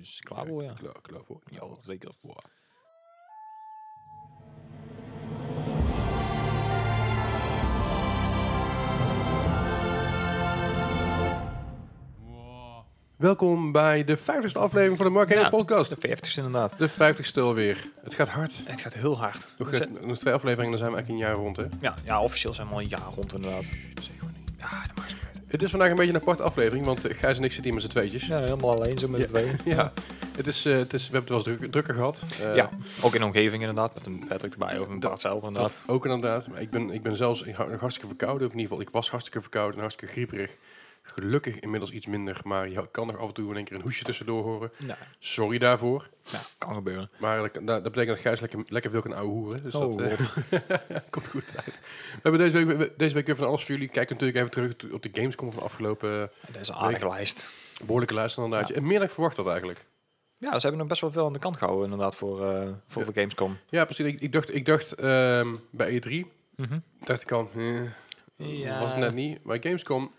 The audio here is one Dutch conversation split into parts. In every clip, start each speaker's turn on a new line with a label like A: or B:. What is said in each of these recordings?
A: Dus klaar voor, ja.
B: Klaar, klaar voor.
A: Ja, zeker.
B: Wow. Welkom bij de 50ste aflevering van de Mark
A: Ja,
B: Podcast.
A: De 50 inderdaad.
B: De 50ste alweer. Het gaat hard.
A: Het gaat heel hard. Dus, eh,
B: Nog,
A: We zijn-
B: eh, nog twee afleveringen, dan zijn we eigenlijk een jaar rond, hè?
A: ja, ja, officieel zijn we al een jaar rond inderdaad. Ja, dat maakt niet uit.
B: Het is vandaag een beetje een aparte aflevering, want eh, Gijs en ik zitten hier met z'n tweetjes.
A: Ja, helemaal alleen zo met
B: Ja.
A: de tweeën.
B: Ja, het is, eh, het is, we hebben het wel eens druk- drukker gehad. Eh,
A: ja, ook in de omgeving inderdaad. Met een Patrick erbij of een
B: Dat-
A: Bart zelf inderdaad.
B: Dat ook inderdaad. Maar ik ben, ik ben zelfs ik hou nog hartstikke verkouden. Of in ieder geval, ik was hartstikke verkouden en hartstikke grieperig. Gelukkig inmiddels iets minder, maar je kan nog af en toe in één keer een hoesje tussendoor horen.
A: Nou,
B: Sorry daarvoor.
A: nou, kan gebeuren.
B: Maar dat, dat betekent dat Gijs lekker, lekker veel kan ouwe hoeren. Dus
A: Oh,
B: dat eh, komt goed uit. We hebben deze week, we- deze week weer van alles voor jullie. Kijk natuurlijk even terug op de Gamescom van de afgelopen eh,
A: Dat is een aardige lijst.
B: behoorlijke luisterandaadje. En meer dan ik verwacht had eigenlijk.
A: Ja, ze hebben nog best wel veel aan de kant gehouden inderdaad voor, eh, voor, voor Gamescom.
B: Ja, precies. Ik, ik dacht, ik dacht ehm, bij E3,
A: Mhm.
B: dacht ik al, eh,
A: Ja.
B: was het net niet. Bij Gamescom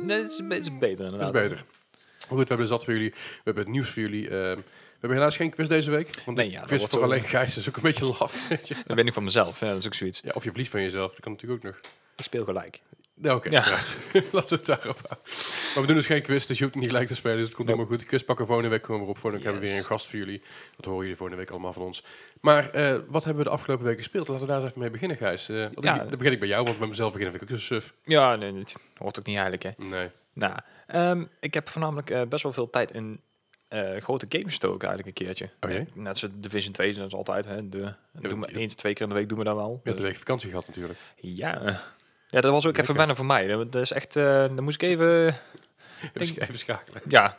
A: Nee, het is, het is beter
B: Dat
A: inderdaad.
B: is beter. Maar goed, we hebben er zat voor jullie. We hebben het nieuws voor jullie. ehm. we hebben helaas geen quiz deze week. Want
A: Nee,
B: nee,
A: ja,
B: ja,
A: dat
B: quiz
A: wordt
B: voor
A: zo.
B: alleen Gijs is ook een beetje laf. weet je.
A: Dat ben ik van mezelf. Ja, dat is ook zoiets.
B: Ja, of je verliest van jezelf. Dat kan natuurlijk ook nog.
A: Ik speel gelijk.
B: Ja, oké.
A: Ja.
B: right. Laat het daarop houden. Maar we doen dus geen quiz, dus je hoeft niet gelijk te spelen. Dus het komt helemaal goed. De quiz pakken we volgende week gewoon weer op. Volgende week hebben we
A: Yes.
B: weer een gast voor jullie. Dat horen jullie volgende week allemaal van ons. Maar eh, wat hebben we de afgelopen week gespeeld? Laten we daar eens even mee beginnen, Gijs. Eh
A: Ja.
B: Dan begin ik bij jou, want bij mezelf beginnen vind ik ook zo suf.
A: Ja, nee, nee, het hoort ook niet eigenlijk, hè.
B: Nee.
A: Nou, ehm, ik heb voornamelijk eh, best wel veel tijd in eh, grote games gestoken eigenlijk een keertje.
B: Oh jee.
A: Net zoals Division 2 is net als altijd, hè. De, doen we
B: ja.
A: eens, twee keer in de week doen we dat wel.
B: Je hebt
A: Dus-
B: de week vakantie gehad natuurlijk.
A: ja. Ja, dat was ook even wennen voor mij. Dat dat is echt, eh dan moest ik even...
B: Even, sch- even schakelen.
A: Ja.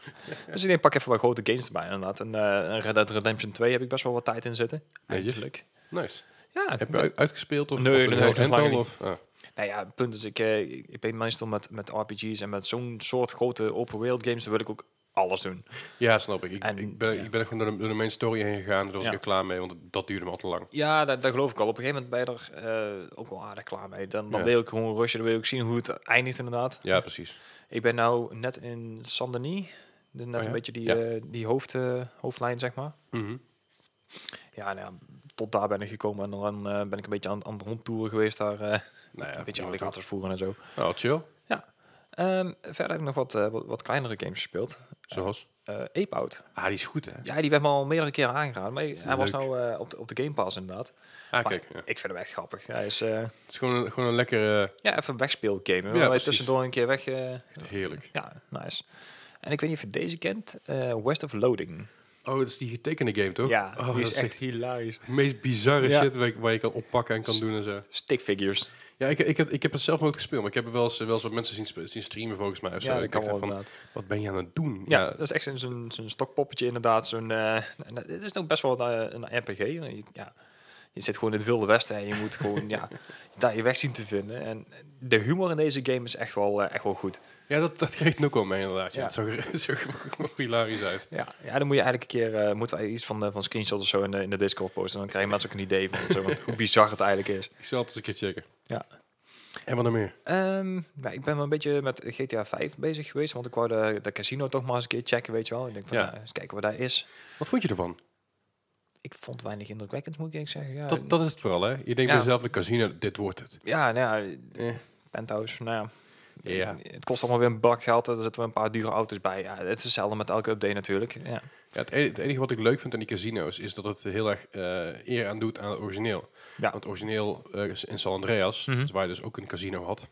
A: Dus ik denk, pak even wat grote games erbij inderdaad. En eh, Red Dead Redemption 2 heb ik best wel wat tijd in zitten.
B: Netjes.
A: Eigenlijk.
B: Nice.
A: Ja,
B: Heb je uit- uitgespeeld? Of,
A: Nee,
B: of
A: nee,
B: een
A: nee, dat is
B: handheld,
A: lang niet.
B: Of, ah.
A: Nou ja, het punt is, ik, eh, ik ik ben meestal met, met RPG's en met zo'n soort grote open world games, dan wil ik ook alles doen.
B: Ja, snap ik. Ik,
A: En-
B: ik, ben,
A: ja.
B: ik ben gewoon door de, door de main story heen gegaan. Daar was
A: Ja.
B: ik er klaar mee, want dat duurde me al te lang.
A: Ja, dat, dat geloof ik al. Op een gegeven moment ben je er eh, ook wel aardig klaar mee. Dan, dan
B: Ja.
A: wil ik gewoon rushen, dan wil ik zien hoe het eindigt inderdaad.
B: Ja, precies.
A: Ik ben nou net in Saint-Denis, dus net
B: Oh ja?
A: een beetje die,
B: Ja.
A: eh, die hoofd, eh, hoofdlijn, zeg maar.
B: Mhm.
A: Ja, nou ja, tot daar ben ik gekomen en dan eh, ben ik een beetje aan, aan het rondtoeren geweest daar. eh,
B: Nou ja,
A: een beetje
B: prima,
A: alligators voeren en zo.
B: toch? Nou, chill.
A: Ehm, verder heb ik nog wat, eh, wat, wat kleinere games gespeeld.
B: Zoals.
A: Eh Ape Out.
B: Ah, die is goed, hè?
A: Ja, die werd me al meerdere keren aangeraden. Maar hij was
B: Leuk.
A: nou eh, op, de, op de Game Pass inderdaad.
B: Ah,
A: Maar
B: kijk. ja.
A: Ik vind hem echt grappig. Hij is eh,
B: Het is gewoon een, gewoon een lekkere...
A: ja, even wegspeelgame. Ja,
B: precies.
A: tussendoor een keer weg. eh,
B: Heerlijk.
A: ja, nice. En ik weet niet of je deze kent. eh, West of Loading.
B: Oh, dat is die getekende game, toch?
A: Ja,
B: oh,
A: die
B: dat
A: is echt hilarisch.
B: Het meest bizarre
A: Ja.
B: shit waar, ik- waar je kan oppakken en kan doen en zo.
A: Stick figures.
B: Ja, ik, ik, heb, ik heb het zelf nooit gespeeld, maar ik heb er wel eens, eh, wel eens wat mensen zien, spe- zien streamen volgens mij. Of zo.
A: Ja, dat
B: Ik
A: kan
B: dacht
A: wel
B: van,
A: inderdaad.
B: wat ben je aan het doen?
A: Ja, dat is echt zo'n- zo'n zo'n stokpoppetje inderdaad. Zo'n, eh, en dat- het is ook best wel eh, een RPG. Je- Ja, je zit gewoon in het wilde westen en je moet gewoon ja, daar je weg zien te vinden. En de humor in deze game is echt wel, eh, echt wel goed.
B: ja dat, dat kreeg ik ook al mee inderdaad. Ja.
A: Ja.
B: Het zag er- het zag er ook hilarisch uit.
A: Ja, ja, dan moet je eigenlijk een keer eh, moeten wij iets van, eh, van screenshots of zo in de, in de Discord posten. Dan krijgen mensen ook een idee van zo, wat- hoe bizar het eigenlijk is.
B: Ik zal het eens een keer checken.
A: Ja.
B: En wat nog meer?
A: Ehm, nou, ik ben wel een beetje met GTA 5 bezig geweest, want ik wou de, de casino toch maar eens een keer checken, weet je wel. Ik denk van,
B: Ja.
A: nou, eens kijken wat daar is.
B: Wat vond je ervan?
A: Ik vond weinig indrukwekkend, moet ik eerlijk zeggen. Ja,
B: Dat, dat is het vooral, hè? Je denkt
A: Ja.
B: bij jezelf, de casino, dit wordt het.
A: ja, nou, ja,
B: Eh.
A: penthouse, nou ja.
B: Ja.
A: Het kost allemaal weer een bak geld, er zitten weer een paar dure auto's bij. Ja, het is hetzelfde met elke update natuurlijk. Ja,
B: Ja, het, enige, het enige wat ik leuk vind aan die casino's is dat het heel erg eh, eer aan doet aan het origineel.
A: Ja.
B: Want het origineel eh, is in San Andreas,
A: Mhm.
B: dus waar je dus ook een casino had,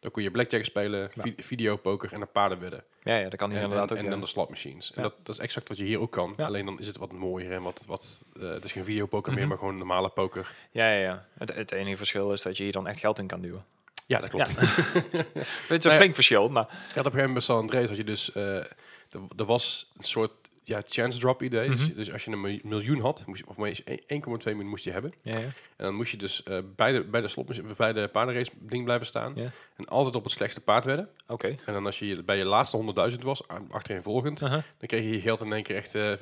B: dan kon je blackjack spelen, vi- videopoker en een paardenwedden.
A: ja, ja dat kan hier
B: En, en,
A: inderdaad ook.
B: en
A: ja.
B: dan de slotmachines. En
A: Ja.
B: dat, dat is exact wat je hier ook kan.
A: Ja.
B: Alleen dan is het wat mooier en wat... wat eh, het is geen videopoker
A: Mhm.
B: meer, maar gewoon normale poker.
A: ja, ja, ja. Het, het enige verschil is dat je hier dan echt geld in kan duwen.
B: Ja, dat klopt.
A: Ja. Het is
B: Nou
A: een flink verschil, maar
B: Ja, op een gegeven moment bij San Andreas had je dus... eh, er er was een soort ja, chance drop idee. Dus-
A: Mhm.
B: Dus als je een mil- miljoen had, moest je, of maar eens 1,2 miljoen moest je hebben.
A: Ja, ja.
B: En dan moest je dus eh, bij de, bij de, slot, bij de paardenrace ding blijven staan.
A: Ja.
B: En altijd op het slechtste paard wedden.
A: oké.
B: En dan als je bij je laatste 100.000 was, a- achtereenvolgend...
A: Aha.
B: dan kreeg je je geld in één keer echt eh, eh,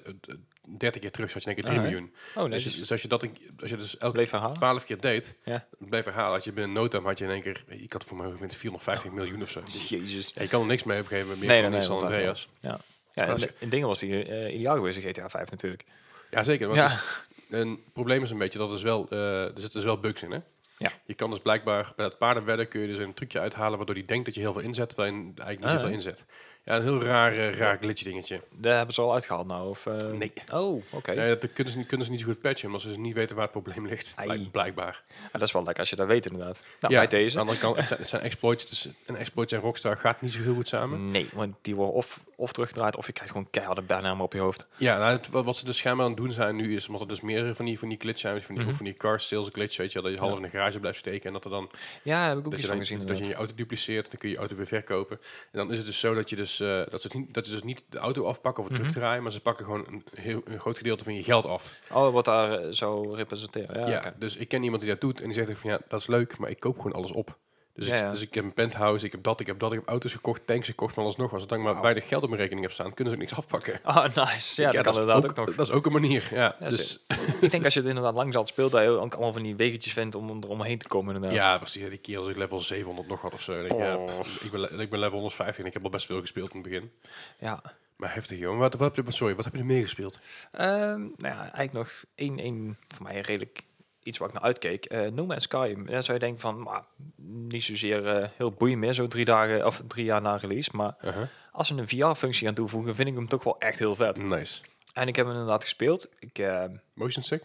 B: 30 keer terug. Zodat je in één keer 3
A: Ah, hè?
B: miljoen.
A: Oh,
B: Dus,
A: nee.
B: je- dus als je dat een- als je dus elke
A: bleef herhalen.
B: 12 keer deed,
A: Ja.
B: bleef herhalen. Had je binnen no time had je in één keer... Ik had voor mij met 450 miljoen of zo.
A: Jezus.
B: Ja, je kan er niks mee op een gegeven moment meer
A: Nee,
B: van
A: nee,
B: die
A: nee,
B: San
A: want dat-
B: Andreas.
A: Ja. Ja,
B: Als
A: in, in dingen was die eh, ideaal geweest in GTA 5 natuurlijk.
B: Ja, zeker. Want
A: Ja.
B: het is- en het probleem is een beetje, dat is wel, eh, er zitten dus wel bugs in, hè?
A: Ja.
B: Je kan dus blijkbaar bij het paardenwedden kun je dus een trucje uithalen waardoor die denkt dat je heel veel inzet, terwijl je eigenlijk niet
A: Ah,
B: zoveel
A: hè?
B: inzet. Ja, een heel raar, eh, raar glitchy dingetje.
A: Daar hebben ze al uitgehaald nou? Of, eh,
B: Nee.
A: Oh, oké.
B: Nee, dat kunnen ze, niet, kunnen ze niet zo goed patchen, omdat ze dus niet weten waar het probleem ligt.
A: Ai.
B: Blijk- Blijkbaar.
A: Ah, dat is wel lekker als je dat weet inderdaad. Nou,
B: ja,
A: bij
B: Aan de
A: deze.
B: andere kant, het zijn, het zijn exploits, dus een exploit en Rockstar gaat niet zo heel goed samen.
A: Nee, want die worden of, of teruggedraaid of je krijgt gewoon keiharde bijnaam op je hoofd.
B: Ja, nou, het- wat, wat ze dus schijnbaar aan het doen zijn nu is, omdat er dus meer van die, van die glitch zijn, van die, ook
A: Mhm.
B: van die car sales glitch, weet je, wel, dat je half
A: Ja.
B: in de garage blijft steken en dat er
A: Ja,
B: dan
A: daar heb ik ook
B: Dat
A: iets
B: je,
A: van
B: dan,
A: gezien.
B: dat je
A: inderdaad.
B: je auto dupliceert, dan kun je je auto weer verkopen. En dan is het dus zo dat, je dus, eh, dat, ze, het niet, dat ze dus niet de auto afpakken of het
A: Mhm.
B: terugdraaien, maar ze pakken gewoon een, heel, een groot gedeelte van je geld af.
A: Oh, wat daar eh, zo representeren. Ja,
B: Ja,
A: oké.
B: Dus ik ken iemand die dat doet en die zegt ook van ja, dat is leuk, maar ik koop gewoon alles op. Dus,
A: Ja,
B: ik,
A: ja.
B: dus ik heb een penthouse, ik heb dat, ik heb dat, ik heb auto's gekocht, tanks gekocht, van alles nog. Als ik dan maar
A: Wauw.
B: weinig geld op mijn rekening heb staan, kunnen ze ook niks afpakken.
A: Oh, nice. Ja, dat kan
B: is
A: inderdaad ook, nog.
B: Dat is ook een manier, ja.
A: Ja,
B: dus,
A: ik denk als je het inderdaad langzaam speelt, dat je ook allemaal van die weggetjes vindt om er omheen te komen inderdaad.
B: ja, precies. ja, Die keer als ik level 700 nog had of zo. denk ik, ja,
A: Oh.
B: pff, ik, ben, le- ik ben level 150 en ik heb al best veel gespeeld in het begin.
A: ja.
B: Maar heftig, joh. Wat, wat, heb je- sorry, wat heb je er meer gespeeld?
A: Ehm, nou ja, eigenlijk nog één, één voor mij redelijk iets waar ik naar uitkeek. Eh no Man's Sky. Dan zou je denken van, maar, niet zozeer eh, heel boeiend meer, zo drie, dagen, of drie jaar na release. Maar als ze een VR-functie gaan toevoegen, vind ik hem toch wel echt heel vet.
B: Nice.
A: En ik heb hem inderdaad gespeeld. Ik, eh,
B: Motion sick?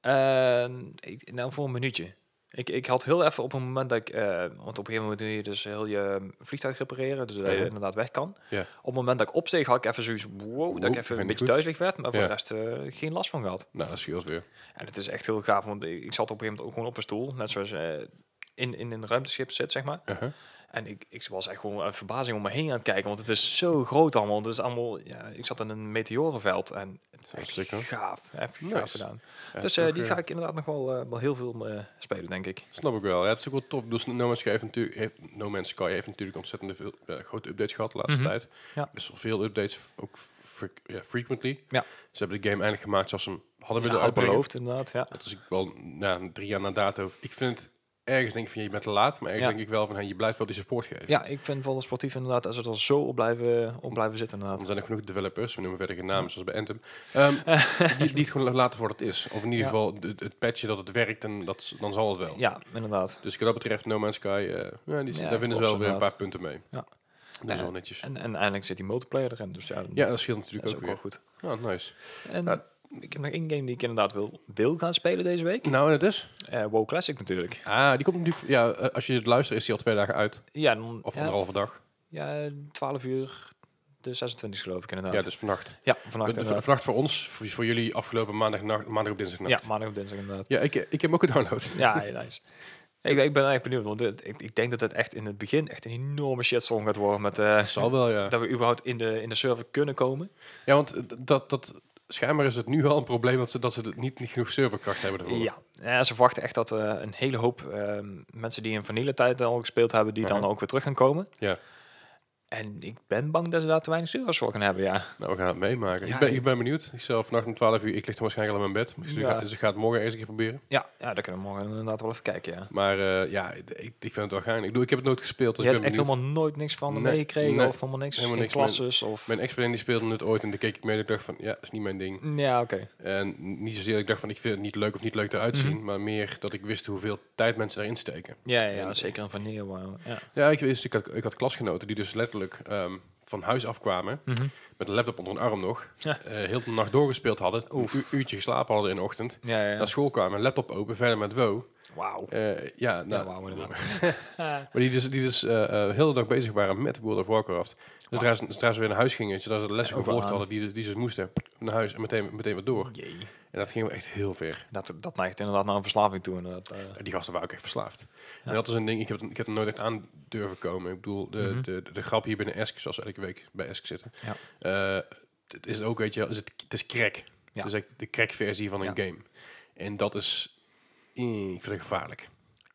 A: eh, ik- nou, voor een minuutje. Ik, ik had heel even op een moment dat ik... eh, want op een gegeven moment doe je dus heel je vliegtuig repareren, dus dat je
B: Mhm.
A: inderdaad weg kan.
B: Ja.
A: Op het moment dat ik opsteeg, had ik even zoiets... Wow, dat
B: Wow,
A: ik even
B: ging
A: een
B: niet
A: beetje
B: goed.
A: duizelig werd, maar voor
B: Ja.
A: de rest eh, geen last van gehad.
B: Nou, dat scheelt weer.
A: En het is echt heel gaaf, want ik ik zat op een gegeven moment ook gewoon op een stoel, net zoals eh, in, in een ruimteschip zit, zeg maar.
B: Uh-huh.
A: En ik, ik was echt gewoon uit verbazing om me heen aan het kijken, want het is zo groot allemaal. Het is allemaal ja, ik zat in een meteorenveld en het is echt
B: Hartstikke.
A: gaaf, echt
B: Nice.
A: gaaf gedaan.
B: Ja,
A: dus
B: toch,
A: eh, die
B: eh,
A: ga ik inderdaad nog wel, eh, wel heel veel eh, spelen, denk ik.
B: Snap ik wel. Ja, het is ook wel tof. Dus No Man's Sky heeft natuurlijk, heeft, no Man's Sky heeft natuurlijk ontzettend veel eh, grote updates gehad de laatste
A: Mhm.
B: tijd.
A: Ja.
B: Best wel veel updates, ook fre- ja, frequently.
A: Ja.
B: Ze hebben de game eindelijk gemaakt zoals ze hem hadden
A: Ja,
B: willen
A: had
B: uitbrengen.
A: beloofd, inderdaad. Ja.
B: Dat is wel na drie jaar na dato. Ik vind het ergens denk ik van, ja, je bent te laat, maar ergens
A: Ja.
B: denk ik wel van, hey, je blijft wel die support geven.
A: ja, ik vind wel sportief inderdaad, als ze er zo op blijven, op blijven zitten
B: Want
A: inderdaad.
B: er zijn er genoeg developers, we noemen verder geen namen zoals bij Anthem, ehm, die, die het gewoon laten voor wat het is. Of in ieder
A: Ja.
B: geval het, het patchen dat het werkt en dat, dan zal het wel.
A: Ja, inderdaad.
B: Dus wat dat betreft, No Man's Sky, eh, ja, die,
A: Ja,
B: daar winnen
A: klopt,
B: ze wel weer een
A: inderdaad.
B: paar punten mee.
A: Ja.
B: Dat is
A: Eh,
B: wel netjes.
A: En, en eindelijk zit die multiplayer erin, dus ja,
B: Ja, dat scheelt
A: dat
B: natuurlijk
A: is
B: ook
A: ook
B: weer.
A: wel goed.
B: Ah, nice.
A: En
B: Ja.
A: Nou, ik heb nog één game die ik inderdaad wil, wil gaan spelen deze week.
B: Nou, en het is?
A: Eh, WoW Classic natuurlijk.
B: Ah, die komt natuurlijk, ja, eh, als je het luistert is die al twee dagen uit.
A: Ja, dan,
B: Of
A: ja,
B: anderhalve dag.
A: Ja, 12 uur de 26 geloof ik inderdaad.
B: Ja, dus vannacht.
A: Ja, vannacht
B: De- de-
A: inderdaad.
B: Vannacht voor ons, voor, voor jullie afgelopen maandag, maandag op dinsdag
A: Ja, maandag op dinsdag inderdaad.
B: Ja, ik, ik heb hem ook gedownload.
A: Ja, heel nice. Ik, ik ben eigenlijk benieuwd, want dit- ik, ik denk dat het echt in het begin echt een enorme shitstorm gaat worden met eh,
B: Zal wel, ja.
A: dat we überhaupt in de, in de server kunnen komen.
B: Ja, want eh, dat, dat, schijnbaar is het nu al een probleem dat ze, dat ze niet, niet genoeg serverkracht hebben ervoor.
A: Ja, en ze verwachten echt dat eh, een hele hoop eh, mensen die in vanille tijd al gespeeld hebben, die
B: Mhm.
A: dan ook weer terug gaan komen.
B: Ja.
A: En ik ben bang dat ze daar te weinig servers voor gaan hebben, ja.
B: Nou, we gaan het meemaken.
A: Ja,
B: ik, ben,
A: ik-
B: ik ben benieuwd. Ik zal vannacht om 12 uur, ik lig dan waarschijnlijk al in mijn bed. Dus, ik,
A: Ja.
B: ga, dus ik ga het morgen eerst een keer proberen.
A: Ja, ja daar kunnen we morgen inderdaad wel even kijken, ja.
B: Maar eh, ja, ik, ik vind het wel gaaf. Ik, bedoel, ik heb het nooit gespeeld, dus
A: je
B: ik
A: hebt
B: ben
A: echt
B: benieuwd.
A: helemaal nooit niks van
B: Nee,
A: meegekregen
B: nee,
A: of helemaal niks,
B: helemaal
A: geen
B: niks, maar-
A: klasses of...
B: Mijn ex-vriendin die speelde het ooit en daar keek ik mee en ik dacht van, ja, dat is niet mijn ding.
A: Ja, oké.
B: En niet zozeer dat ik dacht van, ik vind het niet leuk of niet leuk eruit
A: Mhm.
B: zien, maar meer dat ik wist hoeveel tijd mensen daarin steken.
A: Ja, ja,
B: En-
A: zeker een vanille, wauw. Ja.
B: Ja, ik, wist, ik, had, ik had klasgenoten die dus letterlijk ehm, van huis afkwamen
A: Mhm.
B: met een laptop onder hun arm nog,
A: Ja.
B: eh, heel de nacht doorgespeeld hadden, een u- uurtje geslapen hadden in de ochtend,
A: ja, ja, ja.
B: naar school kwamen, laptop open, verder met WoW.
A: Wauw.
B: Eh, ja, nou,
A: Ja, wauw, inderdaad.
B: maar die dus, die dus eh eh, heel de dag bezig waren met World of Warcraft. Dus zodra ze- zodra ze weer naar huis gingen, zodra ze de lessen
A: Ook wel
B: gevolgd
A: aan. Hmm.
B: hadden die, ze- die ze moesten, naar huis en meteen, meteen weer door.
A: Ah, Jee.
B: En dat ging wel echt heel ver.
A: Dat, dat neigt inderdaad naar een verslaving toe. Inderdaad. eh.
B: En Die gasten waren ook echt verslaafd.
A: Ja.
B: En dat is een ding, ik heb, het- ik heb er nooit echt aan durven komen. Ik bedoel, de,
A: Mhm.
B: de, de, de grap hier binnen Esk, zoals we elke week bij Esk zitten,
A: Ja.
B: eh, het is ook, weet je wel, is het, het is crack.
A: Ja.
B: Dus de crack versie van een
A: Ja.
B: game. En dat is, eh, ik vind het gevaarlijk.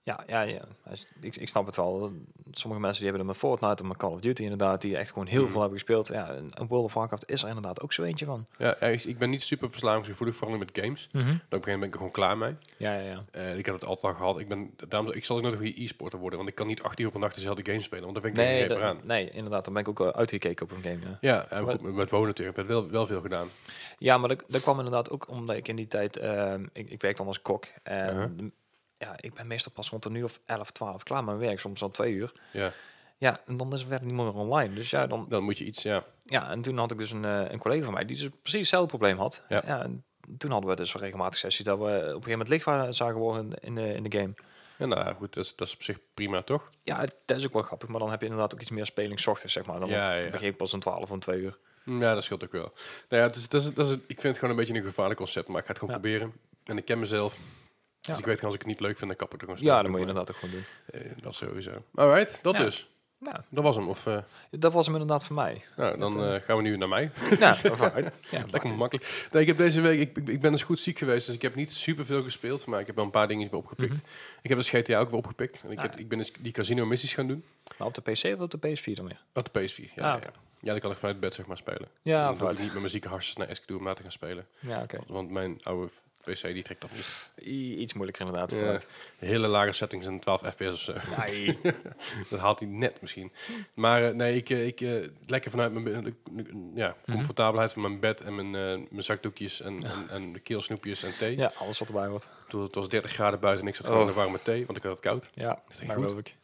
A: Ja, ja, ja. Als- Ik, ik snap het wel. Sommige mensen die hebben hem met Fortnite of met Call of Duty inderdaad, die echt gewoon heel
B: Mhm.
A: veel hebben gespeeld. Ja, en en World of Warcraft is er inderdaad ook zo eentje van.
B: Ja, ja, ik, ik ben niet super verslavingsgevoelig, vooral niet met games. Op een gegeven moment ben ik er gewoon klaar mee.
A: Ja, ja, ja.
B: Eh, ik heb het altijd al gehad. Ik, ben, daarom, ik zal ook nooit een goede e-sporter worden, want ik kan niet 18 uur op een nacht dezelfde game spelen, want dan vind ik
A: Nee,
B: nee,
A: dat-
B: er aan.
A: nee, inderdaad. Dan ben ik ook eh, uitgekeken op een game. Ja,
B: Ja, en goed, met- met wonen natuurlijk. Ik heb wel, wel veel gedaan.
A: ja maar dat, dat kwam inderdaad ook omdat ik in die tijd... ehm, ik, ik werkte dan als kok. En
B: Uh-huh.
A: de- ja, ik ben meestal pas rond een uur of 11, 12 klaar met mijn werk. Soms al twee uur.
B: Ja,
A: Ja, en dan is het werk niet meer online. Dus ja, dan,
B: dan moet je iets, ja.
A: ja, en toen had ik dus een, eh, een collega van mij die dus precies hetzelfde probleem had.
B: Ja.
A: en toen hadden we dus regelmatig sessies dat we op een gegeven moment licht waren, zagen worden in de, in de game.
B: ja nou ja, goed, dat is, dat is op zich prima, toch?
A: Ja, dat is ook wel grappig, maar dan heb je inderdaad ook iets meer speling 's ochtends, zeg maar. Dan
B: Ja, ja.
A: begin ik pas om 12 of 2 uur.
B: Hm, Ja, dat scheelt ook wel. Nou ja, het is, dat is, dat is, ik vind het gewoon een beetje een gevaarlijk concept, maar ik ga het gewoon
A: Ja.
B: proberen. En ik ken mezelf. Dus
A: Ja.
B: ik weet gewoon, als ik het niet leuk vind, dan kap ik er gewoon snel
A: Ja, dat moet
B: mee.
A: je inderdaad ook gewoon doen.
B: Eh, dat sowieso. Alright, dat
A: Ja.
B: dus.
A: Nou,
B: Dat was hem. Of, eh,
A: dat was hem inderdaad voor mij.
B: nou, dan eh, gaan we nu naar mij.
A: nou, vooruit. Ja,
B: Lekker makkelijk. Nee, ik heb deze week, ik, ik, ik ben dus goed ziek geweest, dus ik heb niet superveel gespeeld, maar ik heb wel een paar dingen weer opgepikt. Ik heb dus GTA ook weer opgepikt. En ik,
A: Ah,
B: heb,
A: Mhm. ja.
B: ik ben dus die casino missies gaan doen.
A: Maar op de PC of op de PS4 dan weer?
B: Op de PS4, ja.
A: Ah,
B: ja.
A: oké.
B: Ja, dan kan ik vanuit bed zeg maar spelen.
A: Ja,
B: dan hoef ik
A: vooruit.
B: niet met mijn zieke hartjes naar Esk toe om na te gaan spelen.
A: Ja, oké.
B: Want mijn oude PC die trekt dat niet.
A: I- Iets moeilijker inderdaad.
B: Ja.
A: vooruit.
B: Hele lage settings en 12 fps of zo.
A: Nee.
B: Dat haalt hij net misschien. Maar eh, nee, ik, eh, ik eh, lekker vanuit mijn be- eh, ja,
A: Mhm.
B: comfortabelheid van mijn bed en mijn, eh, mijn zakdoekjes en, en, en de keelsnoepjes en thee.
A: ja, alles wat erbij hoort.
B: Toen het was 30 graden buiten en ik zat gewoon
A: Oh.
B: in de warme thee, want ik had het koud.
A: Ja,
B: Is
A: dat
B: dat goed?
A: geloof ik.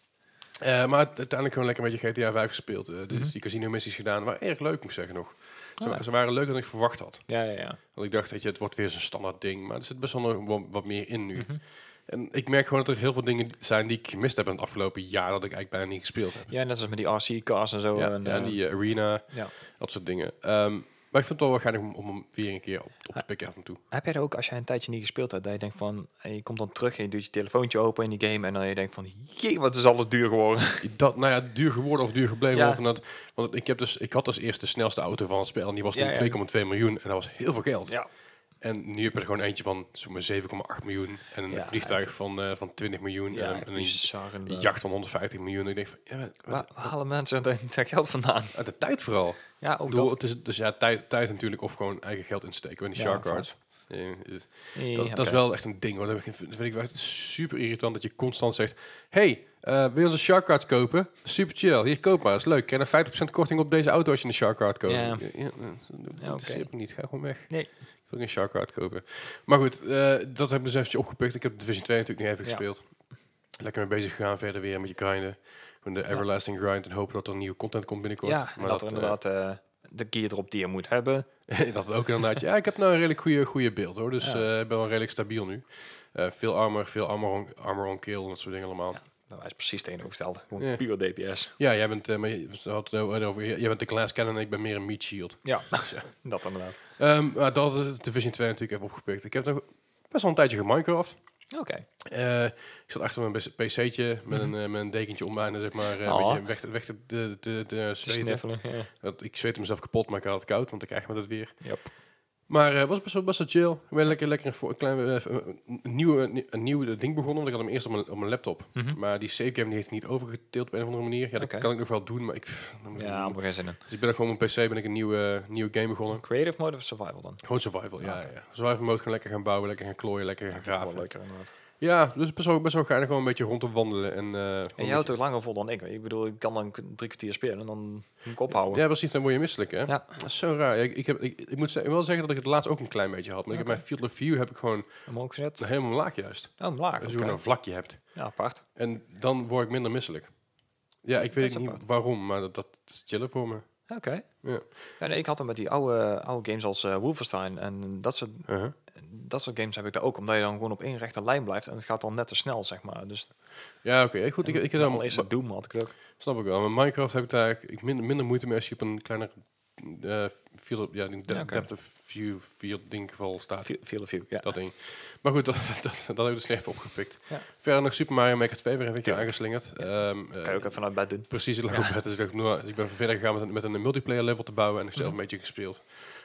B: Eh, maar het- uiteindelijk gewoon lekker een beetje GTA 5 gespeeld. Eh, dus
A: Mhm.
B: die casino missies gedaan, waren erg leuk moet ik zeggen nog. Ze,
A: Ah.
B: ze waren leuker dan ik verwacht had.
A: Ja, ja, ja.
B: Want ik dacht, weet je, het wordt weer zo'n standaard ding. Maar er zit best wel nog wat, wat meer in nu.
A: Mhm.
B: En ik merk gewoon dat er heel veel dingen zijn die ik gemist heb in het afgelopen jaar. Dat ik eigenlijk bijna niet gespeeld heb.
A: Ja, net als met die RC-cars en zo.
B: Ja,
A: en,
B: ja,
A: eh,
B: die eh, arena,
A: ja.
B: dat soort dingen. Ehm, maar ik vind het wel wel geinig om, om hem weer een keer op, op
A: Ah.
B: te pikken af en toe.
A: Heb jij er ook, als jij een tijdje niet gespeeld hebt, dat je denkt van... En je komt dan terug en je doet je telefoontje open in die game... en dan je denkt van, jee, wat is alles duur geworden.
B: Dat, nou ja, duur geworden of duur gebleven.
A: Ja.
B: hoor, Van dat, want ik, heb dus, ik had als eerste de snelste auto van het spel. En die was toen
A: Ja, ja.
B: 2,2 miljoen. En dat was heel veel geld.
A: Ja.
B: En nu heb je er gewoon eentje van zo'n maar 7,8 miljoen. En een
A: Ja,
B: vliegtuig
A: het-
B: van, eh, van 20 miljoen. en,
A: Ja,
B: een- en een
A: bizar inderdaad.
B: jacht van 150 miljoen. En ik denk van, ja, maar-
A: Waar waar halen mensen dat, dat geld vandaan?
B: Uit de tijd vooral.
A: Ja,
B: Ik
A: ook
B: bedoel,
A: dat.
B: het is, dus ja, tijd, tijd natuurlijk of gewoon eigen geld insteken. En die
A: Ja,
B: shark
A: vaak.
B: cards. Eh, dat,
A: Ja,
B: dat
A: oké.
B: is wel echt een ding hoor. Dat vind ik- dat vind ik wel echt super irritant dat je constant zegt... Hey, eh, wil je onze shark cards kopen? Super chill. Hier, koop maar. is leuk. Krijg je 50% korting op deze auto als je een shark card koopt.
A: Ja.
B: Eh, ja, eh, dat
A: Ja,
B: interesseert me niet. Ga gewoon weg.
A: Nee.
B: Ik wil geen shark card kopen. Maar goed, eh, dat heb ik dus eventjes opgepikt. Ik heb Division 2 natuurlijk niet even
A: Ja.
B: gespeeld. Lekker mee bezig gegaan verder weer met je grinden. Gewoon de everlasting grind en hopen dat er nieuwe content komt binnenkort.
A: Ja, en dat, er
B: eh,
A: inderdaad eh, de gear erop die je moet hebben.
B: dat ook inderdaad. Ja, ik heb nou een redelijk goede, goede beeld hoor. Dus
A: Ja.
B: eh, ik ben wel redelijk stabiel nu. Eh, veel armor, veel armor on, armor on kill en dat soort dingen allemaal. Ja,
A: Nou, hij is precies tegenovergesteld. Gewoon
B: Ja.
A: puur DPS.
B: jij bent, eh, maar je, we hadden het er over, jij bent de glass cannon en ik ben meer een meat shield. Dus,
A: Ja,
B: Ja.
A: dat inderdaad.
B: Ehm, maar dat is Division 2 natuurlijk even opgepikt. Ik heb nog best wel een tijdje geminecraft.
A: Oké.
B: Eh, ik zat achter mijn bes- pc'tje met, een, eh, met een dekentje om mij en zeg maar eh,
A: Mhm. Oh.
B: een beetje weg, te- weg te, te, te, te zweten.
A: dus Sniffelen. Ja.
B: Dat, ik zweette mezelf kapot, maar ik had het koud, want ik krijg me dat weer.
A: Yep.
B: Maar het was best wel, best wel chill. Ik ben lekker, lekker een, voor- een klein, eh, een, nieuw, een, nieuw ding begonnen. Want ik had hem eerst op mijn, op mijn laptop.
A: Mhm.
B: Maar die save game die heeft niet overgeteeld op een of andere manier. Ja, dat
A: Oké.
B: kan ik nog wel doen, maar ik... pff, dan moet ik
A: Ja,
B: doen.
A: maar geen zin in.
B: dus ik ben gewoon op mijn PC ben ik een nieuwe, nieuwe game begonnen.
A: Creative mode of survival dan?
B: Gewoon survival, ja,
A: Oké.
B: ja. Survival mode gewoon lekker gaan bouwen, lekker gaan klooien, lekker gaan
A: Ja, dat is wel
B: graven.
A: leuker inderdaad.
B: Ja, dus best wel, best wel geinig gewoon een beetje rond te wandelen. En, eh, gewoon een
A: En
B: beetje-
A: jij houdt er langer vol dan ik. Ik bedoel, ik kan dan k- drie kwartier spelen en dan moet ik ophouden.
B: Ja, precies, dan word je misselijk, hè?
A: Ja.
B: Dat is zo raar. Ja, Ik, ik, heb, ik, ik moet ze- wel zeggen dat ik het laatst ook een klein beetje had. Maar ik heb
A: Oké.
B: mijn field of view heb ik gewoon
A: Omhoog gezet.
B: helemaal laag juist.
A: Oh, laag.
B: Dus
A: oké.
B: je een vlakje hebt.
A: Ja, apart.
B: En dan word ik minder misselijk. Ja, ik
A: Dat
B: weet
A: is
B: niet
A: apart.
B: waarom, maar dat, dat is chillen voor me.
A: Oké.
B: Ja.
A: Ja, nee, ik had hem met die oude, oude games als eh, Wolfenstein en dat soort,
B: Uh-huh.
A: dat soort games heb ik daar ook. Omdat je dan gewoon op één rechte lijn blijft en het gaat dan net te snel, zeg maar. Dus
B: Ja, oké. Goed, ik, ik heb
A: al
B: daar...
A: is het Doom had ik het ook.
B: Snap ik wel. Met Minecraft heb ik daar eigenlijk- ik minder, minder moeite mee als je op een kleiner eh field... of- Ja, die de-
A: Ja, oké.
B: depth of view field ding geval staat.
A: Ve- Veel of view, ja.
B: Ah, Dat ding. Maar goed, dat, dat, dat heb ik dus slecht even opgepikt.
A: Ja.
B: Verder nog Super Mario Maker 2 weer een beetje
A: Tuurlijk.
B: aangeslingerd. Ehm, eh,
A: Kan je ook even vanuit bed doen.
B: Precies, ik lag op bed. Dus ik, dacht, nou, ik ben verder gegaan met een, met een multiplayer level te bouwen en ik zelf
A: Mhm.
B: een beetje gespeeld.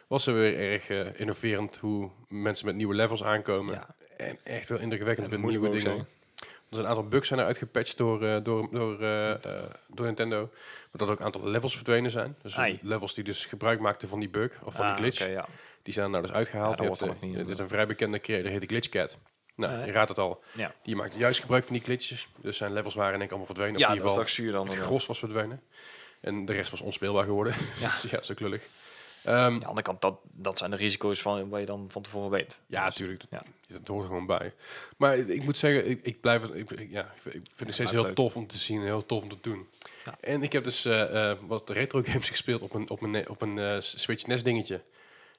B: Was er weer erg eh, innoverend hoe mensen met nieuwe levels aankomen.
A: Ja.
B: En echt wel indrukwekkend
A: Ja,
B: weer
A: dat moet
B: nieuwe
A: ook
B: dingen.
A: zijn.
B: Er zijn een aantal bugs zijn er uitgepatcht door, eh, door, door, eh, eh, door Nintendo. Maar dat ook een aantal levels verdwenen zijn. Dus
A: Ai.
B: levels die dus gebruik maakten van die bug of van
A: Ah,
B: die glitch.
A: oké, ja.
B: Die zijn er nou dus uitgehaald.
A: Ja, dat
B: Je hebt,
A: wordt er nog
B: eh,
A: niet,
B: dit is een
A: inderdaad.
B: vrij bekende creator, heet de Glitch Cat. Nou,
A: Ja, hè?
B: je raadt het al.
A: Ja,
B: Die maakt juist gebruik van die glitches. Dus zijn levels waren in één keer allemaal verdwenen.
A: ja
B: of
A: dat
B: in
A: is
B: ieder
A: toch
B: geval
A: zuur dan.
B: het
A: inderdaad.
B: gros was verdwenen. En de rest was onspeelbaar geworden. Ja,
A: Ja.
B: ja zo lullig. Ehm,
A: Aan de andere kant, dat, dat zijn de risico's van waar je dan van tevoren weet.
B: Ja, natuurlijk.
A: Ja.
B: Dat hoort er gewoon bij. Maar ik moet zeggen, ik, ik blijf het. Ik, ik- ja, ik vind ik vind het steeds
A: blijft
B: heel
A: leuk.
B: tof om te zien en heel tof om te doen.
A: Ja.
B: En ik heb dus eh, eh, wat retro games gespeeld op een, op een, ne- op een eh, Switch NES dingetje.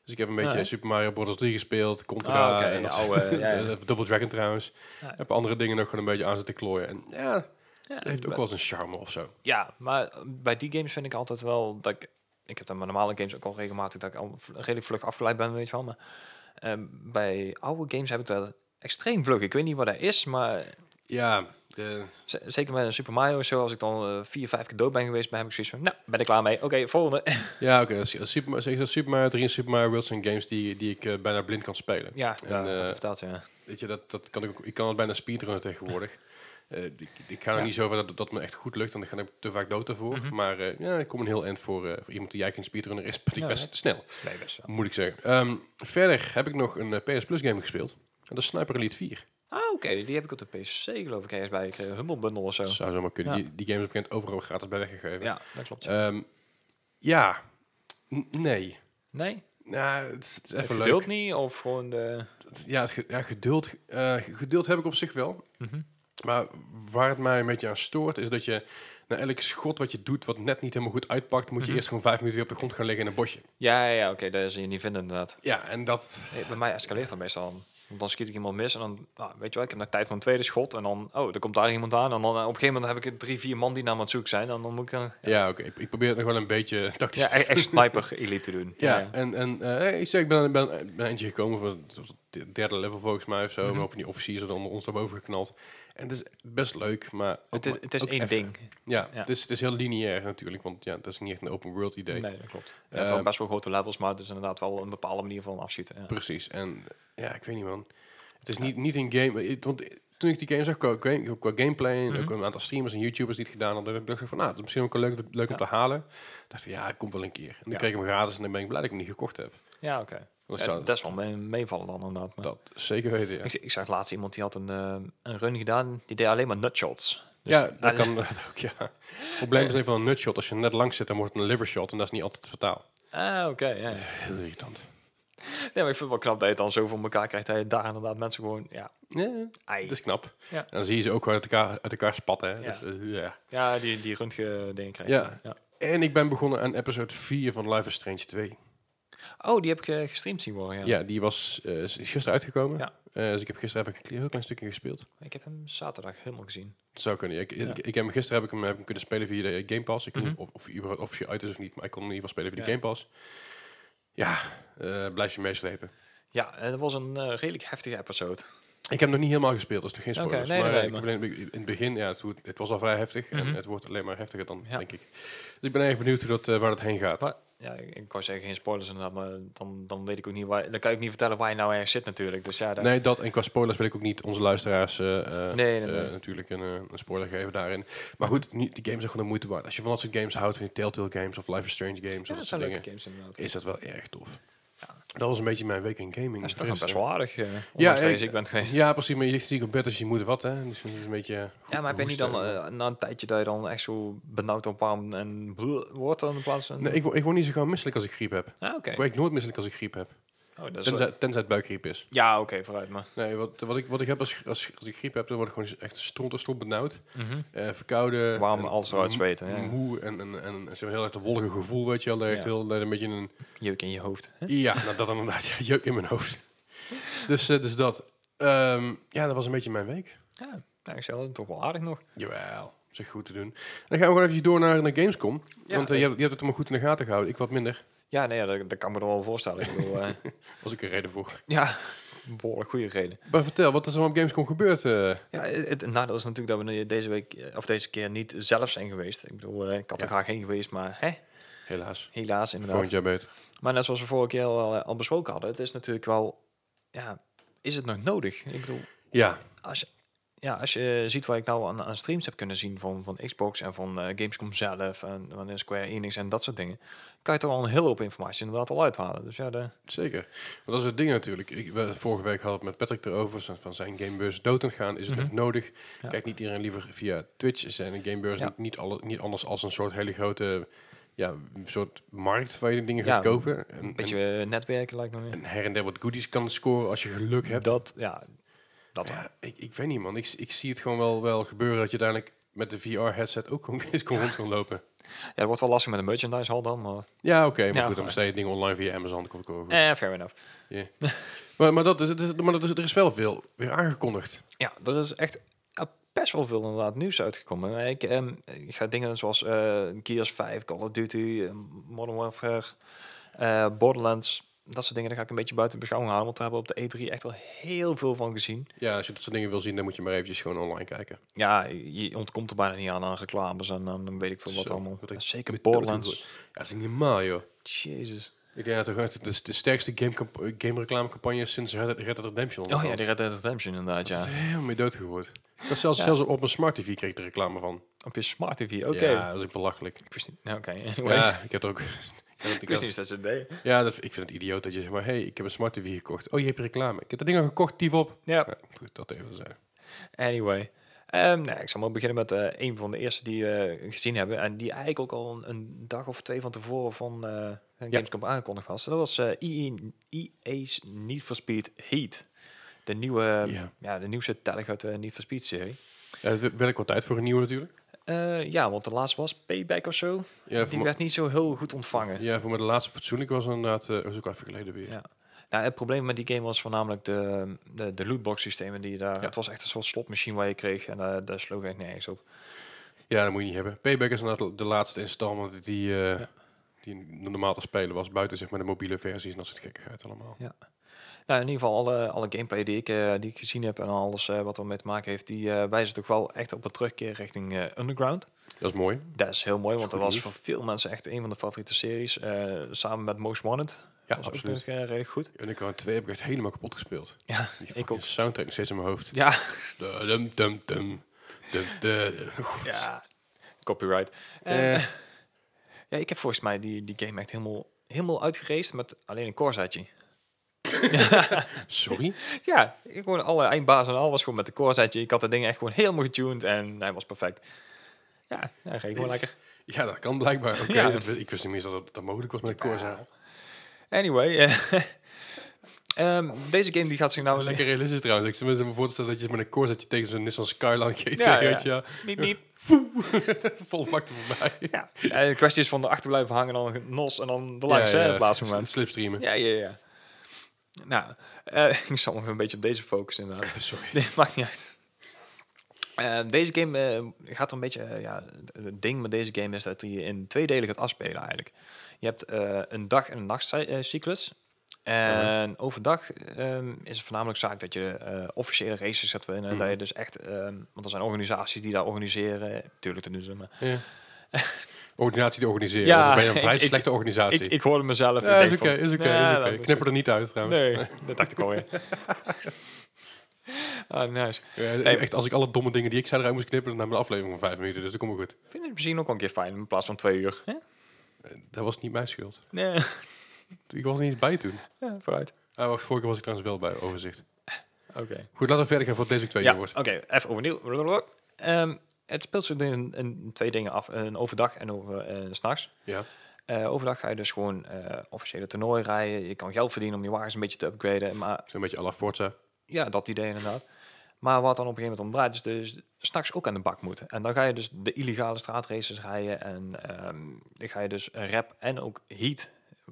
B: Dus ik heb een beetje
A: Ja, hè?
B: Super Mario Bros. 3 gespeeld, Contra
A: Ah, oké,
B: en dat-
A: oude, ja, ja.
B: Double Dragon trouwens.
A: Ja.
B: Ik heb andere dingen nog gewoon een beetje aan zitten klooien. En ja,
A: Ja,
B: dat heeft ook wel eens een charme of zo.
A: Ja, maar eh, bij die games vind ik altijd wel dat ik... Ik heb dan mijn normale games ook al regelmatig dat ik al v- redelijk vlug afgeleid ben, weet je wel. Maar ehm, bij oude games heb ik dat extreem vlug. Ik weet niet wat dat is, maar
B: Ja, de,
A: z- zeker met een Super Mario en zo, als ik dan eh, vier, vijf keer dood ben geweest, dan heb ik zoiets van, nou, ben ik klaar mee. Oké, volgende.
B: ja oké. dat is- dat is Super, zeg dat Super Mario 3 en Super Mario World zijn games die, die ik eh, bijna blind kan spelen.
A: ja,
B: En,
A: ja,
B: eh,
A: dat vertelt, ja.
B: Weet je, dat, dat kan ik, ook- ik kan het bijna speedrunnen tegenwoordig. Eh, ik, ik ga er
A: Ja. Mhm.
B: niet zo ver dat dat me echt goed lukt, want dan ga ik te vaak dood daarvoor. Maar eh, ja, ik kom een heel eind voor, eh, voor iemand die jij geen speedrunner is, ben ik
A: Ja,
B: best
A: hè?
B: snel,
A: Nee, best wel.
B: moet ik zeggen. Ehm, verder heb ik nog een eh, PS Plus game gespeeld. En dat is Sniper Elite 4.
A: Ah, oké, die heb ik op de PC geloof ik ergens bij. Ik kreeg een Humble Bundle of zo.
B: Dat zou zomaar kunnen.
A: Ja.
B: Die, die game is bekend overal gratis bij weggegeven.
A: Ja, dat klopt.
B: Ehm, ja. N- nee.
A: nee?
B: Nou, het is, het is even
A: Het
B: leuk.
A: geduld niet of gewoon de...
B: Ja, het ge- ja, geduld, eh, geduld heb ik op zich wel.
A: Mhm.
B: Maar waar het mij een beetje aan stoort, is dat je na elk schot wat je doet, wat net niet helemaal goed uitpakt, moet je
A: Mhm.
B: eerst gewoon vijf minuten weer op de grond gaan liggen in een bosje.
A: Ja, ja, ja, oké, dat is je niet vinden inderdaad.
B: Ja, en dat.
A: Nee, bij mij escaleert dat meestal. Want dan schiet ik iemand mis en dan, nou, weet je wel, ik heb nog tijd voor een tweede schot. En dan, oh, er komt daar iemand aan. En dan eh, op een gegeven moment heb ik drie, vier man die naar me aan het zoeken zijn. En dan moet ik dan...
B: Ja, oké. Ik- Ik probeer het nog wel een beetje tactisch
A: Ja,
B: te
A: e- echt sniper elite te doen.
B: Ja, en, en eh, hey, ik, zeg, ik ben, ben, ben eentje gekomen van het was het derde level volgens mij of zo.
A: Mhm.
B: Maar op die officiers er onder ons naar boven geknald. En het is best leuk, maar... ook
A: Het is,
B: maar-
A: het is
B: ook
A: één
B: even.
A: ding.
B: Ja,
A: Ja.
B: Het, is, het is heel lineair natuurlijk, want ja, dat is niet echt een open world idee.
A: Nee, dat klopt.
B: Eh,
A: Het zijn wel best wel grote levels, maar het is inderdaad wel een bepaalde manier van afschieten. Ja.
B: Precies. En ja, ik weet niet man. Het is niet, niet een game. het- Want toen ik die game zag qua, game, qua gameplay en ook
A: Mhm.
B: een aantal streamers en YouTubers die het gedaan hadden, dacht ik van, nou, dat is misschien ook wel leuk, leuk om
A: Ja.
B: te halen. Dacht ik, ja, het komt wel een keer. En dan
A: Ja.
B: kreeg ik hem gratis en dan ben ik blij dat ik hem niet gekocht heb.
A: Ja, oké.
B: Want ik
A: Ja,
B: zou
A: dat is wel mee- meevallen dan inderdaad. Maar
B: dat zeker weten. Ja,
A: Ik, z- ik zag laatst iemand die had een, eh, een run gedaan. Die deed alleen maar nutshots. Dus
B: ja dat
A: alleen-
B: kan dat ook. Ja. Het probleem is alleen van een nutshot. Als je net langs zit, dan wordt het een livershot en dat is niet altijd fataal.
A: Ah, oké. ja.
B: Heel irritant.
A: Nee, maar ik vind het wel knap dat je het dan zo voor elkaar krijgt. Dat je daar inderdaad mensen gewoon... Ja,
B: Ja,
A: ei.
B: dat is knap.
A: Ja.
B: En dan zie je ze ook gewoon uit elkaar, uit elkaar spatten. Hè.
A: Ja.
B: Dus, eh, ja.
A: Ja, die, die röntgen dingen krijgen.
B: Ja. En ik ben begonnen aan episode 4 van Life is Strange 2.
A: Oh, die heb ik eh, gestreamd zien worden, ja.
B: Ja, die was eh, is gisteren uitgekomen.
A: Ja.
B: Eh, dus ik heb gisteren heb ik een kle- heel klein stukje gespeeld.
A: Ik heb hem zaterdag helemaal gezien.
B: Dat zou kunnen. ja. Ik, ik,
A: Ja.
B: ik heb hem gisteren heb ik hem, heb ik hem kunnen spelen via de eh, Game Pass. Ik weet
A: Mhm.
B: niet of, of, hij überhaupt- of je uit is of niet, maar ik kon hem in ieder geval spelen via de
A: Ja.
B: Game Pass. Ja, eh, blijf je meeslepen.
A: Ja, en dat was een eh, redelijk heftige episode.
B: Ik heb hem nog niet helemaal gespeeld, dus nog geen
A: Oké,
B: spoilers.
A: nee,
B: maar
A: nee,
B: eh, ik
A: maar-
B: heb alleen in het begin, ja, het, wordt- het was al vrij heftig en
A: Mhm.
B: het wordt alleen maar heftiger dan,
A: Ja.
B: denk ik. Dus ik ben erg benieuwd hoe dat, eh, waar dat heen gaat.
A: Maar, ja, ik, ik wou zeggen geen spoilers inderdaad, maar dan, dan weet ik ook niet waar... Dan kan ik niet vertellen waar je nou ergens zit natuurlijk. Dus ja, daar-
B: Nee, dat en qua spoilers wil ik ook niet onze luisteraars eh, eh,
A: Nee, nee,
B: eh,
A: nee.
B: natuurlijk een, eh, een spoiler geven daarin. Maar goed, nu- die games zijn gewoon de moeite waard. Als je van dat soort games houdt, van die Telltale games of Life is Strange games
A: Ja,
B: of dat
A: dat
B: soort
A: zijn
B: dingen,
A: leuke games inderdaad.
B: is dat wel erg tof.
A: Ja.
B: Dat was een beetje mijn week in gaming.
A: dat is toch
B: Er
A: nog best wel aardig, eh
B: Ja,
A: ja, dat
B: ik-
A: je ziek bent geweest. Ja,
B: Ja, precies. Maar je ziet op bed als je moet wat, hè. Dus dat is een beetje...
A: maar ben je niet
B: hoesten.
A: dan eh, na een tijdje dat je dan echt zo benauwd op warm en bleh wordt dan in plaats van...
B: Nee, ik, word- ik word niet zo gauw misselijk als ik griep heb.
A: Ah, oké.
B: Ik word nooit misselijk als ik griep heb.
A: Oh, dat is wel-
B: Tenzij, tenzij het buikgriep is.
A: Ja, oké, vooruit maar.
B: Nee, wat, wat, ik, wat ik heb als, als, als ik griep heb, dan word ik gewoon echt stront en stront benauwd. eh verkouden.
A: Warm,
B: en
A: alles eruit zweten, ja.
B: Moe en, en, en, en zo'n heel erg dat wollige gevoel, weet je wel. dat je Echt
A: Ja.
B: heel, dat je een beetje een...
A: Jeuk in je hoofd. hè?
B: Ja, nou, dat dan inderdaad. Ja, jeuk in mijn hoofd. Dus, eh, dus dat. Ehm, ja, dat was een beetje mijn week.
A: Ja, nou, ik zei dat toch wel aardig nog.
B: Jawel, zeg goed te doen. Dan gaan we gewoon even door naar, naar Gamescom.
A: Ja,
B: want eh, je, hebt, je hebt het allemaal goed in de gaten gehouden. Ik wat minder.
A: Ja, nee, ja, dat, dat kan ik me er wel voorstellen. Ik bedoel, eh,
B: Was ik een reden voor.
A: ja, behoorlijk goede reden.
B: Maar vertel, wat is er op Gamescom gebeurd? eh?
A: Ja, het, het nadeel is natuurlijk dat we deze week eh, of deze keer niet zelf zijn geweest. Ik bedoel, eh, ik had er
B: Ja.
A: graag heen geweest, maar hè,
B: Helaas.
A: helaas inderdaad.
B: Volgend jaar beter.
A: Maar net zoals we vorige keer al, eh, al besproken hadden, het is natuurlijk wel, ja, is het nog nodig? Ik bedoel,
B: Ja,
A: als je, ja, als je ziet wat ik nou aan, aan streams heb kunnen zien van, van Xbox en van eh, Gamescom zelf en van Square Enix en dat soort dingen, kan je toch al een hele hoop informatie inderdaad al uithalen. Dus ja, de,
B: Zeker. Want dat is het ding natuurlijk. Ik, we- vorige week hadden we het met Patrick erover. zo Van zijn gamebeurs dood aan het gaan. Is het
A: Mhm.
B: echt nodig?
A: Ja.
B: Kijk niet iedereen liever via Twitch. Is zijn gamebeurs
A: Ja.
B: niet, niet, alle, niet anders als een soort hele grote ja, soort markt waar je dingen
A: Ja,
B: gaat kopen. En,
A: een beetje eh, netwerken lijkt me
B: en,
A: meer.
B: en her en der wat goodies kan scoren als je geluk hebt.
A: Dat, ja, dat wel.
B: ja, ik, ik weet niet man. Ik, ik zie het gewoon wel, wel gebeuren dat je uiteindelijk met de VR-headset ook gewoon eens kon rond kan lopen.
A: Ja, dat wordt wel lastig met een merchandise hal dan, maar
B: Ja, oké.
A: Ja,
B: maar goed, dan
A: goed.
B: bestel je dingen online via Amazon. Dat komt ook wel goed.
A: eh, fair enough.
B: Maar, maar, dat is, dat is- maar dat is, er is wel veel weer aangekondigd.
A: Ja, er is echt eh, best wel veel inderdaad nieuws uitgekomen. Ik, ehm, ik ga dingen zoals eh, Gears 5, Call of Duty, eh, Modern Warfare, eh, Borderlands, dat soort dingen, daar ga ik een beetje buiten beschouwing halen, want daar hebben we op de E3 echt al heel veel van gezien.
B: Ja, als je dat soort dingen wil zien, dan moet je maar eventjes gewoon online kijken.
A: Ja, je ontkomt er bijna niet aan aan reclames en dan weet ik veel wat
B: Zo,
A: allemaal.
B: wat ik
A: Zeker
B: met
A: Borderlands.
B: Ja, dat is niet normaal, joh.
A: Jezus.
B: Ik denk dat het de, de sterkste game gamereclamecampagne sinds Red Dead- Red Dead Redemption
A: Oh ja,
B: was.
A: die Red Dead Redemption inderdaad,
B: Ik
A: ja.
B: heb er helemaal mee doodgehoord. Ik had zelfs,
A: Ja.
B: zelfs op, op mijn smart tv kreeg ik de reclame van.
A: Op je smart TV, oké.
B: Ja, dat is belachelijk.
A: Ik wist niet, nou, oké, anyway.
B: Ja, ik heb er ook... ik had het-
A: Ik
B: ik
A: wist niet
B: had-
A: eens dat ze het deden.
B: ja, dat, ik vind het idioot dat je zegt maar, hey, ik heb een smart tv gekocht. Oh, je hebt reclame. Ik heb dat ding al gekocht, tief op.
A: Ja,
B: Ja, goed, dat even zijn.
A: anyway. Ehm, nou, ik zal maar beginnen met eh, een van de eerste die we gezien hebben. En die eigenlijk ook al een, een dag of twee van tevoren van eh Gamescom aangekondigd was. Dat was eh, EA EA's Need for Speed Heat. De, nieuwe, ehm,
B: Ja.
A: ja. de nieuwste telg uit de Need for Speed serie.
B: Ja, het werd ook wel tijd voor een nieuwe natuurlijk.
A: Eh, ja, want de laatste was Payback of zo.
B: Ja, voor,
A: Die
B: me-
A: werd niet zo heel goed ontvangen.
B: ja, voor mij de laatste fatsoenlijk was inderdaad... eh was ook al even geleden weer.
A: Ja. Nou, het probleem met die game was voornamelijk de, de, de lootbox systemen die je daar...
B: Ja.
A: Het was echt een soort slotmachine waar je kreeg en eh, daar sloeg echt nergens op.
B: Ja, dat moet je niet hebben. Payback is inderdaad de laatste installment die, eh,
A: Ja.
B: die normaal te spelen was. Buiten zeg maar de mobiele versies en dat soort gekkigheid allemaal.
A: Nou, in ieder geval alle, alle gameplay die ik, eh, die ik gezien heb en alles eh, wat ermee te maken heeft... die eh, wijzen toch wel echt op een terugkeer richting eh, Underground.
B: Dat is mooi.
A: Dat is heel mooi,
B: is
A: want dat
B: goed
A: was
B: nieuws.
A: voor veel mensen echt een van de favoriete series. eh, samen met Most Wanted.
B: Ja,
A: was
B: absoluut.
A: ook nog eh, redelijk goed.
B: En ik had twee heb ik echt helemaal kapot gespeeld.
A: Ja,
B: Die
A: ik ook.
B: fucking soundtrack nog steeds in mijn hoofd. Dus, eh,
A: Ja,
B: Dum, dum, dum. Dum, dum. Goed.
A: Ja, copyright. Eh, ja, ik heb volgens mij die, die game echt helemaal, helemaal uitgereest met alleen een Corsatje.
B: Sorry.
A: Ja, ik gewoon alle eindbaas en al was gewoon met de Corsatje. Ik had dat ding echt gewoon helemaal getuned en hij was perfect. Ja, ja ging gewoon lekker.
B: Ja, dat kan blijkbaar. Oké,
A: Ja.
B: dat wist- Ik wist niet meer dat dat, dat mogelijk was met een Corsair.
A: Anyway, eh, ehm, deze game die gaat zich nou...
B: Lekker realistisch trouwens. Ik zit me voor te stellen dat je met een Corsair dat je tegen zo'n Nissan Skyline GT
A: Ja, ja.
B: ja, ja. ja.
A: Miep, miep.
B: vol bak er voorbij.
A: Ja. En de kwestie is van erachter blijven hangen en dan nos en dan de langs
B: Ja,
A: hè,
B: ja,
A: op het laatste
B: sl-
A: moment.
B: Slipstreamen.
A: Ja, ja, ja. Nou, eh, ik zal nog een beetje op deze focussen inderdaad.
B: Sorry.
A: Nee, maakt niet uit. Eh, deze game eh, gaat er een beetje... eh, ja, het ding met deze game is dat hij in twee delen gaat afspelen eigenlijk. Je hebt eh, een dag- en een nachtcyclus. En
B: Oh.
A: overdag ehm, is het voornamelijk zaak dat je eh, officiële races gaat winnen.
B: Mhm.
A: Dat je dus echt... ehm, want er zijn organisaties die daar organiseren. Tuurlijk, dat doen ze maar.
B: Ja. Organisatie te organiseren.
A: Ja,
B: Ja, ben je een vrij
A: ik- ik-
B: slechte organisatie.
A: Ik, ik hoorde mezelf.
B: Ja,
A: ik
B: is
A: denk
B: oké,
A: van,
B: is oké,
A: "Nee,
B: is
A: dat
B: oké.
A: is
B: Knip er niet uit trouwens.
A: Nee, dat dacht ik alweer. Ah, nice.
B: Ja,
A: Nee.
B: Echt, als ik alle domme dingen die ik zei eruit moest knippen, dan nam een aflevering van vijf minuten. Dus dat komt wel goed.
A: Ik vind het misschien ook wel een keer fijn in plaats van twee uur. Hè?
B: Eh, Dat was niet mijn schuld.
A: Nee.
B: Ik was er niet eens bij toen.
A: Ja, vooruit.
B: Ah, wacht, vorige keer was ik trouwens wel bij, overzicht.
A: Oké.
B: Goed, laten we verder gaan voor deze twee
A: Ja,
B: jongens.
A: oké, even overnieuw. Ehm, het speelt zich in, in twee dingen af. Een overdag en over, eh, s s'nachts.
B: Ja.
A: Eh, overdag ga je dus gewoon eh, officiële toernooi rijden. Je kan geld verdienen om je wagens een beetje te upgraden. Maar
B: Zo'n beetje à la Forza.
A: ja, dat idee inderdaad. Maar wat dan op een gegeven moment ontbreekt, is dus s'nachts ook aan de bak moeten. En dan ga je dus de illegale straatraces rijden. En ehm, dan ga je dus rap en ook heat,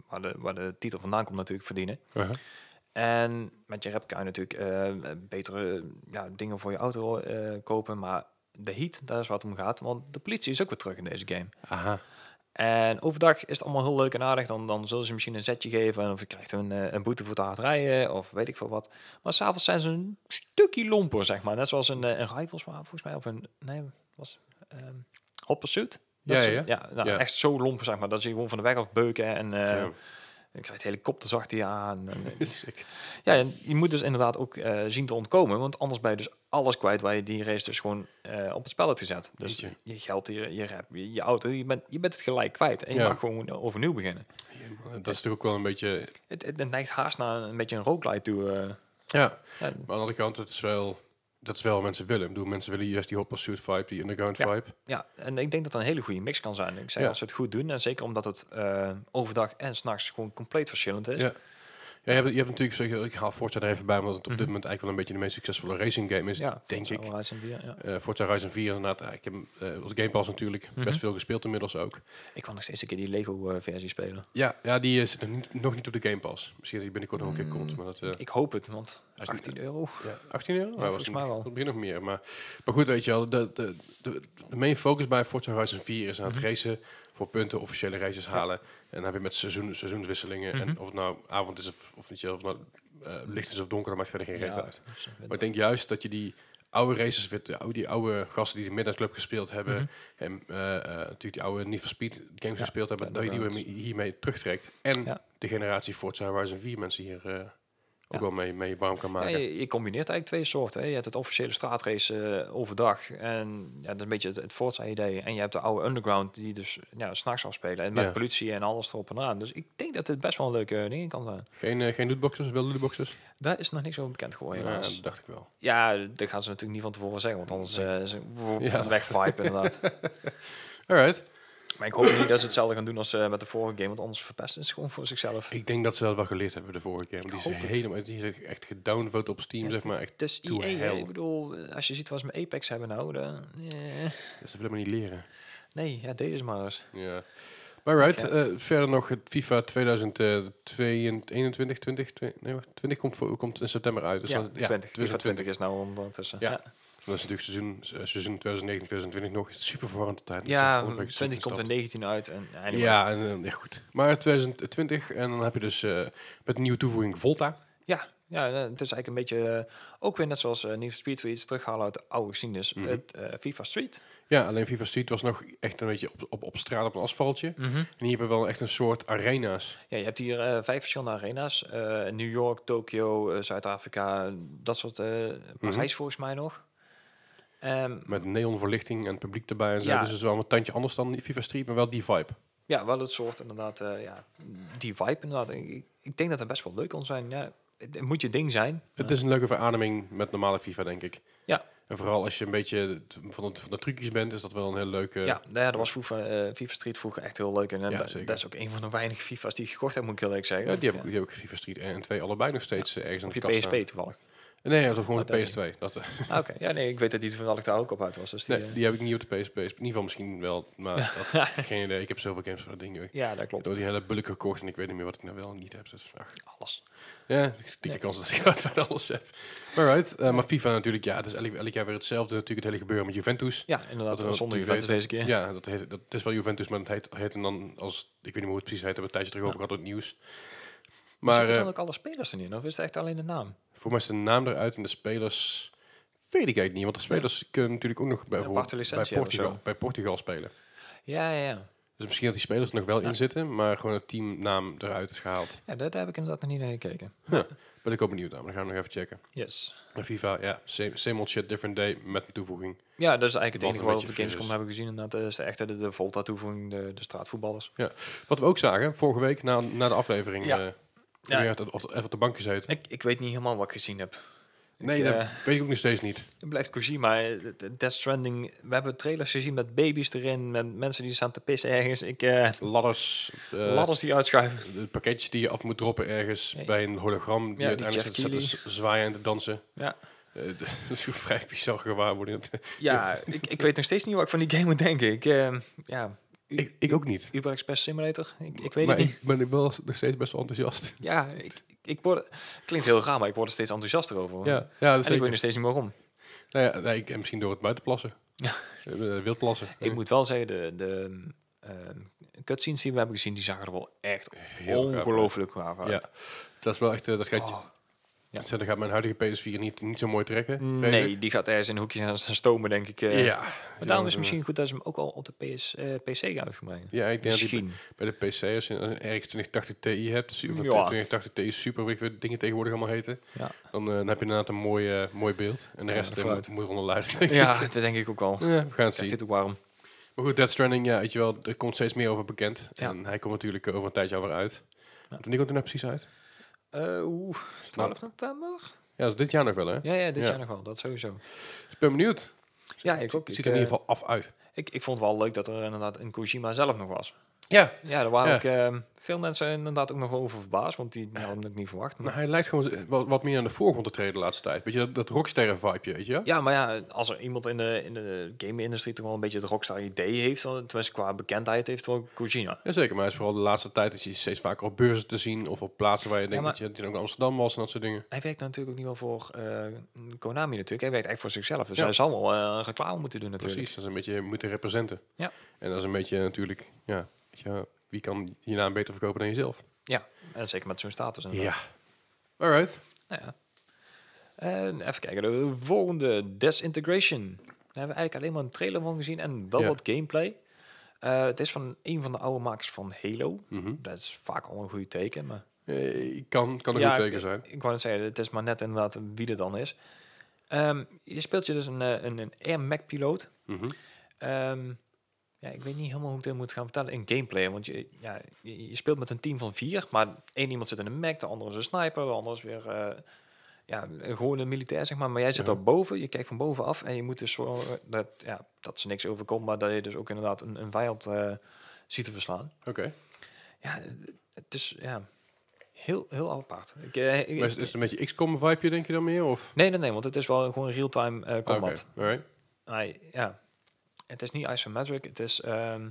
A: waar de, waar de titel vandaan komt natuurlijk, verdienen.
B: Uh-huh.
A: En met je rep kan je natuurlijk eh, betere ja, dingen voor je auto eh, kopen. Maar de heat, daar is wat om gaat. Want de politie is ook weer terug in deze game.
B: Aha.
A: En overdag is het allemaal heel leuk en aardig. Dan, dan zullen ze misschien een zetje geven. Of je krijgt een, eh, een boete voor te hard rijden. Of weet ik veel wat. Maar s'avonds zijn ze een stukje lomper, zeg maar. Net zoals een, eh, een Rivals, maar volgens mij. Of een, nee, was ehm Hot Pursuit? Dat
B: Ja,
A: is-
B: ja, ja.
A: ja, nou,
B: Ja.
A: echt zo lomper, zeg maar. Dat ze je gewoon van de weg af beuken. En eh,
B: Ja.
A: Dan krijgt helikopters achter je aan. En, eh,
B: Sick.
A: ja, en je moet dus inderdaad ook eh, zien te ontkomen. Want anders ben je dus alles kwijt waar je die race dus gewoon eh, op het spel hebt gezet. Dus
B: Jeetje.
A: je geld, je, je rap, je, je auto, je bent, je bent het gelijk kwijt. En je
B: Ja.
A: mag gewoon overnieuw beginnen.
B: Dat is natuurlijk ook wel een beetje...
A: Het, het, het neigt haast naar een beetje een roguelite toe. eh.
B: Ja,
A: Ja,
B: maar aan de andere kant, het is wel, dat is wel wat mensen willen. Ik bedoel, mensen willen juist die hot pursuit vibe, die underground
A: Ja.
B: vibe.
A: Ja, en ik denk dat dat een hele goede mix kan zijn. Ik zeg,
B: Ja.
A: als ze het goed doen, en zeker omdat het eh, overdag en s'nachts gewoon compleet verschillend is.
B: Ja. Ja, je, hebt, je hebt natuurlijk, zeg, ik haal Forza er even bij, omdat het op dit
A: Mhm.
B: moment eigenlijk wel een beetje de meest succesvolle racing game is,
A: Ja,
B: denk
A: Forza
B: ik.
A: Horizon 4, ja.
B: Eh, Forza Horizon 4 inderdaad, eh, ik heb hem, eh, als Game Pass natuurlijk
A: Mhm.
B: best veel gespeeld inmiddels ook.
A: Ik kan nog steeds een keer die Lego-versie spelen.
B: Ja, ja die eh, zit nog niet, nog niet op de Game Pass. Misschien dat die binnenkort nog een keer
A: Mm.
B: komt, maar dat... eh,
A: Ik hoop het, want
B: is niet-
A: 18 euro.
B: Ja, 18 euro? Nou,
A: volgens
B: was
A: mij wel.
B: Het begin nog meer. Maar, maar goed, weet je wel, de, de, de, de main focus bij Forza Horizon 4 is aan het
A: Mhm.
B: racen voor punten, officiële races halen. En dan heb je met seizoen, seizoenswisselingen. En
A: Mhm.
B: of het nou avond is of, of, weet je, wel, of het nou eh, licht is of donker, dat maakt verder geen reet
A: Ja,
B: uit.
A: dus, eh,
B: Maar ik denk juist dat je die oude races, weer- de oude- die oude gasten die de Midnight Club gespeeld hebben,
A: Mhm.
B: en eh, eh, natuurlijk die oude Need for Speed games gespeeld hebben, dat je die
A: Battlegrounds.
B: weer mee- hiermee terugtrekt. En
A: Ja.
B: de generatie Forza Horizon 4 mensen hier eh,
A: Ja.
B: ook wel mee, mee warm kan maken.
A: Ja, je, je combineert eigenlijk twee soorten. Hè. Je hebt het officiële straatrace eh, overdag. En ja, dat is een beetje het, het Forza-idee. En je hebt de oude underground die dus ja, s'nachts afspelen. En met
B: Ja.
A: politie en alles erop en aan. Dus ik denk dat dit best wel een leuke ding kan zijn.
B: Geen, eh, geen lootboxes, wel lootboxes?
A: Daar is nog niks over bekend geworden
B: Ja,
A: helaas.
B: dat dacht ik wel.
A: Ja, dat gaan ze natuurlijk niet van tevoren zeggen, want anders eh is het
B: Ja.
A: wegvibe inderdaad.
B: Alright.
A: maar ik hoop niet dat ze hetzelfde gaan doen als eh, met de vorige game, want anders verpesten ze het gewoon voor zichzelf.
B: Ik denk dat ze dat wel geleerd hebben de vorige keer. want Die
A: hoop
B: is
A: het.
B: helemaal die is echt gedownvote op Steam,
A: Ja,
B: zeg maar. Echt,
A: Het is
B: to
A: EA, hè.
B: hell.
A: ik bedoel, eh, als je ziet wat ze met Apex hebben nou, dan, eh,
B: dus dat willen we niet leren.
A: nee, ja, deze maar eens.
B: Ja. Maar right,
A: Ja.
B: eh, verder nog het FIFA 2021, 20, 20, nee, wacht, 20 komt, voor, komt in september uit. Dus
A: ja,
B: dan-
A: 20, 20,
B: 2020.
A: is nou ondertussen.
B: Ja. Dat is natuurlijk seizoen, eh, seizoen 2019, 2020 nog super verwarrend tot tijd.
A: Ja,
B: Dat is ongeveer
A: 20 komt er
B: gestapt.
A: 19 uit en anyway.
B: Ja, en, eh, ja, goed. Maar 2020, en dan heb je dus eh, met een nieuwe toevoeging Volta.
A: Ja, ja, eh, het is eigenlijk een beetje, eh, ook weer net zoals eh Need for Speed, weer iets terughalen uit de oude geschiedenis,
B: Mhm.
A: het eh, FIFA Street.
B: Ja, alleen FIFA Street was nog echt een beetje op, op, op straat op een asfaltje.
A: Mhm.
B: En hier hebben we wel echt een soort arena's.
A: Ja, je hebt hier eh, vijf verschillende arena's. Eh, New York, Tokio, eh, Zuid-Afrika, dat soort. eh, Parijs
B: Mhm.
A: volgens mij nog. Ehm,
B: Met neonverlichting en publiek erbij en zo.
A: Ja.
B: Dus het is wel een tandje anders dan die FIFA Street, maar wel die vibe.
A: ja, wel het soort inderdaad, eh, ja, die vibe inderdaad. Ik, ik- ik denk dat het best wel leuk kan zijn. Ja, het, het moet je ding zijn.
B: Het is een leuke verademing met normale FIFA, denk ik.
A: Ja.
B: En vooral als je een beetje t- van de, van de trucjes bent, is dat wel een heel leuke...
A: ja, nou ja, dat was vroeger, eh, FIFA Street vroeger echt heel leuk. En eh,
B: Ja,
A: da-
B: zeker.
A: dat is ook een van de weinige FIFA's die ik gekocht heb, moet ik heel eerlijk zeggen.
B: Ja, die, heb
A: Want,
B: ik, die heb ik FIFA Street en 2 allebei nog steeds eh,
A: ja,
B: ergens aan
A: op
B: de
A: je
B: kast
A: PSP
B: staan.
A: toevallig.
B: Nee, dat was gewoon
A: Oh,
B: de
A: dat niet.
B: PS2. Dat, eh,
A: Ah, Oké, ja, nee, ik weet dat die toevallig daar ook op uit was. Dus die,
B: nee,
A: eh,
B: die heb ik niet op de PSP. In ieder geval misschien wel, maar dat, geen idee. Ik heb zoveel games van dat ding, joh. Ik
A: ja, dat klopt.
B: heb die hele bulk gekocht en ik weet niet meer wat ik nou wel en niet heb. Dus, ach.
A: Alles.
B: Ja,
A: Ja.
B: dikke kans dat ik wat van alles heb. Alright, eh, maar FIFA natuurlijk, ja, het is elk, elk jaar weer hetzelfde. Natuurlijk het hele gebeuren met Juventus.
A: Ja, inderdaad.
B: Dat we
A: zonder
B: dat
A: Juventus deze
B: Ja,
A: keer.
B: dat, heet, dat het is wel Juventus, maar het heet, heet en dan als, ik weet niet meer hoe het precies heet, hebben we het tijdje terug over gehad op het nieuws.
A: Maar
B: Maar
A: zitten
B: eh
A: dan ook alle spelers erin? Of is het echt alleen de naam?
B: voor mij is de naam eruit en de spelers, weet ik eigenlijk niet. Want de spelers kunnen natuurlijk ook nog bij, bijvoorbeeld
A: aparte
B: bij,
A: licentie hebben of
B: Portugal, bij Portugal spelen.
A: Ja, ja, ja.
B: Dus misschien dat die spelers er nog wel
A: Ja.
B: in zitten, maar gewoon het teamnaam eruit is gehaald.
A: ja daar, daar heb ik inderdaad nog niet naar gekeken.
B: Ben ik ook benieuwd naar, maar dan gaan we nog even checken.
A: Yes.
B: Maar FIFA, ja, same, same old shit, different day, met een toevoeging.
A: Ja, dat is eigenlijk het
B: Wat
A: enige
B: een
A: wat we op
B: beetje
A: Gamescom
B: fris.
A: hebben gezien. Inderdaad, dat is de echte de, de Volta-toevoeging, de, de straatvoetballers.
B: Wat we ook zagen, vorige week, na, na de aflevering,
A: Ja.
B: eh,
A: Ja.
B: weer even op de bank gezeten.
A: Ik, ik weet niet helemaal wat ik gezien heb.
B: Nee,
A: ik,
B: dat
A: eh,
B: weet ik ook nog steeds niet.
A: het blijft Kojima, eh, de- de Death Stranding. We hebben trailers gezien met baby's erin, met mensen die staan te pissen ergens. Ik, eh,
B: ladders, eh,
A: ladders die uitschuiven.
B: de pakketjes die je af moet droppen ergens
A: Nee.
B: bij een hologram die
A: die
B: uiteindelijk
A: Jeff
B: staat te z- zwaaien en te dansen.
A: Ja.
B: Eh, d- dat is een vrij bizar gewaarwording.
A: Ja, ik, ik weet nog steeds niet wat ik van die game moet denken. Ik, eh, ja,
B: ik, ik ook niet.
A: Uber Express Simulator, ik, ik weet
B: maar
A: het niet.
B: ik ben wel nog steeds best wel enthousiast.
A: Ja, ik, ik word, klinkt heel raar, maar ik word er steeds enthousiaster over.
B: Ja, ja, dat
A: en ik weet
B: zeker.
A: nog steeds niet waarom.
B: Nou ja, nee, ik, en misschien door het buitenplassen.
A: Ja.
B: Eh, eh, wildplassen.
A: Ik moet wel zeggen, de, de ehm, cutscenes die we hebben gezien, die zagen er wel echt
B: Heel gaaf.
A: ongelooflijk gaaf
B: Ja,
A: uit.
B: dat is wel echt, eh, dat gaat je
A: Oh, Ja. Mm,
B: Dus dat gaat mijn huidige PS4 niet, niet zo mooi trekken. vrees
A: Nee,
B: ik.
A: die gaat ergens in hoekjes aan staan stomen, denk ik. eh.
B: ja.
A: Maar daarom is
B: Ja,
A: het misschien goed dat ze hem ook al op de PS, eh, PC gaan uitgebreid.
B: eh. Ja, ik denk dat die
A: Misschien.
B: bij de PC, als je een RX 2080 Ti hebt, super,
A: Ja.
B: 2080 Ti super, weet ik wat dingen tegenwoordig allemaal heten,
A: Ja.
B: dan, eh, dan heb je inderdaad een mooi, eh, mooi beeld. En de
A: Ja,
B: rest eh,
A: vooruit.
B: moet moet eronder luisteren.
A: Ja, dat denk ik ook al.
B: Ja, we gaan het zien.
A: Zit ook warm.
B: Maar goed, Death Stranding, ja, weet je wel, er komt steeds meer over bekend.
A: Ja.
B: En hij komt natuurlijk eh, over een tijdje alweer uit. Wanneer komt hij nou precies uit?
A: Eh, Oeh, 12 november?
B: Ja, dat is dit jaar nog wel, hè?
A: Ja, ja, dit
B: Ja.
A: jaar nog wel. Dat sowieso.
B: Dus ik ben benieuwd.
A: Ja, ik ook.
B: Het
A: Ik,
B: ziet er in
A: eh,
B: ieder geval af uit.
A: ik, ik vond het wel leuk dat er inderdaad een Kojima zelf nog was.
B: Ja,
A: Ja, daar waren
B: Ja.
A: ook eh, veel mensen inderdaad ook nog over verbaasd, want die hadden het ook niet verwacht. Maar...
B: nou, hij lijkt gewoon eh, wat, wat meer aan de voorgrond te treden de laatste tijd. Weet je, dat, dat rocksterren-vibe, weet je? wel?
A: Ja, maar ja, als er iemand in de, in de game-industrie toch wel een beetje het rockstar-idee heeft, dan, tenminste qua bekendheid heeft, wel Kojima.
B: Jazeker, maar hij is vooral de laatste tijd is hij steeds vaker op beurzen te zien of op plaatsen waar je denkt
A: maar-
B: dat je dat hij ook in Amsterdam was en dat soort dingen.
A: Hij werkt natuurlijk ook niet wel voor eh, Konami natuurlijk. Hij werkt echt voor zichzelf. Dus
B: Ja.
A: hij zal wel eh, reclame moeten doen natuurlijk.
B: Precies, dat is een beetje moeten representen.
A: Ja.
B: En dat is een beetje natuurlijk, ja, weet je, wel, wie kan je naam beter verkopen dan jezelf?
A: Ja, en zeker met zo'n status. inderdaad.
B: Alright.
A: Nou ja. En even kijken, de volgende, Desintegration. Daar hebben we eigenlijk alleen maar een trailer van gezien en wel
B: Ja.
A: wat gameplay. Eh, het is van een van de oude makers van Halo.
B: Mhm.
A: Dat is vaak al een goed teken. Maar
B: Eh, kan, kan een
A: Ja,
B: goed
A: ik-
B: teken zijn.
A: ik wou net zeggen, het is maar net inderdaad wie er dan is. Ehm, je speelt je dus een, eh, een, een Air Mac piloot.
B: Mhm.
A: Ehm, ja, ik weet niet helemaal hoe ik dit moet gaan vertellen in gameplay. Want je, ja, je, je speelt met een team van vier. Maar één iemand zit in een mech, de andere is een sniper. De andere is weer eh, ja, een gewone militair, zeg maar. Maar jij zit
B: Ja.
A: daar boven. Je kijkt van bovenaf. En je moet dus zorgen dat, ja, dat ze niks overkomt. Maar dat je dus ook inderdaad een, een vijand eh, ziet te verslaan.
B: Oké.
A: Ja, het is ja, heel, heel apart. Ik, eh, ik-
B: Maar is, is het een beetje XCOM vibeje denk je dan meer? Of?
A: nee, nee, nee. Want het is wel gewoon real-time eh,
B: Ah, Oké,
A: combat.
B: alright.
A: Hij, ja. Het is niet isometric, het is... ehm,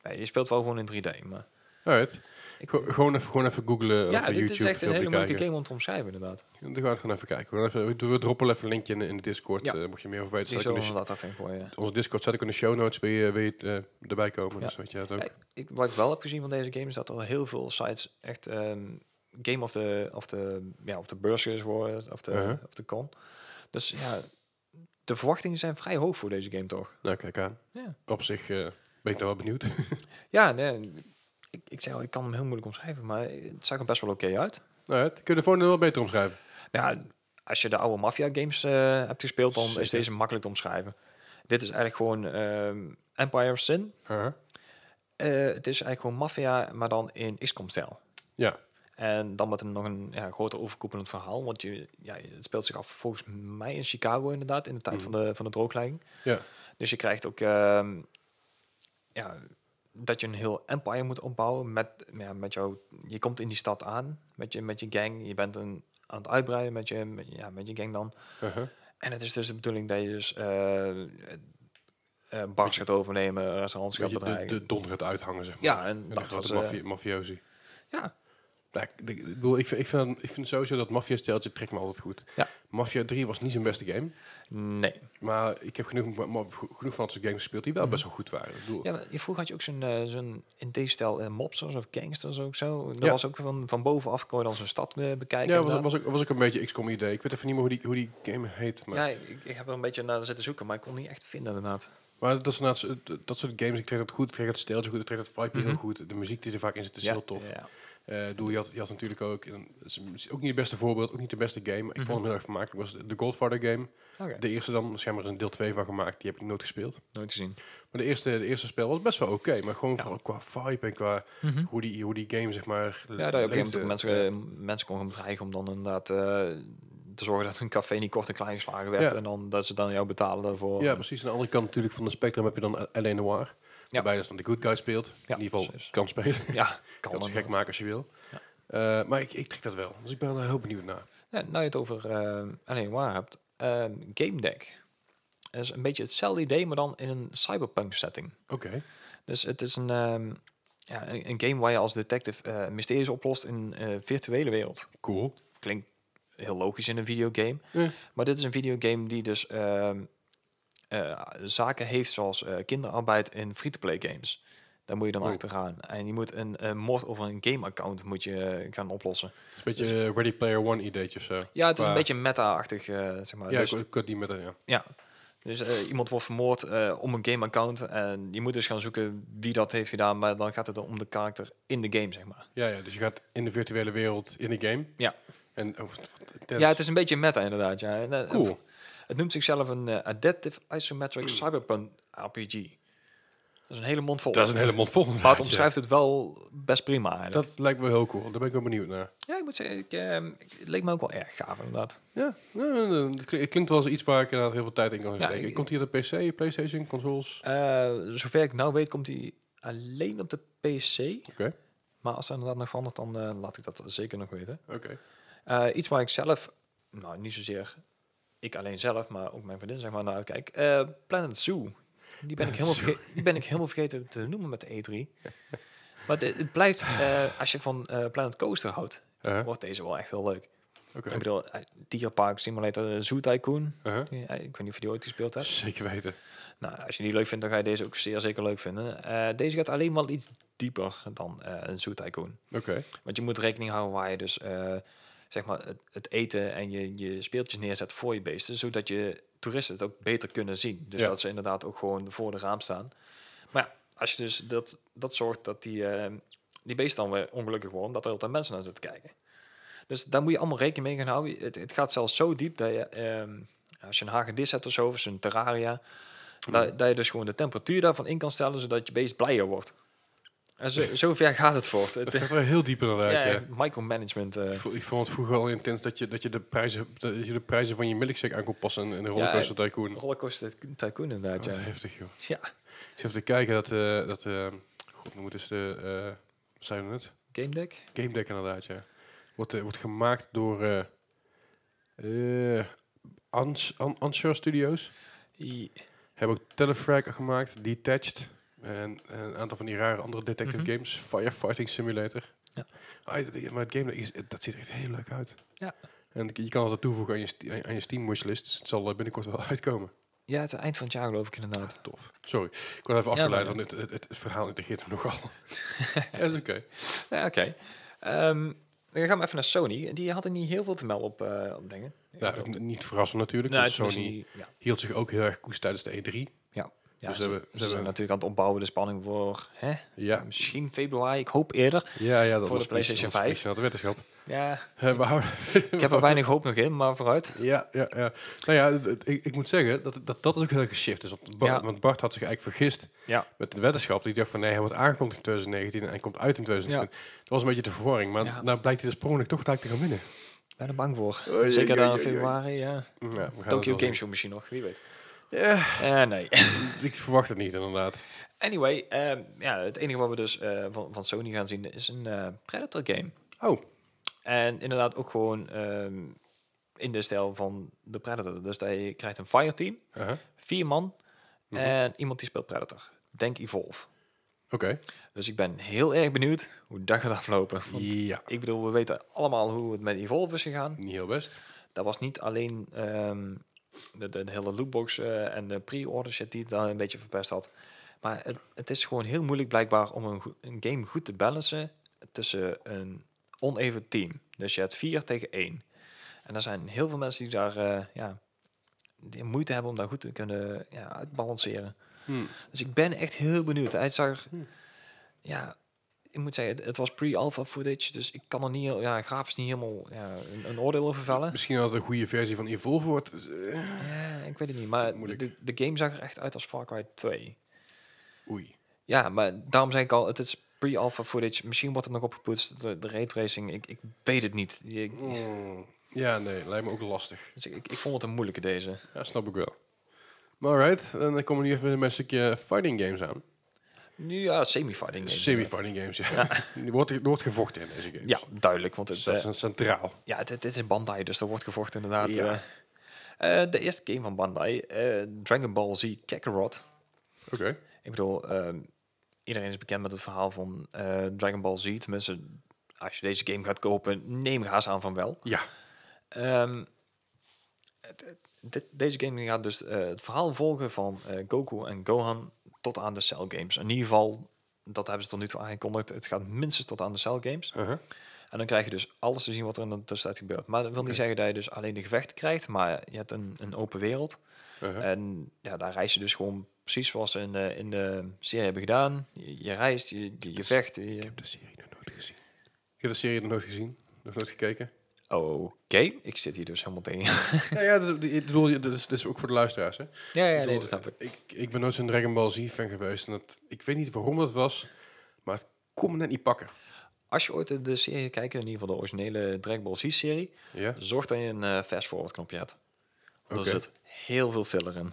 A: ja, je speelt wel gewoon in 3D, maar...
B: Alright.
A: Ik-
B: Go- gewoon, even, gewoon even googlen
A: ja,
B: of
A: dit
B: YouTube
A: is echt een hele
B: filmpje
A: moeilijke
B: kijken.
A: game om te omschrijven, inderdaad.
B: Dan gaan we gewoon even kijken. We, even, we droppen even een linkje in, de- in de Discord.
A: Ja.
B: eh, mocht je dus meer over weten,
A: Die
B: zal ik
A: zullen
B: in de
A: we dat af in gooien. ja.
B: onze Discord zet ik in de show notes, wil je, wil je eh, erbij komen.
A: Ja.
B: Dus weet je dat ook.
A: Ja, ik, wat ik wel heb gezien van deze game is dat er heel veel sites echt ehm, game of the, of the, ja, of the beurs is geworden, of de,
B: Uh-huh.
A: of de con. Dus ja, de verwachtingen zijn vrij hoog voor deze game, toch?
B: Nou, kijk aan.
A: Ja.
B: Op zich eh, ben ik daar wel benieuwd. Nou,
A: Ja, nee, ik, ik zei al, ik kan hem heel moeilijk omschrijven, maar het zag er best wel oké uit.
B: nou, het, kun je de volgende wel beter omschrijven.
A: Nou, als je de oude Mafia games eh, hebt gespeeld, dan is
B: Zeker.
A: deze makkelijk te omschrijven. Dit is eigenlijk gewoon ehm, Empire of Sin. Eh, het is eigenlijk gewoon Mafia, maar dan in XCOM-stijl.
B: Ja,
A: En dan met een, nog een ja, groter overkoepelend verhaal. Want je, ja, het speelt zich af volgens mij in Chicago inderdaad, in de tijd van, de, van de drooglegging.
B: ja.
A: Dus je krijgt ook ehm, ja, dat je een heel empire moet opbouwen met, ja, met jou. Je komt in die stad aan met je, met je gang. Je bent een, aan het uitbreiden met je, met, ja, met je gang dan.
B: Uh-huh.
A: En het is dus de bedoeling dat je dus eh, eh, eh, bars gaat overnemen, restaurants gaat
B: Beetje de,
A: bedreigen.
B: de donder gaat uithangen, zeg maar.
A: ja, en
B: En de
A: dat was...
B: grote
A: eh,
B: mafie- mafiosi.
A: ja,
B: Nou, ik, ik, ik bedoel, ik, vind- ik, vind, ik vind sowieso dat maffia-steltje trekt me altijd goed.
A: Ja.
B: Mafia 3 was niet zijn beste game.
A: nee.
B: Maar ik heb genoeg, ma- ma- genoeg van dat soort games gespeeld die wel best wel goed waren. Ik bedoel,
A: Mhm. Ja, maar je- vroeger had je ook zo'n, eh, zo'n in deze stijl eh, mobsters of gangsters ook zo. Dat
B: Ja.
A: was ook van, van bovenaf kon je dan zo'n stad eh, bekijken.
B: ja, was,
A: inderdaad.
B: was, ook, was ook een beetje XCOM idee. Ik weet even niet meer hoe die, hoe die game heet. Maar
A: ja, ik, ik heb er een beetje naar zitten zoeken, maar ik kon niet echt vinden inderdaad.
B: Maar dat, is inderdaad zo- dat soort games, ik trek dat goed, ik trek dat steeltje goed, ik trek dat vibe heel
A: Mhm.
B: goed. De muziek die er vaak in zit is heel tof.
A: Ja.
B: Eh, ik bedoel, je, had, je had natuurlijk ook, en dat is misschien ook niet het beste voorbeeld, ook niet de beste game.
A: Mhm.
B: Ik vond hem heel erg vermakelijk. was de Godfather game.
A: Oké.
B: De eerste dan, schijnbaar is een deel 2 van gemaakt, die heb ik nooit gespeeld.
A: Nooit te zien.
B: Maar de eerste, de eerste spel was best wel oké, maar gewoon
A: Ja. Mhm.
B: vooral qua vibe en qua hoe die, hoe die game zeg maar...
A: Ja, daar heb je
B: leefde.
A: ook mensen, eh, mensen kon gaan bedreigen om dan inderdaad eh, te zorgen dat een café niet kort en klein geslagen werd.
B: Ja.
A: En dan dat ze dan jou betalen daarvoor.
B: Ja, precies. Aan de andere kant natuurlijk van de spectrum heb je dan Alain Noir. Waarbij dus dan de good guy speelt. in ieder geval
A: precies.
B: kan spelen.
A: Ja, kan
B: kan ze gek
A: inderdaad.
B: maken als je wil.
A: Ja.
B: Eh, maar ik, ik trek dat wel. Dus ik ben daar heel benieuwd naar.
A: Ja, nou je het over eh alleen waar hebt. ehm, Game Deck. Dat is een beetje hetzelfde idee, maar dan in een cyberpunk setting.
B: Oké.
A: Dus het is een, ehm, ja, een, een game waar je als detective eh, mysteries oplost in een eh, virtuele wereld.
B: Cool.
A: Klinkt heel logisch in een videogame.
B: Ja.
A: Maar dit is een videogame die dus ehm, eh, zaken heeft zoals eh, kinderarbeid in free-to-play games. Daar moet je dan
B: Oh.
A: achter gaan. En je moet een eh mod of een game-account moet je eh, gaan oplossen.
B: is een beetje eh, Ready Player One ideetje of zo.
A: Ja, het is een
B: Qua-
A: beetje meta-achtig, eh, zeg maar.
B: Ja,
A: dus,
B: ik, ik had die met een, ja.
A: ja. dus eh, iemand wordt vermoord eh, om een game-account. En je moet dus gaan zoeken wie dat heeft gedaan. Maar dan gaat het om de karakter in de game, zeg maar.
B: Ja, ja, dus je gaat in de virtuele wereld in de game.
A: Ja.
B: En, oh, wat- wat intens.
A: Ja, het is een beetje meta, inderdaad. Ja. En, eh,
B: cool. Hmm.
A: Het noemt zichzelf een eh, Adaptive Isometric Cyberpunk RPG. Dat is een hele mond vol.
B: Dat is een hele mond vol.
A: Maar het
B: inderdaad, ja.
A: omschrijft het wel best prima eigenlijk.
B: Dat lijkt me heel cool. Daar ben ik wel benieuwd naar.
A: Ja, ik moet zeggen, ik, ehm, ik- het leek me ook wel erg gaaf inderdaad.
B: Ja, ja, ja, ja, het klink- het klinkt wel als iets waar ik inderdaad heel veel tijd in kan
A: Ja,
B: steken.
A: ik-
B: Komt hier de PC, PlayStation, consoles?
A: Eh, zover ik nou weet komt hij alleen op de PC.
B: Oké.
A: Maar als er inderdaad nog verandert, dan eh, laat ik dat zeker nog weten.
B: Oké.
A: Eh, iets waar ik zelf, nou niet zozeer ik alleen zelf, maar ook mijn vriendin zeg maar naar uitkijk. Eh, Planet Zoo. Die ben, ik helemaal verge- die ben ik helemaal vergeten te noemen met de E3. Maar het, het blijft, eh, als je van eh, Planet Coaster houdt,
B: Uh-huh,
A: wordt deze wel echt heel leuk.
B: Oké.
A: Ik bedoel, eh, Dierpark Simulator eh, Zoo Tycoon.
B: Uh-huh.
A: Ja, ik weet niet of je die ooit gespeeld hebt.
B: Zeker weten.
A: Nou, als je die leuk vindt, dan ga je deze ook zeer zeker leuk vinden. Eh, deze gaat alleen wel iets dieper dan eh, een Zoo Tycoon.
B: Oké.
A: Want je moet rekening houden waar je dus eh, zeg maar het, het eten en je, je speeltjes neerzet voor je beesten, zodat je toeristen het ook beter kunnen zien. Dus
B: Ja.
A: dat ze inderdaad ook gewoon voor de raam staan. Maar ja, als je dus dat, dat zorgt dat die, eh, die beesten dan weer ongelukkig worden, dat er altijd mensen naar zitten kijken. Dus daar moet je allemaal rekening mee gaan houden. Het, het gaat zelfs zo diep dat je, ehm, als je een hagedis hebt of zo, of een terraria, dat, dat je dus gewoon de temperatuur daarvan in kan stellen, zodat je beest blijer wordt. En zo, zover gaat het voort. Het,
B: Dat gaat wel heel diep inderdaad,
A: ja,
B: ja.
A: micromanagement. eh.
B: Ik vo- Ik vond het vroeger al intens dat je, dat je, de, prijzen, dat je de prijzen van je milkshake aan kon passen in de rollercoaster tycoon. Dat
A: rollercoaster tycoon inderdaad,
B: is
A: ja.
B: heftig, joh.
A: Ja,
B: Ik zit even te kijken dat... eh dat eh, God, noem het eens de... eh, wat zijn we net?
A: game deck.
B: Game Deck inderdaad, ja. Wordt, eh, wordt gemaakt door... eh, eh, Ans- An- Answer Studios.
A: I-
B: Hebben ook Telefrag gemaakt, Detached. En een aantal van die rare andere detective
A: Mhm.
B: games. Firefighting Simulator.
A: Ja.
B: Ah, ja, die- maar het game, is, dat ziet er echt heel leuk uit.
A: Ja.
B: En je kan altijd toevoegen aan je, Ste- aan je Steam wishlist. Dus het zal eh, binnenkort wel uitkomen.
A: Ja, het eind van het jaar geloof ik inderdaad.
B: Tof. Sorry, ik word even
A: Ja,
B: afgeleid,
A: maar-
B: want het, het, het, het verhaal integreert me nogal. dat is oké.
A: Ja, oké. Ehm, dan gaan we even naar Sony. Die hadden niet heel veel te melden op, eh, op dingen.
B: Ja, dat moet niet verrassend natuurlijk,
A: Nou,
B: want
A: het was
B: Sony
A: niet- Ja,
B: hield zich ook heel erg koest tijdens de E E3.
A: ja,
B: Dus
A: ze,
B: we hebben- we
A: ze
B: hebben-
A: zijn natuurlijk aan het opbouwen de spanning voor hè?
B: Ja,
A: misschien februari, ik hoop eerder.
B: ja, ja dat
A: Voor
B: was
A: de PlayStation
B: dat was
A: 5.
B: vries naar de wetenschap.
A: Ja,
B: Eh, we houden-
A: ik heb er weinig hoop nog in, maar vooruit.
B: Ja, ja, ja. Nou ja, d- d- ik, ik moet zeggen dat dat, dat is ook heel erg geshift is. Want Bart,
A: Ja.
B: want Bart had zich eigenlijk vergist
A: Ja.
B: met de weddenschap. Die dacht van nee, hij wordt aangekondigd in 2019 en hij komt uit in 2020. Dat was een beetje de verwarring. Maar
A: Ja.
B: nou blijkt hij dus per ongeluk toch gelijk te gaan winnen.
A: Ik ben er bang voor.
B: oei,
A: Zeker
B: oei,
A: dan
B: oei, oei.
A: februari, ja.
B: Ja, we gaan het wel
A: Tokyo
B: zien.
A: Game Show misschien nog, wie weet.
B: Ja,
A: Eh, nee.
B: ik verwacht het niet inderdaad.
A: Anyway, ehm, ja, het enige wat we dus eh, van, van Sony gaan zien is een eh, Predator game.
B: Oh,
A: En inderdaad ook gewoon ehm, in de stijl van de Predator. Dus dat je krijgt een fireteam,
B: aha.
A: vier man
B: Mhm.
A: en iemand die speelt Predator. Denk Evolve.
B: oké.
A: Dus ik ben heel erg benieuwd hoe dat gaat aflopen. Want
B: Ja,
A: ik bedoel, we weten allemaal hoe het met Evolve is gegaan.
B: niet heel best.
A: Dat was niet alleen ehm, de, de, de hele lootbox eh, en de pre-order shit die het dan een beetje verpest had. Maar het, het is gewoon heel moeilijk blijkbaar om een, goe- een game goed te balancen tussen een oneven team. Dus je hebt vier tegen één. En er zijn heel veel mensen die daar eh, ja, die moeite hebben om daar goed te kunnen ja, uitbalanceren.
B: Hm.
A: Dus ik ben echt heel benieuwd. Hij zag,
B: Hmm.
A: ja, ik moet zeggen, het, het was pre-alpha footage, dus ik kan er niet, heel- ja, grafisch niet helemaal ja, een, een oordeel over vellen.
B: Misschien dat het een goede versie van Evolve wordt. Dus, eh,
A: Ja, ik weet het niet, maar
B: Moeilijk.
A: de, de game zag er echt uit als Far Cry 2.
B: Oei.
A: Ja, maar daarom zei ik al, het is pre-alpha footage. Misschien wordt het nog opgepoetst, de, de raytracing, ik, ik weet het niet. Ik,
B: Mm. Ja, nee, lijkt me ook lastig.
A: dus ik, ik vond het een moeilijke deze.
B: Ja, snap ik wel. Maar alright, en dan komen we nu even met mijn stukje fighting games aan.
A: Nu ja, semi-fighting. game
B: Dus Semi-fighting games, ja. Er wordt, er wordt gevochten in deze games.
A: inderdaad. Ja, duidelijk, want
B: Dus
A: het,
B: dat
A: eh,
B: is een centraal.
A: ja, dit, dit is Bandai, dus er wordt gevochten inderdaad.
B: Ja.
A: eh. Eh, de eerste game van Bandai, eh, Dragon Ball Z Kakarot.
B: Oké.
A: Ik bedoel, ehm, iedereen is bekend met het verhaal van eh, Dragon Ball Z. Tenminste, als je deze game gaat kopen, neem haast aan van wel.
B: Ja.
A: Ehm, het- het- dit- deze game gaat dus eh, het verhaal volgen van eh, Goku en Gohan tot aan de Cell Games. In ieder geval dat hebben ze tot nu toe aangekondigd. Het gaat minstens tot aan de cell games.
B: Uh-huh.
A: En dan krijg je dus alles te zien wat er in de tussentijd gebeurt. Maar dat wil
B: Oké.
A: niet zeggen dat je dus alleen de gevechten krijgt, maar je hebt een, een open wereld. Eh,
B: Uh-huh.
A: En ja, daar reis je dus gewoon precies zoals ze in de, in de serie hebben gedaan. Je, je reist, je, je, je vecht. je-
B: Ik heb de serie nog nooit gezien. Ik heb de serie nog nooit gezien. Nog nooit gekeken.
A: Oké, ik zit hier dus helemaal tegen.
B: ja, ja, dat, is- ik bedoel, dat, is, dat is ook voor de luisteraars. Hè?
A: Ja, ja,
B: Ik
A: nee,
B: bedoel,
A: dat snap ik.
B: Ik, ik ben nooit zo'n Dragon Ball Z-fan geweest. En dat, ik weet niet waarom dat was, maar het kon me net niet pakken.
A: Als je ooit de- de serie kijkt, in ieder geval de originele Dragon Ball Z-serie,
B: Ja?
A: zorg dat je een eh, fast-forward knopje hebt. Want
B: Oké.
A: Er zit heel veel filler in.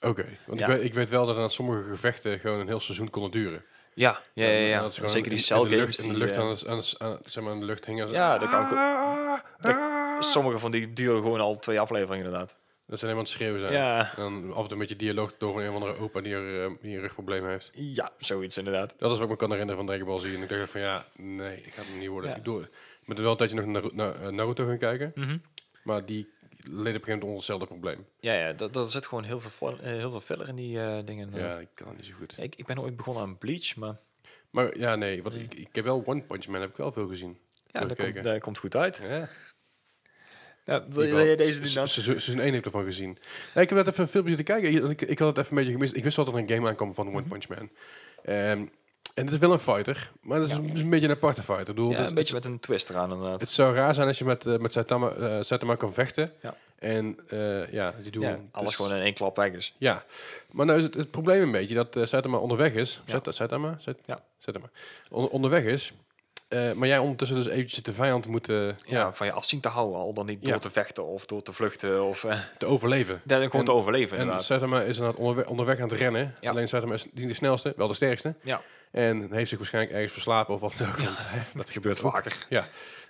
B: Oké, want
A: Ja.
B: ik, weet, ik weet wel dat aan sommige gevechten gewoon een heel seizoen konden duren.
A: Ja, ja, ja.
B: En
A: ja.
B: dat ze gewoon
A: Zeker die
B: in- in de
A: cel-games.
B: lucht- In de
A: die,
B: lucht
A: eh,
B: aan, het- aan, het- aan, zeg maar in de lucht hingen.
A: Ja, dat kan ik ook-
B: Ah, ah.
A: Sommige van die duren gewoon al twee afleveringen inderdaad.
B: Dat zijn helemaal aan het schreeuwen zijn.
A: Ja.
B: En dan af en toe met je dialoog door van een of andere opa die, er, eh, die een rugprobleem heeft.
A: Ja, zoiets inderdaad.
B: Dat is wat ik me kan herinneren van Dragon Ball Z. En ik dacht van ja, nee, dat gaat hem niet worden.
A: Ja.
B: Ik doe het. Ik ben er wel een tijdje nog naar naar, eh, Naruto gaan kijken.
A: Mhm.
B: Maar die leed op een gegeven moment onder hetzelfde probleem.
A: Ja, ja dat, dat zit gewoon heel veel, fo- eh, heel veel filler in die eh, dingen.
B: Ja,
A: inderdaad.
B: ik kan het niet zo goed.
A: Ja, Ik, ik ben ooit begonnen aan Bleach, maar
B: Maar ja, nee, wat, ik, ik heb wel One Punch Man, heb ik wel veel gezien.
A: ja, dat,
B: Doorkeken.
A: komt, dat komt goed uit.
B: Ja.
A: Ja, wil, je- wil je deze doen dan?
B: Seizoen 1 heb ik ervan gezien. Nee, ik heb net even een filmpje zitten kijken. Ik, ik- ik had het even een beetje gemist. Ik wist wel dat er een game aankwam van One
A: Mhm.
B: Punch Man. Ehm, en het is wel een fighter, maar het is een- een beetje een aparte fighter. Ik bedoel,
A: Ja,
B: het-
A: een beetje met een twist eraan inderdaad.
B: Het zou raar zijn als je met, eh, met Saitama, eh, Saitama kan vechten.
A: Ja.
B: En eh, ja, die doen
A: Ja, alles gewoon in één klap weg is.
B: Ja, maar nou is het, het probleem een beetje dat eh, Saitama onderweg is. Sait- Saitama? Sait-
A: Ja.
B: Saitama. On- onderweg is. eh, maar jij ondertussen dus eventjes de vijand moet eh,
A: Ja,
B: ja,
A: van je afzien te houden, al dan niet
B: Ja.
A: door te vechten of door te vluchten of eh,
B: te overleven.
A: ja, gewoon
B: En-
A: te overleven
B: En
A: inderdaad.
B: Saitama is inderdaad onderweg, onderweg aan het rennen.
A: Ja.
B: Alleen Saitama is niet de snelste, wel de sterkste.
A: Ja.
B: En heeft zich waarschijnlijk ergens verslapen of wat dan ook.
A: Dat gebeurt vaker.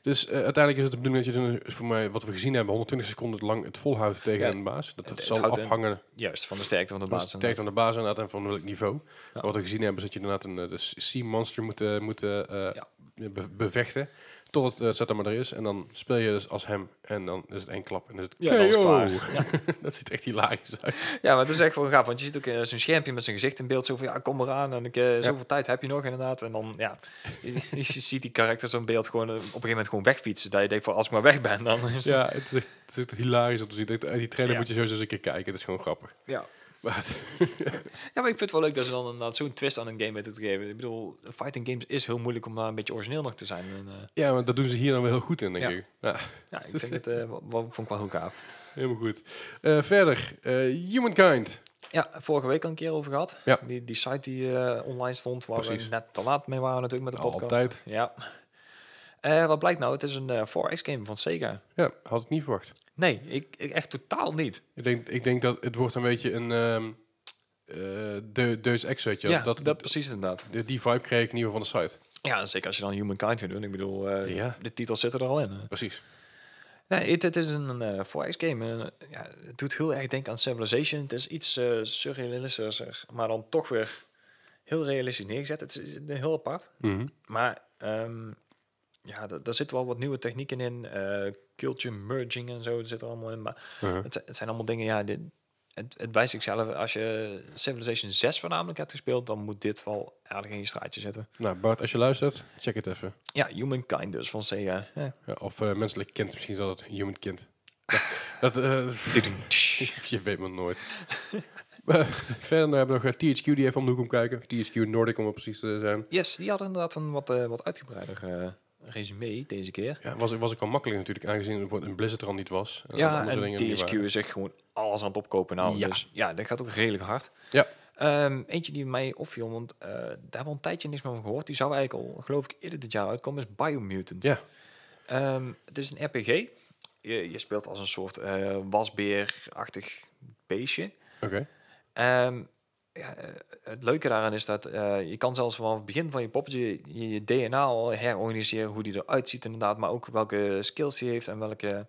B: Dus eh, uiteindelijk is het de bedoeling dat je dan, voor mij, wat we gezien hebben, 120 seconden lang het volhoudt tegen
A: Ja.
B: een baas. Dat
A: Het- het
B: zal
A: houdt in-
B: afhangen
A: Juist, van de sterkte van de baas.
B: van de sterkte van de baas inderdaad en van welk niveau.
A: Ja.
B: Wat we gezien hebben is dat je inderdaad een eh, de Sea Monster moet, eh, moet eh, eh,
A: Ja.
B: be- bevechten. Totdat het Saitama er is. En dan speel je dus als hem. En dan is het één klap. En dan is het
A: Ja, dan is het
B: KO.
A: klaar.
B: dat ziet echt hilarisch uit.
A: Ja, maar het is echt wel gaaf, want je ziet ook eh, zo'n schermpje met zijn gezicht in beeld. Zo van, ja, kom eraan en ik, eh, zoveel tijd heb je nog inderdaad. En dan, ja, je, je ziet die karakter zo'n beeld gewoon eh, op een gegeven moment gewoon wegfietsen. Dat je denkt van, als ik maar weg ben, dan is
B: Ja, het is echt, het is echt hilarisch om te zien. Ik- Die trailer
A: Ja.
B: moet je sowieso eens een keer kijken. Het is gewoon grappig.
A: Ja.
B: Maar het-
A: Ja, maar ik vind het wel leuk dat ze dan inderdaad zo'n twist aan een game weten te geven. Ik bedoel, fighting games is heel moeilijk om daar een beetje origineel nog te zijn. En, eh,
B: ja, maar dat doen ze hier dan wel heel goed in, denk
A: Ja.
B: ik. Ja,
A: ja, ik vind het, eh, wa- wa- vond ik wel heel gaaf.
B: helemaal goed. Eh, verder, eh, Humankind.
A: Ja, vorige week al een keer over gehad.
B: Ja.
A: Die, die site die eh, online stond, waar
B: Precies.
A: we net te laat mee waren natuurlijk met de podcast.
B: Altijd.
A: Ja. Eh, wat blijkt nou? Het is een eh 4X game van Sega.
B: Ja, had ik niet verwacht.
A: Nee, ik, ik echt totaal niet.
B: Ik denk, ik denk dat het wordt een beetje een ehm eh, de, Deus Ex, weet je.
A: Ja,
B: wel.
A: dat,
B: dat,
A: precies inderdaad.
B: de- die vibe kreeg ik in ieder geval van de site.
A: Ja, en zeker als je dan Humankind gaat doen. Ik bedoel, eh,
B: Ja.
A: de titel zit er al in. hè.
B: Preus.
A: Nee, het, het is een eh 4X game. En, eh, ja, het doet heel erg denken aan Civilization. Het is iets eh surrealistischer, maar dan toch weer heel realistisch neergezet. Het is, het is heel apart. Maar ehm, ja, da- daar zitten wel wat nieuwe technieken in. eh, culture merging en zo, dat zit er allemaal in. Maar
B: Uh-huh.
A: het, zi- het zijn allemaal dingen, ja, dit, het, het wijst zichzelf. Als je Civilization 6 voornamelijk hebt gespeeld, dan moet dit wel aardig in je straatje zitten.
B: Nou, Bart, als je luistert, check het even.
A: Ja, Humankind dus, van Sega. Ja.
B: Ja, of eh, menselijk kind, misschien is dat het human kind. dat, eh, je weet maar nooit. Maar verder nou hebben we nog eh, THQ die even om de hoek om kijken. THQ Nordic om er precies te zijn.
A: Yes, die hadden inderdaad een wat, eh, wat uitgebreider eh, resume deze keer.
B: Ja, was, was ik al makkelijk natuurlijk, aangezien het een Blizzard er al niet was.
A: Ja,
B: andere
A: en
B: dingen die
A: THQ
B: waren.
A: is echt gewoon alles aan het opkopen nou.
B: Ja.
A: Dus ja, dat gaat ook redelijk hard.
B: Ja.
A: Ehm, eentje die mij opviel, want eh, daar hebben we een tijdje niks meer van gehoord. Die zou eigenlijk al, geloof ik, eerder dit jaar uitkomen, is Biomutant.
B: Ja.
A: Ehm, het is een RPG. Je, je speelt als een soort eh, wasbeer-achtig beestje.
B: Oké.
A: Ehm, ja, eh, het leuke daaraan is dat eh, je kan zelfs vanaf het begin van je poppetje je, je DNA al herorganiseren, hoe die eruit ziet inderdaad, maar ook welke skills die heeft en welke...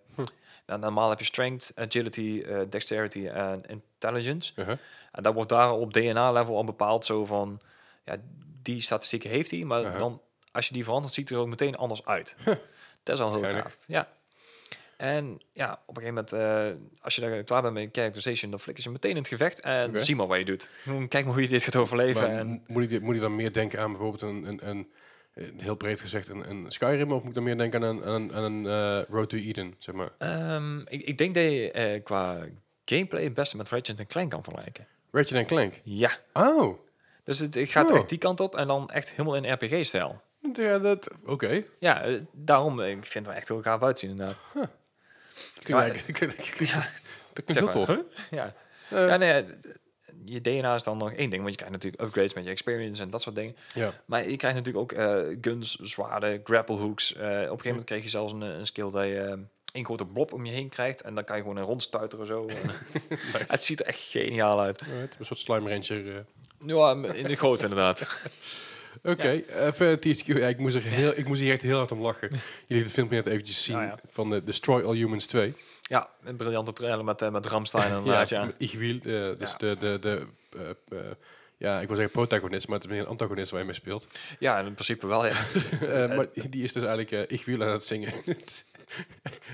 A: Nou, normaal heb je strength, agility, eh, dexterity en intelligence.
B: Uh-huh.
A: En dat wordt daar op DNA-level al bepaald zo van... Ja, die statistieken heeft hij, maar
B: Ja.
A: dan als je die verandert, ziet hij er ook meteen anders uit. Dat is al heel
B: Geinig.
A: gaaf. Ja. En ja, op een gegeven moment, eh, als je daar klaar bent met je characterization, dan flikker je meteen in het gevecht en
B: Oké.
A: zie maar wat je doet. Gewoon Kijk maar hoe je dit gaat overleven.
B: Maar
A: en,
B: moet, ik, dit- moet ik dan meer denken aan bijvoorbeeld een, een, een, een- heel breed gezegd, een, een Skyrim? Of moet ik dan meer denken aan een, aan een, aan een eh, Road to Eden, zeg maar?
A: ehm, ik, ik denk dat je eh, qua gameplay het beste met Ratchet Clank kan vergelijken.
B: Ratchet Clank.
A: Ja,
B: Oh,
A: dus het, het gaat
B: Oh.
A: echt die kant op en dan echt helemaal in RPG-stijl.
B: ja, dat... Oké.
A: Ja, eh, daarom, eh, ik vind het er echt heel gaaf uitzien inderdaad. Ja,
B: Ja, Dat klinkt
A: Zeg
B: heel
A: maar,
B: tof.
A: Ja.
B: Eh,
A: ja, nee, je DNA is dan nog één ding, want je krijgt natuurlijk upgrades met je experience en dat soort dingen.
B: Ja.
A: Maar je krijgt natuurlijk ook eh, guns, zwaarden, grapplehooks. Eh, op een gegeven moment kreeg je zelfs een, een skill dat je eh, één grote blob om je heen krijgt. En dan kan je gewoon een rondstuiteren zo. En het ziet er echt geniaal uit.
B: Alright, een soort slime ranger. eh.
A: Ja, in de grote inderdaad.
B: Oké, eh, verder THQ. Ja, ik, moest er heel, ik moest hier echt heel hard om lachen. Jullie hebben het filmpje net eventjes zien
A: Ja, Nou ja.
B: van eh, Destroy All Humans 2.
A: Ja, een briljante trailer met, eh, met Ramstein inderdaad, ja.
B: m- Ik wil, eh, dus
A: Ja.
B: de, de, de eh, eh, ja, ik wil zeggen protagonist, maar het is meer een antagonist waar je mee speelt.
A: Ja, in principe wel, ja.
B: Eh, maar die is dus eigenlijk eh, ik wil aan het zingen.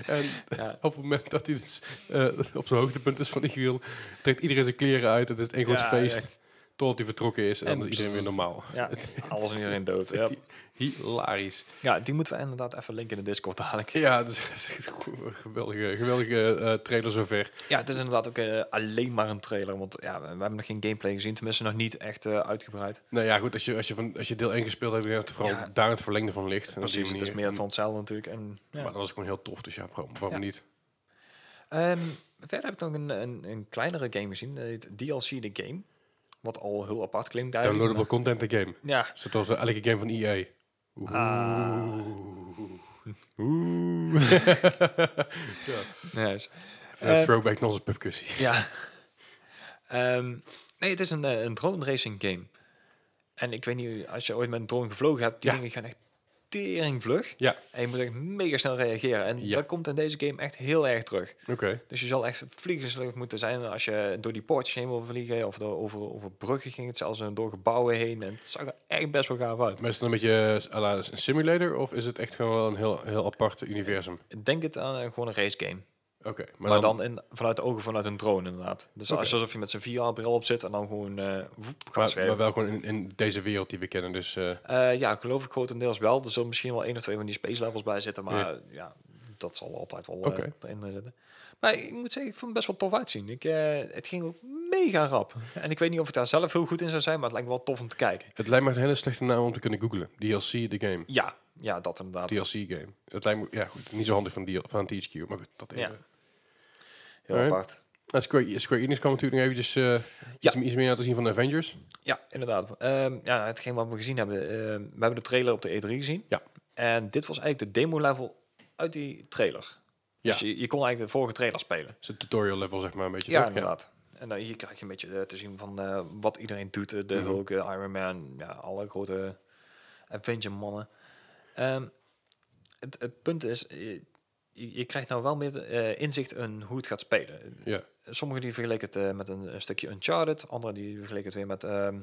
B: en
A: Ja.
B: op het moment dat hij dus, eh, op zijn hoogtepunt is van ik wil, trekt iedereen zijn kleren uit. Het is een groot
A: Ja,
B: feest.
A: echt.
B: Totdat hij vertrokken is en,
A: En
B: dan is iedereen weer normaal.
A: ja alles en iedereen dood. Ja.
B: Hilarisch.
A: ja, die moeten we inderdaad even linken in de Discord dadelijk.
B: Ja, dat is een geweldige, geweldige eh, trailer zover.
A: Ja, het is inderdaad ook eh, alleen maar een trailer. Want ja, we we hebben nog geen gameplay gezien. Tenminste, nog niet echt eh, uitgebreid.
B: Nou ja, goed, als je, als je, van, als je deel 1 gespeeld hebt, ik denk dat het vooral
A: Ja.
B: daar het verlengde van ligt. En op die
A: Precies, het is
B: manier.
A: meer van hetzelfde natuurlijk. En, ja.
B: Maar dat was gewoon heel tof, dus ja, waarom, waarom
A: Ja.
B: niet?
A: Ehm, verder heb ik nog een, een, een kleinere game gezien. Dat heet DLC The Game. Wat al heel apart klinkt eigenlijk.
B: Downloadable content, the game.
A: maar- Ja.
B: Zoals eh, elke game van EA. Oeh.
A: Ah. Oeh. Nice.
B: Even een
A: Eh,
B: throwback nog eens pubcussie.
A: Ja. Ehm, nee, het is een, eh, een drone racing game. En ik weet niet, als je ooit met een drone gevlogen hebt, die
B: Ja.
A: dingen gaan echt tering vlug.
B: Ja.
A: En je moet echt mega snel reageren. En
B: Ja.
A: dat komt in deze game echt heel erg terug.
B: Oké.
A: Dus je zal echt vliegenslucht moeten zijn als je door die poortjes heen wil vliegen. Of door, over, over bruggen ging het zelfs en door gebouwen heen. En het zag er echt best wel gaaf uit.
B: Maar is het dan een beetje eh, à la een simulator of is het echt gewoon wel een heel, heel apart universum?
A: Denk het aan eh, gewoon een race game.
B: Oké.
A: Maar, dan, in, vanuit de ogen vanuit een drone inderdaad. Dus
B: Oké.
A: alsof je met zijn VR-bril op zit en dan gewoon eh woep,
B: maar,
A: gas geven.
B: maar wel gewoon in, in deze wereld die we kennen, dus... eh,
A: Eh, ja, geloof ik grotendeels wel. Er zullen misschien wel één of twee van die space levels bij zitten. Maar
B: Ja.
A: ja, dat zal altijd wel
B: Oké.
A: eh, erin zitten. Maar ik moet zeggen, ik vond het best wel tof uitzien. Ik, eh, het ging ook mega rap. En ik weet niet of ik daar zelf heel goed in zou zijn, maar het lijkt me wel tof om te kijken.
B: Het lijkt me een hele slechte naam om te kunnen googlen. DLC de game.
A: Ja, ja dat inderdaad.
B: DLC game. Het lijkt me, ja goed, niet zo handig van, DL, van THQ, maar goed, dat even.
A: Ja.
B: Ja.
A: Heel
B: Alright.
A: apart.
B: Square, E- Square Enix kwam natuurlijk nog eventjes eh,
A: Ja.
B: iets, iets meer laten zien van de Avengers.
A: Ja, inderdaad. Ehm ja, hetgeen wat we gezien hebben. ehm, we hebben de trailer op de E3 gezien.
B: Ja.
A: En dit was eigenlijk de demo level uit die trailer.
B: Ja.
A: Dus je, je kon eigenlijk de vorige trailer spelen.
B: Dus het tutorial level, zeg maar, een beetje.
A: Ja,
B: toch?
A: inderdaad. En dan hier krijg je een beetje eh, te zien van eh, wat iedereen doet. eh, de
B: Mhm.
A: Hulk, eh, Iron Man, ja, alle grote Avenger-mannen. Ehm, het, het punt is, eh, je, je krijgt nou wel meer eh, inzicht in hoe het gaat spelen.
B: Ja.
A: Sommigen die vergeleken het eh, met een, een stukje Uncharted. Anderen die vergeleken het weer met, ehm,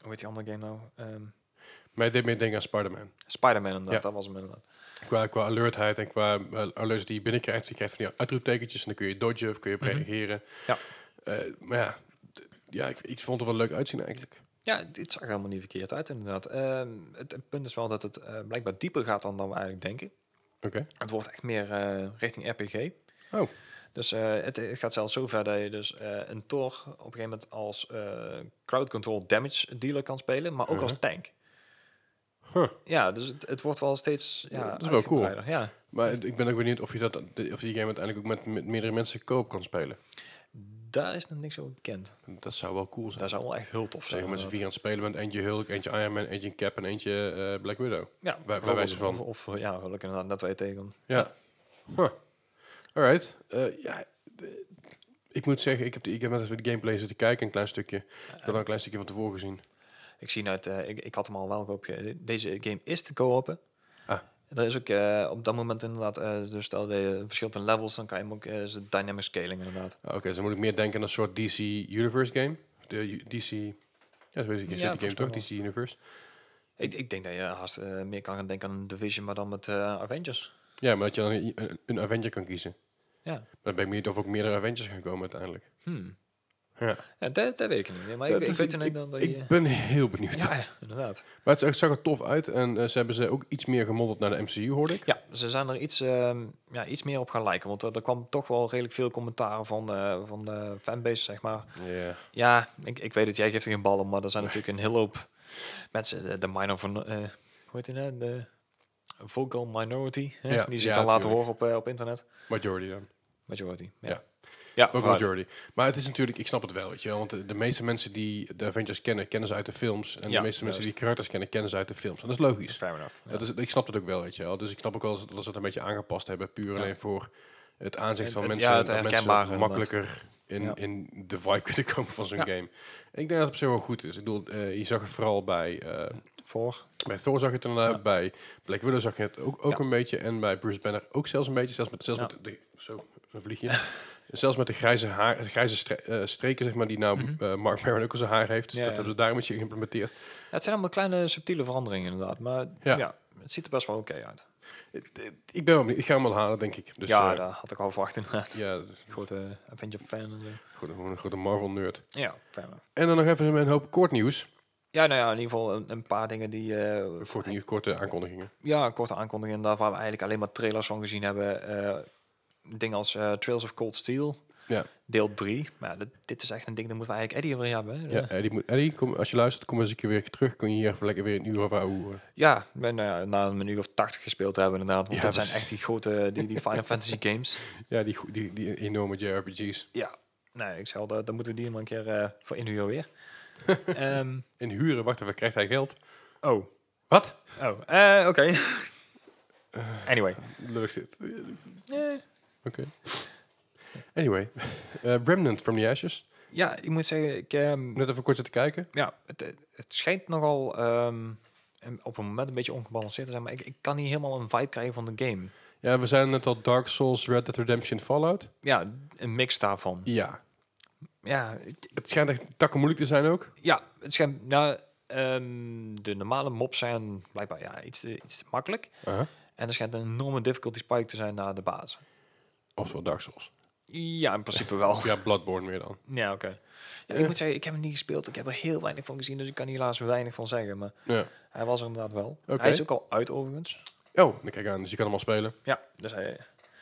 A: hoe heet die andere game nou? Ehm,
B: Maar het deed meer denken aan Spider-Man.
A: Spider-Man inderdaad,
B: Ja.
A: dat was hem inderdaad.
B: Qua, qua alertheid en qua eh, alerts die je binnenkrijgt. Je krijgt van die uitroeptekentjes en dan kun je dodgen of kun je op
A: Mhm.
B: reageren.
A: Ja.
B: Eh, maar ja, d- ja ik, ik vond het wel leuk uitzien eigenlijk.
A: Ja, dit zag er helemaal niet verkeerd uit inderdaad. Ehm, het, het punt is wel dat het eh, blijkbaar dieper gaat dan, dan we eigenlijk denken.
B: Oké.
A: Het wordt echt meer eh, richting RPG.
B: Oh.
A: Dus eh, het, het gaat zelfs zo ver dat je dus eh, een Thor op een gegeven moment als eh, crowd control damage dealer kan spelen, maar ook als
B: Mhm.
A: tank.
B: Huh.
A: Ja, dus het, het wordt wel steeds ja,
B: Ja, dat is wel cool.
A: uitgebreider. Ja,
B: Maar het- ik ben ook benieuwd of je, dat, of je game uiteindelijk ook met, met meerdere mensen koop kan spelen.
A: daar is nog niks over bekend.
B: Dat zou wel cool zijn.
A: Dat zou wel echt heel tof zijn.
B: Zeggen met z'n vier
A: inderdaad.
B: aan het spelen bent. Eentje Hulk, eentje Iron Man, eentje een Cap en eentje eh, Black Widow.
A: Ja,
B: bij
A: bijvoorbeeld.
B: wijze van.
A: Of, of, ja, gelukkig inderdaad, dat wij tegen.
B: Ja. Huh. Alright. Eh, ja, de- ik moet zeggen, ik heb, de, ik heb net even de gameplay zitten kijken, een klein stukje. Ik had al een klein stukje van tevoren gezien.
A: Ik zie net, eh, ik, ik had hem al wel geopend. Deze game is te co-open.
B: Ah.
A: Er is ook eh, op dat moment inderdaad, eh, dus stel dat je verschilt in levels, dan kan je hem ook eh, is het dynamic scaling inderdaad.
B: Ah, Oké, dus dan moet ik meer denken aan een soort DC Universe game. De U- DC... Ja, zo weet ik.
A: Ja,
B: Is ja, die game
A: volgens
B: toch?
A: mij
B: DC Universe.
A: Ik, ik denk dat je haast eh, meer kan gaan denken aan Division, maar dan met eh, Avengers.
B: Ja, maar dat je dan i- een, een Avenger kan kiezen.
A: Ja.
B: Maar Dan ben ik benieuwd of ook meerdere Avengers gaan komen uiteindelijk.
A: Hmm.
B: Ja.
A: Ja, dat, dat weet ik niet meer. Maar
B: Ja,
A: ik, ik
B: dus
A: weet alleen dan dat je...
B: Ik ben heel benieuwd.
A: ja, ja, inderdaad.
B: Maar het, is- het zag er tof uit en eh, ze hebben ze ook iets meer gemoddeld naar de MCU, hoorde ik.
A: Ja, ze zijn er iets, ehm, ja, iets meer op gaan lijken. Want eh, er kwam toch wel redelijk veel commentaar van, eh, van de fanbase, zeg maar.
B: Ja.
A: Ja, ik, ik weet het, jij geeft er geen bal om, maar er zijn natuurlijk een hele hoop mensen. De, de minor van, eh, hoe heet die nou? De vocal minority. Hè?
B: Ja,
A: die zich
B: ja,
A: dan laten
B: tuurlijk.
A: horen op, eh, op internet.
B: Majority dan.
A: Majority, ja.
B: Ja.
A: Ja,
B: Ook
A: vooruit.
B: majority. Maar het is natuurlijk, ik snap het wel, weet je wel. Want de, de meeste mensen die de Avengers kennen, kennen ze uit de films. En
A: Ja,
B: de meeste mensen die
A: juist.
B: karakters kennen, kennen ze uit de films. En dat is logisch.
A: Fair enough. Ja.
B: Dat is, ik snap dat ook wel, weet je wel. Dus ik snap ook wel dat ze- dat ze het een beetje aangepast hebben. Puur alleen voor het aanzicht van
A: Het- het-
B: mensen.
A: ja, het
B: dat mensen
A: herkenbare
B: makkelijker in,
A: Ja.
B: in de vibe kunnen komen van zo'n
A: Ja.
B: game. En ik denk dat het op zich wel goed is. Ik bedoel, eh, je zag het vooral bij, eh,
A: Voor.
B: bij Thor zag je het inderdaad.
A: Ja.
B: Bij Black Widow zag je het ook, ook
A: Ja.
B: een beetje. En bij Bruce Banner ook zelfs een beetje. Zelfs met, zelfs
A: Ja.
B: met de, zo, een vliegje. zelfs met de grijze, haar, de grijze stre- eh, streken, zeg maar, die nou
A: Mhm.
B: eh, Mark Maron ook al zijn haar heeft. Dus
A: Ja,
B: dat
A: ja.
B: hebben ze daar een beetje geïmplementeerd.
A: Ja, het zijn allemaal kleine subtiele veranderingen inderdaad. Maar
B: Ja.
A: ja, het ziet er best wel oké uit.
B: Ik ben wel benieuwd. Ik ga hem wel halen, denk ik. Dus,
A: ja,
B: eh,
A: dat had ik al verwacht inderdaad.
B: ja, dat is
A: Grote Avenger-fan en zo.
B: gewoon gewoon een grote Marvel-nerd.
A: Ja, fair enough.
B: En dan nog even een hoop kort nieuws.
A: Ja, nou ja, in ieder geval een, een paar dingen die... eh,
B: Kort nieuws, korte aankondigingen.
A: ja, korte aankondigingen daar waar we eigenlijk alleen maar trailers van gezien hebben. eh dingen als eh, Trails of Cold Steel,
B: Ja.
A: deel 3. Maar ja, dit, dit is echt een ding, dat moeten we eigenlijk Eddie weer hebben. Hè?
B: Ja, Eddie, moet, Eddie kom, als je luistert, kom eens een keer weer terug. Kun je hier even lekker weer een uur of ouwe horen.
A: Ja, nou ja, na een minuut of 80 gespeeld te hebben inderdaad. Want
B: Ja, dus-
A: dat zijn
B: precies.
A: echt die grote, die, die Final Fantasy games.
B: Ja, die, goe- die, die enorme JRPG's.
A: Ja, nee, ik zal, eh, dat- dan moeten we die maar een keer eh, voor inhuren weer. Ehm,
B: En huren, wacht even, krijgt hij geld?
A: oh,
B: Wat?
A: oh, eh, oké.
B: Eh.
A: anyway.
B: Leuk dit. Oké.
A: Eh,
B: Anyway, eh, Remnant from the Ashes.
A: ja, ik moet zeggen, ik... ehm,
B: Net even kort zitten kijken.
A: ja, het, het schijnt nogal ehm, een- op een moment een beetje ongebalanceerd te zijn, maar ik, ik kan niet helemaal een vibe krijgen van de game.
B: Ja, we zijn net al Dark Souls, Red Dead Redemption, Fallout.
A: Ja, een mix daarvan.
B: Ja.
A: Ja, het-
B: Het schijnt echt takken moeilijk te zijn ook.
A: ja het schijnt, nou, ehm, de normale mobs zijn blijkbaar ja, iets, te, iets te makkelijk.
B: Uh-huh.
A: En er schijnt een enorme difficulty spike te zijn naar de baas.
B: Ofwel Dark Souls.
A: Ja, in principe wel.
B: Ja, Bloodborne meer dan.
A: Ja, oké. Ja, ik moet zeggen, ik heb hem niet gespeeld. Ik heb er heel weinig van gezien, dus ik kan hier helaas weinig van zeggen. Maar
B: Ja.
A: hij was er inderdaad wel.
B: Oké.
A: Hij is ook al uit overigens.
B: Oh, dan kijk aan, dus je kan hem al spelen.
A: Ja, dus hij,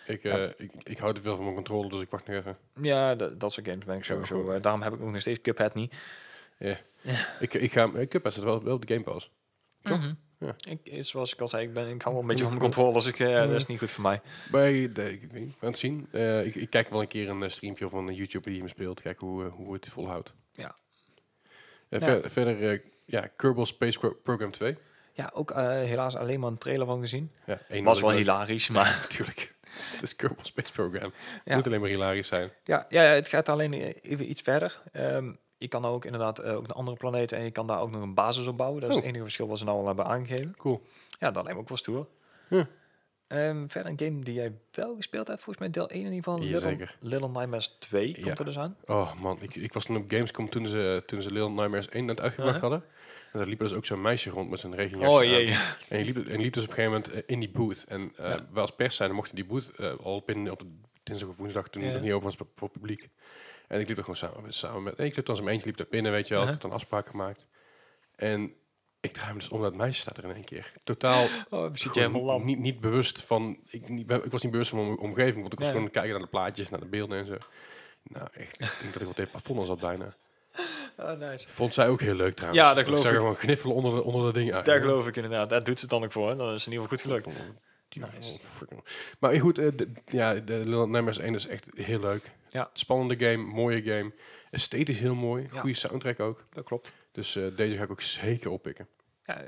B: Ik, eh, ik, ik hou te veel van mijn controle, dus ik wacht nog even.
A: Ja, dat, dat soort games ben ik sowieso.
B: goed.
A: eh, daarom heb ik ook nog steeds Cuphead niet.
B: Ja. Ik, ik ga, ik heb best wel, wel op de Game Pass. Mhm. Ja.
A: Ik, eh, zoals ik al zei, ik, ben, ik hou wel een beetje van mijn controle. Dus ik, eh, dat is niet goed voor mij.
B: Bij de, ik weet niet, we gaan het zien. Eh, ik, ik kijk wel een keer een eh, streampje van een YouTuber die hem speelt. Kijken hoe, eh, hoe het volhoudt.
A: Ja. Nou.
B: En
A: Ja.
B: ver- verder, eh, ja, Kerbal Space Pro- Program 2.
A: Ja, ook eh, helaas alleen maar een trailer van gezien.
B: Ja, één
A: Was wel
B: leuk-
A: hilarisch, maar...
B: Natuurlijk. Het is Kerbal Space Program.
A: Ja.
B: Moet alleen maar hilarisch zijn.
A: Ja, ja, het gaat alleen eh, even iets verder. Ehm, je kan ook inderdaad eh, ook naar andere planeten en je kan daar ook nog een basis op bouwen. Dat is
B: Oh.
A: het enige verschil wat ze nou al hebben aangegeven.
B: Cool.
A: Ja, dat lijkt me ook wel stoer.
B: Ja.
A: Ehm, verder een game die jij wel gespeeld hebt, volgens mij deel 1 in ieder geval. Little,
B: Jazeker.
A: Little Nightmares 2 komt
B: Ja.
A: er dus aan.
B: Oh man, ik, ik was toen op Gamescom toen ze, toen ze Little Nightmares 1 net uitgebracht
A: Uh-huh.
B: hadden. En daar liep er dus ook zo'n meisje rond met zijn regenjas
A: Oh
B: aan.
A: jee.
B: En je liep, en je liep dus op een gegeven moment eh, in die booth. En eh,
A: Ja.
B: wij als pers zijn, dan mochten die booth eh, al op, in, op de dinsdag of woensdag, toen
A: Ja.
B: het nog niet open was voor het publiek. En ik liep er gewoon samen, met- samen met... en Ik liep dan zo'n eentje, liep daar binnen, weet je wel. Ik
A: Uh-huh.
B: had dan afspraak gemaakt. En ik draai me dus om, dat meisje staat er in één keer. Totaal
A: Oh, zit je
B: gewoon
A: helemaal lam.
B: niet, niet bewust van... Ik, niet, ik was niet bewust van mijn omgeving, want ik was
A: Nee.
B: gewoon kijken naar de plaatjes, naar de beelden en zo. Nou, echt, ik denk dat ik wel tegen het plafond al zat bijna.
A: Oh, nice.
B: Vond zij ook heel leuk trouwens.
A: Ja, dat
B: ik.
A: geloof
B: zag
A: ik.
B: er gewoon gniffelen onder, de- onder dat ding uit.
A: Daar geloof ik inderdaad. Daar doet ze het dan ook voor. hè. Dan is het in ieder geval goed gelukt. Nice.
B: Oh, fucking- Maar goed, eh, de- ja, de Little Nightmares 1 is echt heel leuk.
A: Ja.
B: Spannende game, mooie game. Esthetisch heel mooi.
A: Ja.
B: Goede soundtrack ook.
A: Dat klopt.
B: Dus eh, deze ga ik ook zeker oppikken.
A: Ja,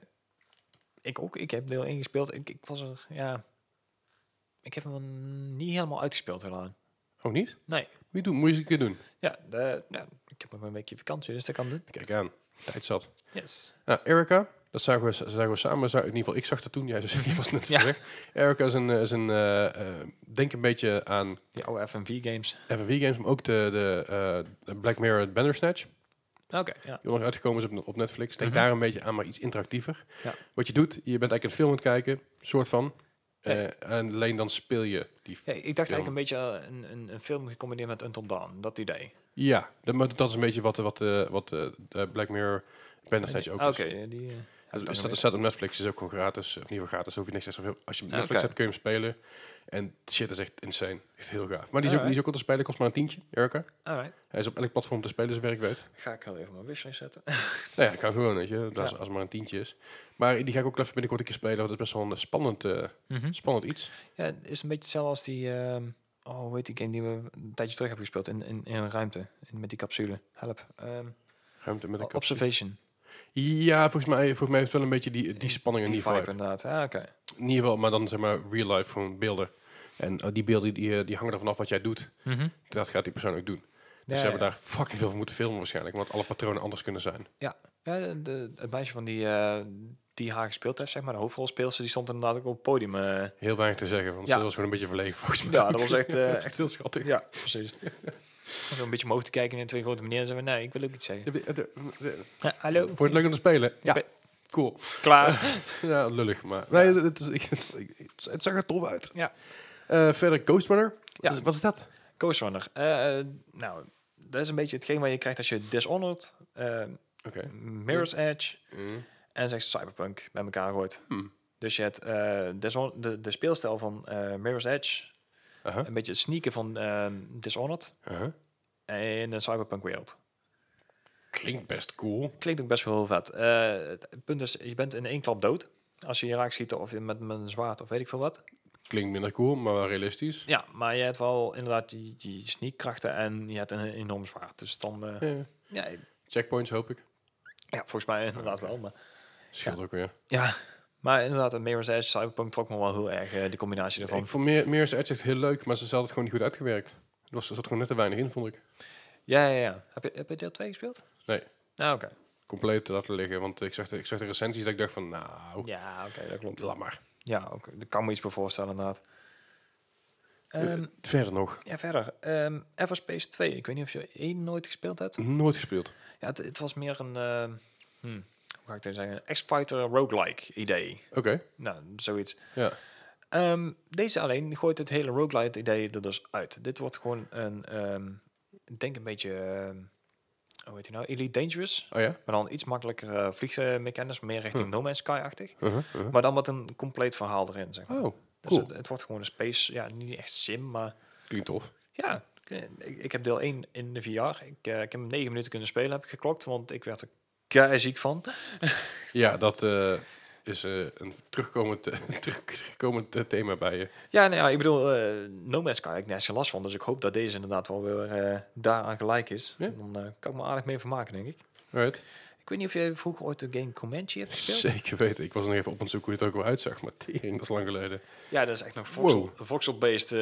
A: ik ook. Ik heb deel 1 gespeeld. Ik, ik was er, ja... Ik heb hem niet helemaal uitgespeeld helaas.
B: Oh, niet?
A: Nee.
B: Moet je, doen, moet je eens een keer doen.
A: Ja, de, ja, ik heb nog een weekje vakantie, dus dat kan doen.
B: Kijk aan. Tijd zat.
A: Yes.
B: Nou, Erica, dat zagen we, zagen we samen. Zagen, in ieder geval, ik zag dat toen. Jij, dus, jij was net
A: Ja.
B: weg. Erica is een... eh, Is een eh, eh, denk een beetje aan
A: Die oude FMV-games.
B: FMV-games, maar ook de, de eh, de Black Mirror Bandersnatch.
A: Oké, ja.
B: die onlangs uitgekomen is op, op Netflix. Denk
A: Mhm.
B: daar een beetje aan, maar iets interactiever.
A: Ja.
B: Wat je doet, je bent eigenlijk een film aan het kijken, soort van.
A: Nee.
B: Eh, en alleen dan speel je die. f-
A: Ja, ik dacht eigenlijk
B: Film.
A: een beetje eh, een, een, een film gecombineerd met Until Dawn. Dat idee.
B: Ja, dat, maar dat is een beetje wat, eh, wat, eh, wat eh, de Black Mirror Banner Stage ook
A: Ah,
B: is.
A: Oké, ja, die... eh,
B: Dus
A: heb ik
B: dus
A: dan
B: dat staat op Netflix, is ook gewoon gratis. Of niet voor gratis, hoef je niks extra veel. Als je Netflix
A: oké.
B: hebt, kun je hem spelen. En shit, dat is echt insane. Echt heel gaaf. Maar die is,
A: Alright.
B: ook, die is ook al te spelen, kost maar een tientje, Erica.
A: weer. Alright.
B: Hij is op elk platform te spelen, zover ik weet.
A: Ga ik heel even mijn wishlist zetten.
B: Nou ja, kan gewoon, weet je. Als,
A: Ja.
B: als het maar een tientje is. Maar die ga ik ook even binnenkort een keer spelen, want het is best wel een spannend, eh,
A: Mhm.
B: spannend iets.
A: Ja, het is een beetje hetzelfde als die... ehm, oh, hoe heet die game die we een tijdje terug hebben gespeeld? In, in, in een ruimte. In- met die capsule. Help. Ehm,
B: Ruimte met een
A: oh.
B: kap-
A: observation.
B: Ja, volgens mij, volgens mij heeft het wel een beetje die, die spanning en die, vibe.
A: inderdaad. Ah, oké.
B: In ieder geval, maar dan zeg maar real life gewoon beelden. En eh, die beelden die, eh, die hangen er vanaf wat jij doet.
A: Mhm.
B: Dat gaat die persoon ook doen. Dus
A: Ja,
B: ze hebben
A: ja.
B: daar fucking veel van moeten filmen waarschijnlijk. Want alle patronen anders kunnen zijn.
A: Ja, de, de- het meisje van die, eh, die haar gespeeld heeft, zeg maar, de hoofdrolspeelster, die stond inderdaad ook op het podium. eh.
B: Heel weinig te zeggen, want
A: Ja.
B: dat was gewoon een beetje verlegen volgens mij.
A: Ja, dat was echt, eh,
B: Dat is
A: echt-
B: heel schattig.
A: ja, precies. Zo een beetje omhoog te kijken en twee grote meneer zeggen, nee, ik wil ook iets zeggen. Ja, hallo.
B: Vond je het leuk om te spelen?
A: Ja.
B: Ik ben- Cool.
A: Klaar.
B: Ja, lullig, maar... Nee, het, is- ik- het, het zag er tof uit.
A: Ja.
B: Eh, verder Ghost Runner.
A: Ja.
B: Wat, is, wat is dat?
A: Coast Runner. Eh, eh, nou, dat is een beetje hetgeen wat je krijgt als je Dishonored, eh,
B: Oké.
A: Mirror's Edge
B: Mm.
A: en zeg Cyberpunk bij elkaar gooit.
B: Hmm.
A: Dus je hebt eh, Dishon- de, de speelstijl van eh, Mirror's Edge,
B: Aha.
A: een beetje het sneaken van eh, Dishonored
B: Aha.
A: en een Cyberpunk wereld.
B: Klinkt best cool.
A: Klinkt ook best wel heel vet. Eh, het het punt is, je bent in één klap dood. Als je je raakt schiet of je met, met een zwaard of weet ik veel wat.
B: Klinkt minder cool, maar wel realistisch.
A: Ja, maar je hebt wel inderdaad die, die sneakkrachten en je hebt een enorm zwaard. Dus dan, eh,
B: Ja.
A: ja,
B: Checkpoints hoop ik.
A: ja, volgens mij inderdaad wel. Maar,
B: Scheelt ook weer.
A: ja, maar inderdaad, het Mirror's Edge Cyberpunk trok me wel heel erg eh, de combinatie
B: Ik
A: ervan.
B: vond meer, Mirror's Edge echt heel leuk, maar ze hadden het gewoon niet goed uitgewerkt. Er was- er zat gewoon net te weinig in, vond ik.
A: Ja, ja, ja. Heb je, heb je deel 2 gespeeld?
B: Nee.
A: Nou, oké.
B: Compleet laten liggen, want ik zag de, ik zag de recensies dat ik dacht van, nou,
A: Ja, oké, dat klopt.
B: laat maar.
A: Ja, oké. daar kan me iets bij voorstellen inderdaad. Ehm,
B: Eh, Verder nog,
A: ja, verder. Ehm Everspace 2. Ik weet niet of je 1 nooit gespeeld hebt.
B: nooit gespeeld.
A: Ja, het, het was meer een, eh, hm, hoe ga ik het zeggen, een X-Fighter roguelike idee.
B: Oké,
A: Nou, zoiets.
B: ja.
A: Ehm, deze alleen gooit het hele roguelike idee er dus uit. Dit wordt gewoon een, ehm, ik denk een beetje, ehm, hoe heet hij nou, Elite Dangerous.
B: Oh ja?
A: Maar dan iets makkelijker eh, vliegmechanisch, meer richting No Man's Sky-achtig.
B: Uh-huh, uh-huh.
A: Maar dan met een compleet verhaal erin, zeg maar.
B: Oh,
A: Dus
B: cool.
A: het, het wordt gewoon een space, ja, niet echt sim, maar
B: Klinkt tof.
A: ja. Ik, ik heb deel 1 in de VR. Ik, eh, ik heb hem 9 minuten kunnen spelen, heb ik geklokt, want ik werd er kei ziek van.
B: Ja, dat eh, is eh, een terugkomend, eh, terug- terugkomend eh, thema bij je.
A: Ja, nou ja, ik bedoel, eh No Man's Sky heb ik net zo last van. Dus ik hoop dat deze inderdaad wel weer eh, daaraan gelijk is.
B: Ja.
A: Dan eh, kan ik me aardig mee vermaken, denk ik.
B: Right?
A: Ik weet niet of jij vroeger ooit de game Comanche hebt gespeeld.
B: Zeker weten. Ik was nog even op aan het zoeken hoe het ook wel uitzag, maar tering, dat is lang geleden.
A: Ja, dat is echt nog voxel,
B: Wow.
A: voxel-based.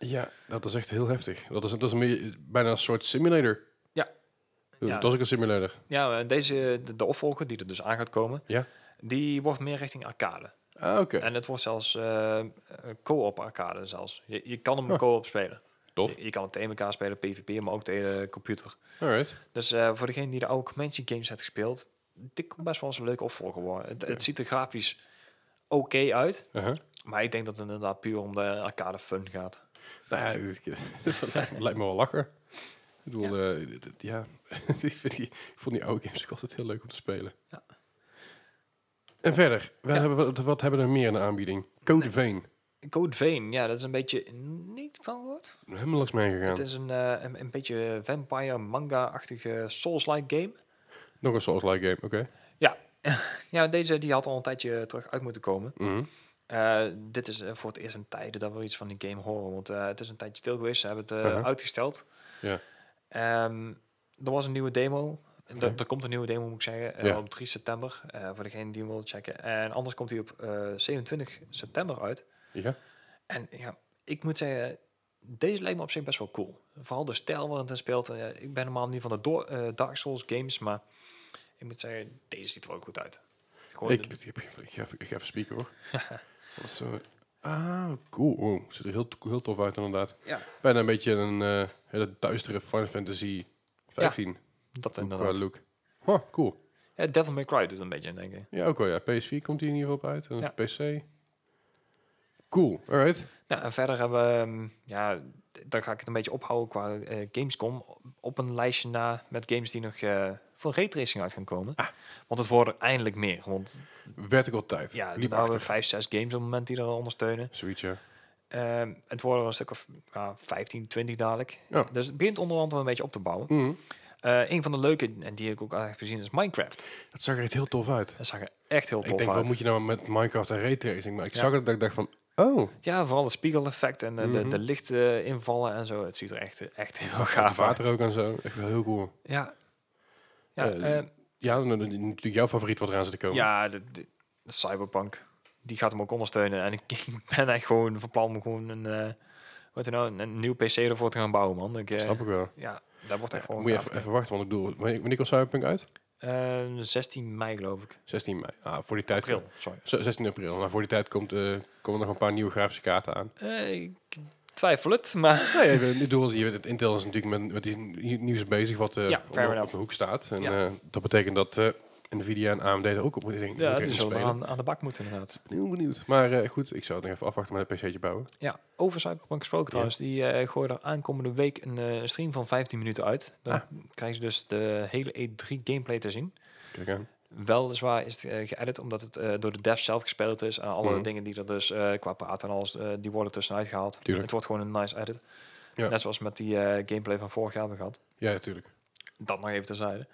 A: eh,
B: Ja, dat is echt heel heftig. Dat is, dat is een beetje- bijna een soort simulator.
A: Ja. Ja.
B: Dat was ook een simulator.
A: ja, maar deze, de, de opvolger die er dus aan gaat komen,
B: Ja.
A: die wordt meer richting arcade.
B: Ah, oké.
A: En het wordt zelfs eh, eh, co-op arcade zelfs. Je, je kan hem
B: Huh.
A: co-op spelen.
B: Tof.
A: Je, je kan het tegen elkaar spelen, PvP, maar ook tegen de computer.
B: Alright.
A: Dus eh, voor degene die de oude Comanche games heeft gespeeld, dit kon best wel eens een leuke opvolger worden. Het, het ziet er grafisch oké uit,
B: Uh-huh.
A: maar ik denk dat het inderdaad puur om de arcade fun gaat.
B: Nou ja, dat lijkt- lijkt me wel lachen. Ik bedoel, ja, ja. ik, vind die, ik vond die oude games ook altijd heel leuk om te spelen.
A: Ja.
B: En verder, wat,
A: Ja.
B: hebben we, wat- wat hebben we er meer in de aanbieding? Code Vein.
A: Code Vein, ja, dat is een beetje niet van gehoord.
B: Helemaal langs mij gegaan.
A: Het is een, eh, een, een beetje vampire manga-achtige Souls-like game.
B: Nog een Souls-like game, oké.
A: Ja. ja, deze die had al een tijdje terug uit moeten komen.
B: Mhm.
A: Eh, dit is eh, voor het eerst in tijden dat we iets van die game horen. Want eh, het is een tijdje stil geweest. Ze hebben het eh,
B: Uh-huh.
A: uitgesteld.
B: Ja.
A: Ehm, er was een nieuwe demo. Er-
B: Oké.
A: Er, komt een nieuwe demo, moet ik zeggen. eh,
B: Uh-huh. Ja.
A: Op 3 september. eh, voor degene die hem wil checken. En anders komt hij op eh, 27 september uit.
B: Ja.
A: En ja, ik moet zeggen... Deze lijkt me op zich best wel cool. Vooral de stijl waarin het in speelt. Eh, ik ben normaal niet van de do- eh, Dark Souls games. Maar ik moet zeggen, deze ziet er wel goed uit. Gewoon
B: Ik,
A: de-
B: ik, heb- ik, ga even- ik ga even spieken hoor. Wat is, eh, ah, cool. Wow, ziet er heel, to- heel tof uit inderdaad.
A: ja,
B: Bijna een beetje een eh, hele duistere Final Fantasy 15
A: dat
B: qua
A: inderdaad.
B: look. Huh, cool.
A: Ja, Devil May Cry doet een beetje, denk ik.
B: Ja, ook wel. Ja. PS4 komt hier in ieder geval op uit. En
A: Ja.
B: PC. Cool, alright.
A: Nou, en verder hebben we, ehm, ja, d- dan ga ik het een beetje ophouden qua eh, Gamescom. Op een lijstje na met games die nog eh voor raytracing uit gaan komen.
B: Ah.
A: Want het worden er eindelijk meer. Want
B: Vertical tijd.
A: ja,
B: Liep
A: nu hebben we
B: achter.
A: vijf, zes games op het moment die er al ondersteunen.
B: Zoiets, ja.
A: Ehm, het worden er een stuk of ja, 15, 20 dadelijk.
B: Ja.
A: Dus het begint onderhand wel een beetje op te bouwen.
B: Mhm.
A: Eh, een van de leuke, en die ik ook eigenlijk gezien, is Minecraft.
B: Dat zag er echt heel tof uit.
A: Dat zag er echt heel
B: ik
A: tof
B: denk, wat
A: uit.
B: moet je nou met Minecraft en raytracing? Maar ik
A: Ja.
B: zag het dat ik dacht van, oh,
A: Ja, vooral het spiegeleffect en eh, de,
B: Mhm.
A: de lichtinvallen en zo. Het ziet er echt, eh, echt heel gaaf uit.
B: water ook en zo. Echt wel heel cool.
A: Ja. Ja,
B: Eh,
A: eh,
B: Ja, dan- dan- dan- natuurlijk jouw favoriet wat eraan zit te komen.
A: ja de, de- de Cyberpunk. Die gaat hem ook ondersteunen. En ik, ik ben echt gewoon van plan om gewoon een, eh, wat er nou, een, een nieuw PC ervoor te gaan bouwen, man. Ik, eh,
B: Snap ik wel.
A: Ja, daar wordt echt gewoon
B: Moet je
A: gaaf.
B: even, even wachten, want ik bedoel, wanneer wanneer komt Cyberpunk uit?
A: Eh, 16 mei, geloof ik.
B: 16 mei. Ah, voor die tijd.
A: April, sorry.
B: Zo, 16 april. Nou, voor die tijd komt, eh, komen er nog een paar nieuwe grafische kaarten aan.
A: Eh, ik twijfel het, maar...
B: Nee, ik bedoel, ik bedoel, je weet het, Intel is natuurlijk met, met die nieuws bezig wat eh,
A: Ja,
B: op-
A: fair
B: op,
A: enough.
B: de hoek staat. En
A: Ja.
B: eh, dat betekent dat eh, Nvidia en AMD er ook op moeten
A: Ja,
B: moeten
A: die zullen
B: spelen.
A: aan, aan de bak moeten, inderdaad.
B: Ik ben heel benieuwd. Maar eh, goed, ik zou het nog even afwachten met een pc'tje bouwen.
A: Ja, over Cyberpunk gesproken trouwens. Die eh gooien er aankomende week een eh, stream van 15 minuten uit. Dan
B: Ah.
A: krijgen ze dus de hele E3 gameplay te zien.
B: Kijk aan.
A: Weliswaar is het eh, geëdit omdat het eh, door de devs zelf gespeeld is. En alle
B: Mhm.
A: dingen die er dus eh, qua praten en alles, eh, die worden tussenuit gehaald.
B: Tuurlijk.
A: Het wordt gewoon een nice edit.
B: Ja.
A: Net zoals met die eh, gameplay van vorig jaar hebben we gehad.
B: Ja, natuurlijk.
A: Dat nog even terzijde.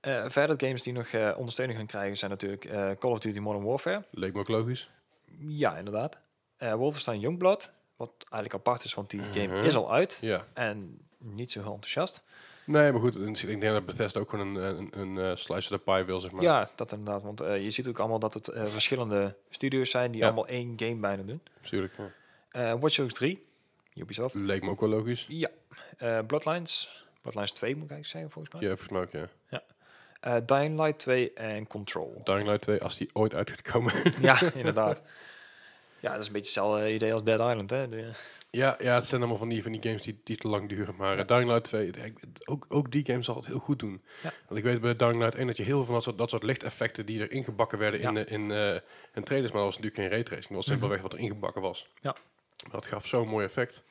A: Eh verder games die nog eh, ondersteuning gaan krijgen zijn natuurlijk eh, Call of Duty Modern Warfare.
B: Leek me ook logisch.
A: Ja, inderdaad. Eh, Wolfenstein Youngblood. Wat eigenlijk apart is, want die game
B: Mhm.
A: is al uit.
B: Ja.
A: En niet zo heel enthousiast.
B: Nee, maar goed, ik denk dat Bethesda ook gewoon een, een, een eh, slice of the pie wil, zeg maar.
A: Ja, dat inderdaad. Want eh, je ziet ook allemaal dat het eh, verschillende studios zijn die
B: Ja.
A: allemaal één game bijna doen.
B: Natuurlijk. ja.
A: Eh Watch Dogs 3, Ubisoft.
B: Leek me ook wel logisch.
A: ja. Eh, Bloodlines. Bloodlines 2 moet ik eigenlijk zeggen, volgens mij.
B: Ja, volgens mij ook, ja.
A: Eh, Dying Light 2 en Control.
B: Dying Light 2, als die ooit uit gaat komen.
A: ja, inderdaad. Ja, dat is een beetje hetzelfde idee als Dead Island, hè? De-
B: ja, ja, het zijn allemaal van die, van die games die, die te lang duren. Maar eh, Dying Light 2, ik- ook, ook die game zal het heel goed doen.
A: Ja.
B: Want ik weet bij Dying Light 1 dat je heel veel van dat soort, dat soort lichteffecten die er ingebakken werden in,
A: Ja. Mhm.
B: eh, in, eh, in trailers, maar dat was natuurlijk geen raytracing. Dat was simpelweg wat er ingebakken was.
A: Ja.
B: Maar dat gaf zo'n mooi effect.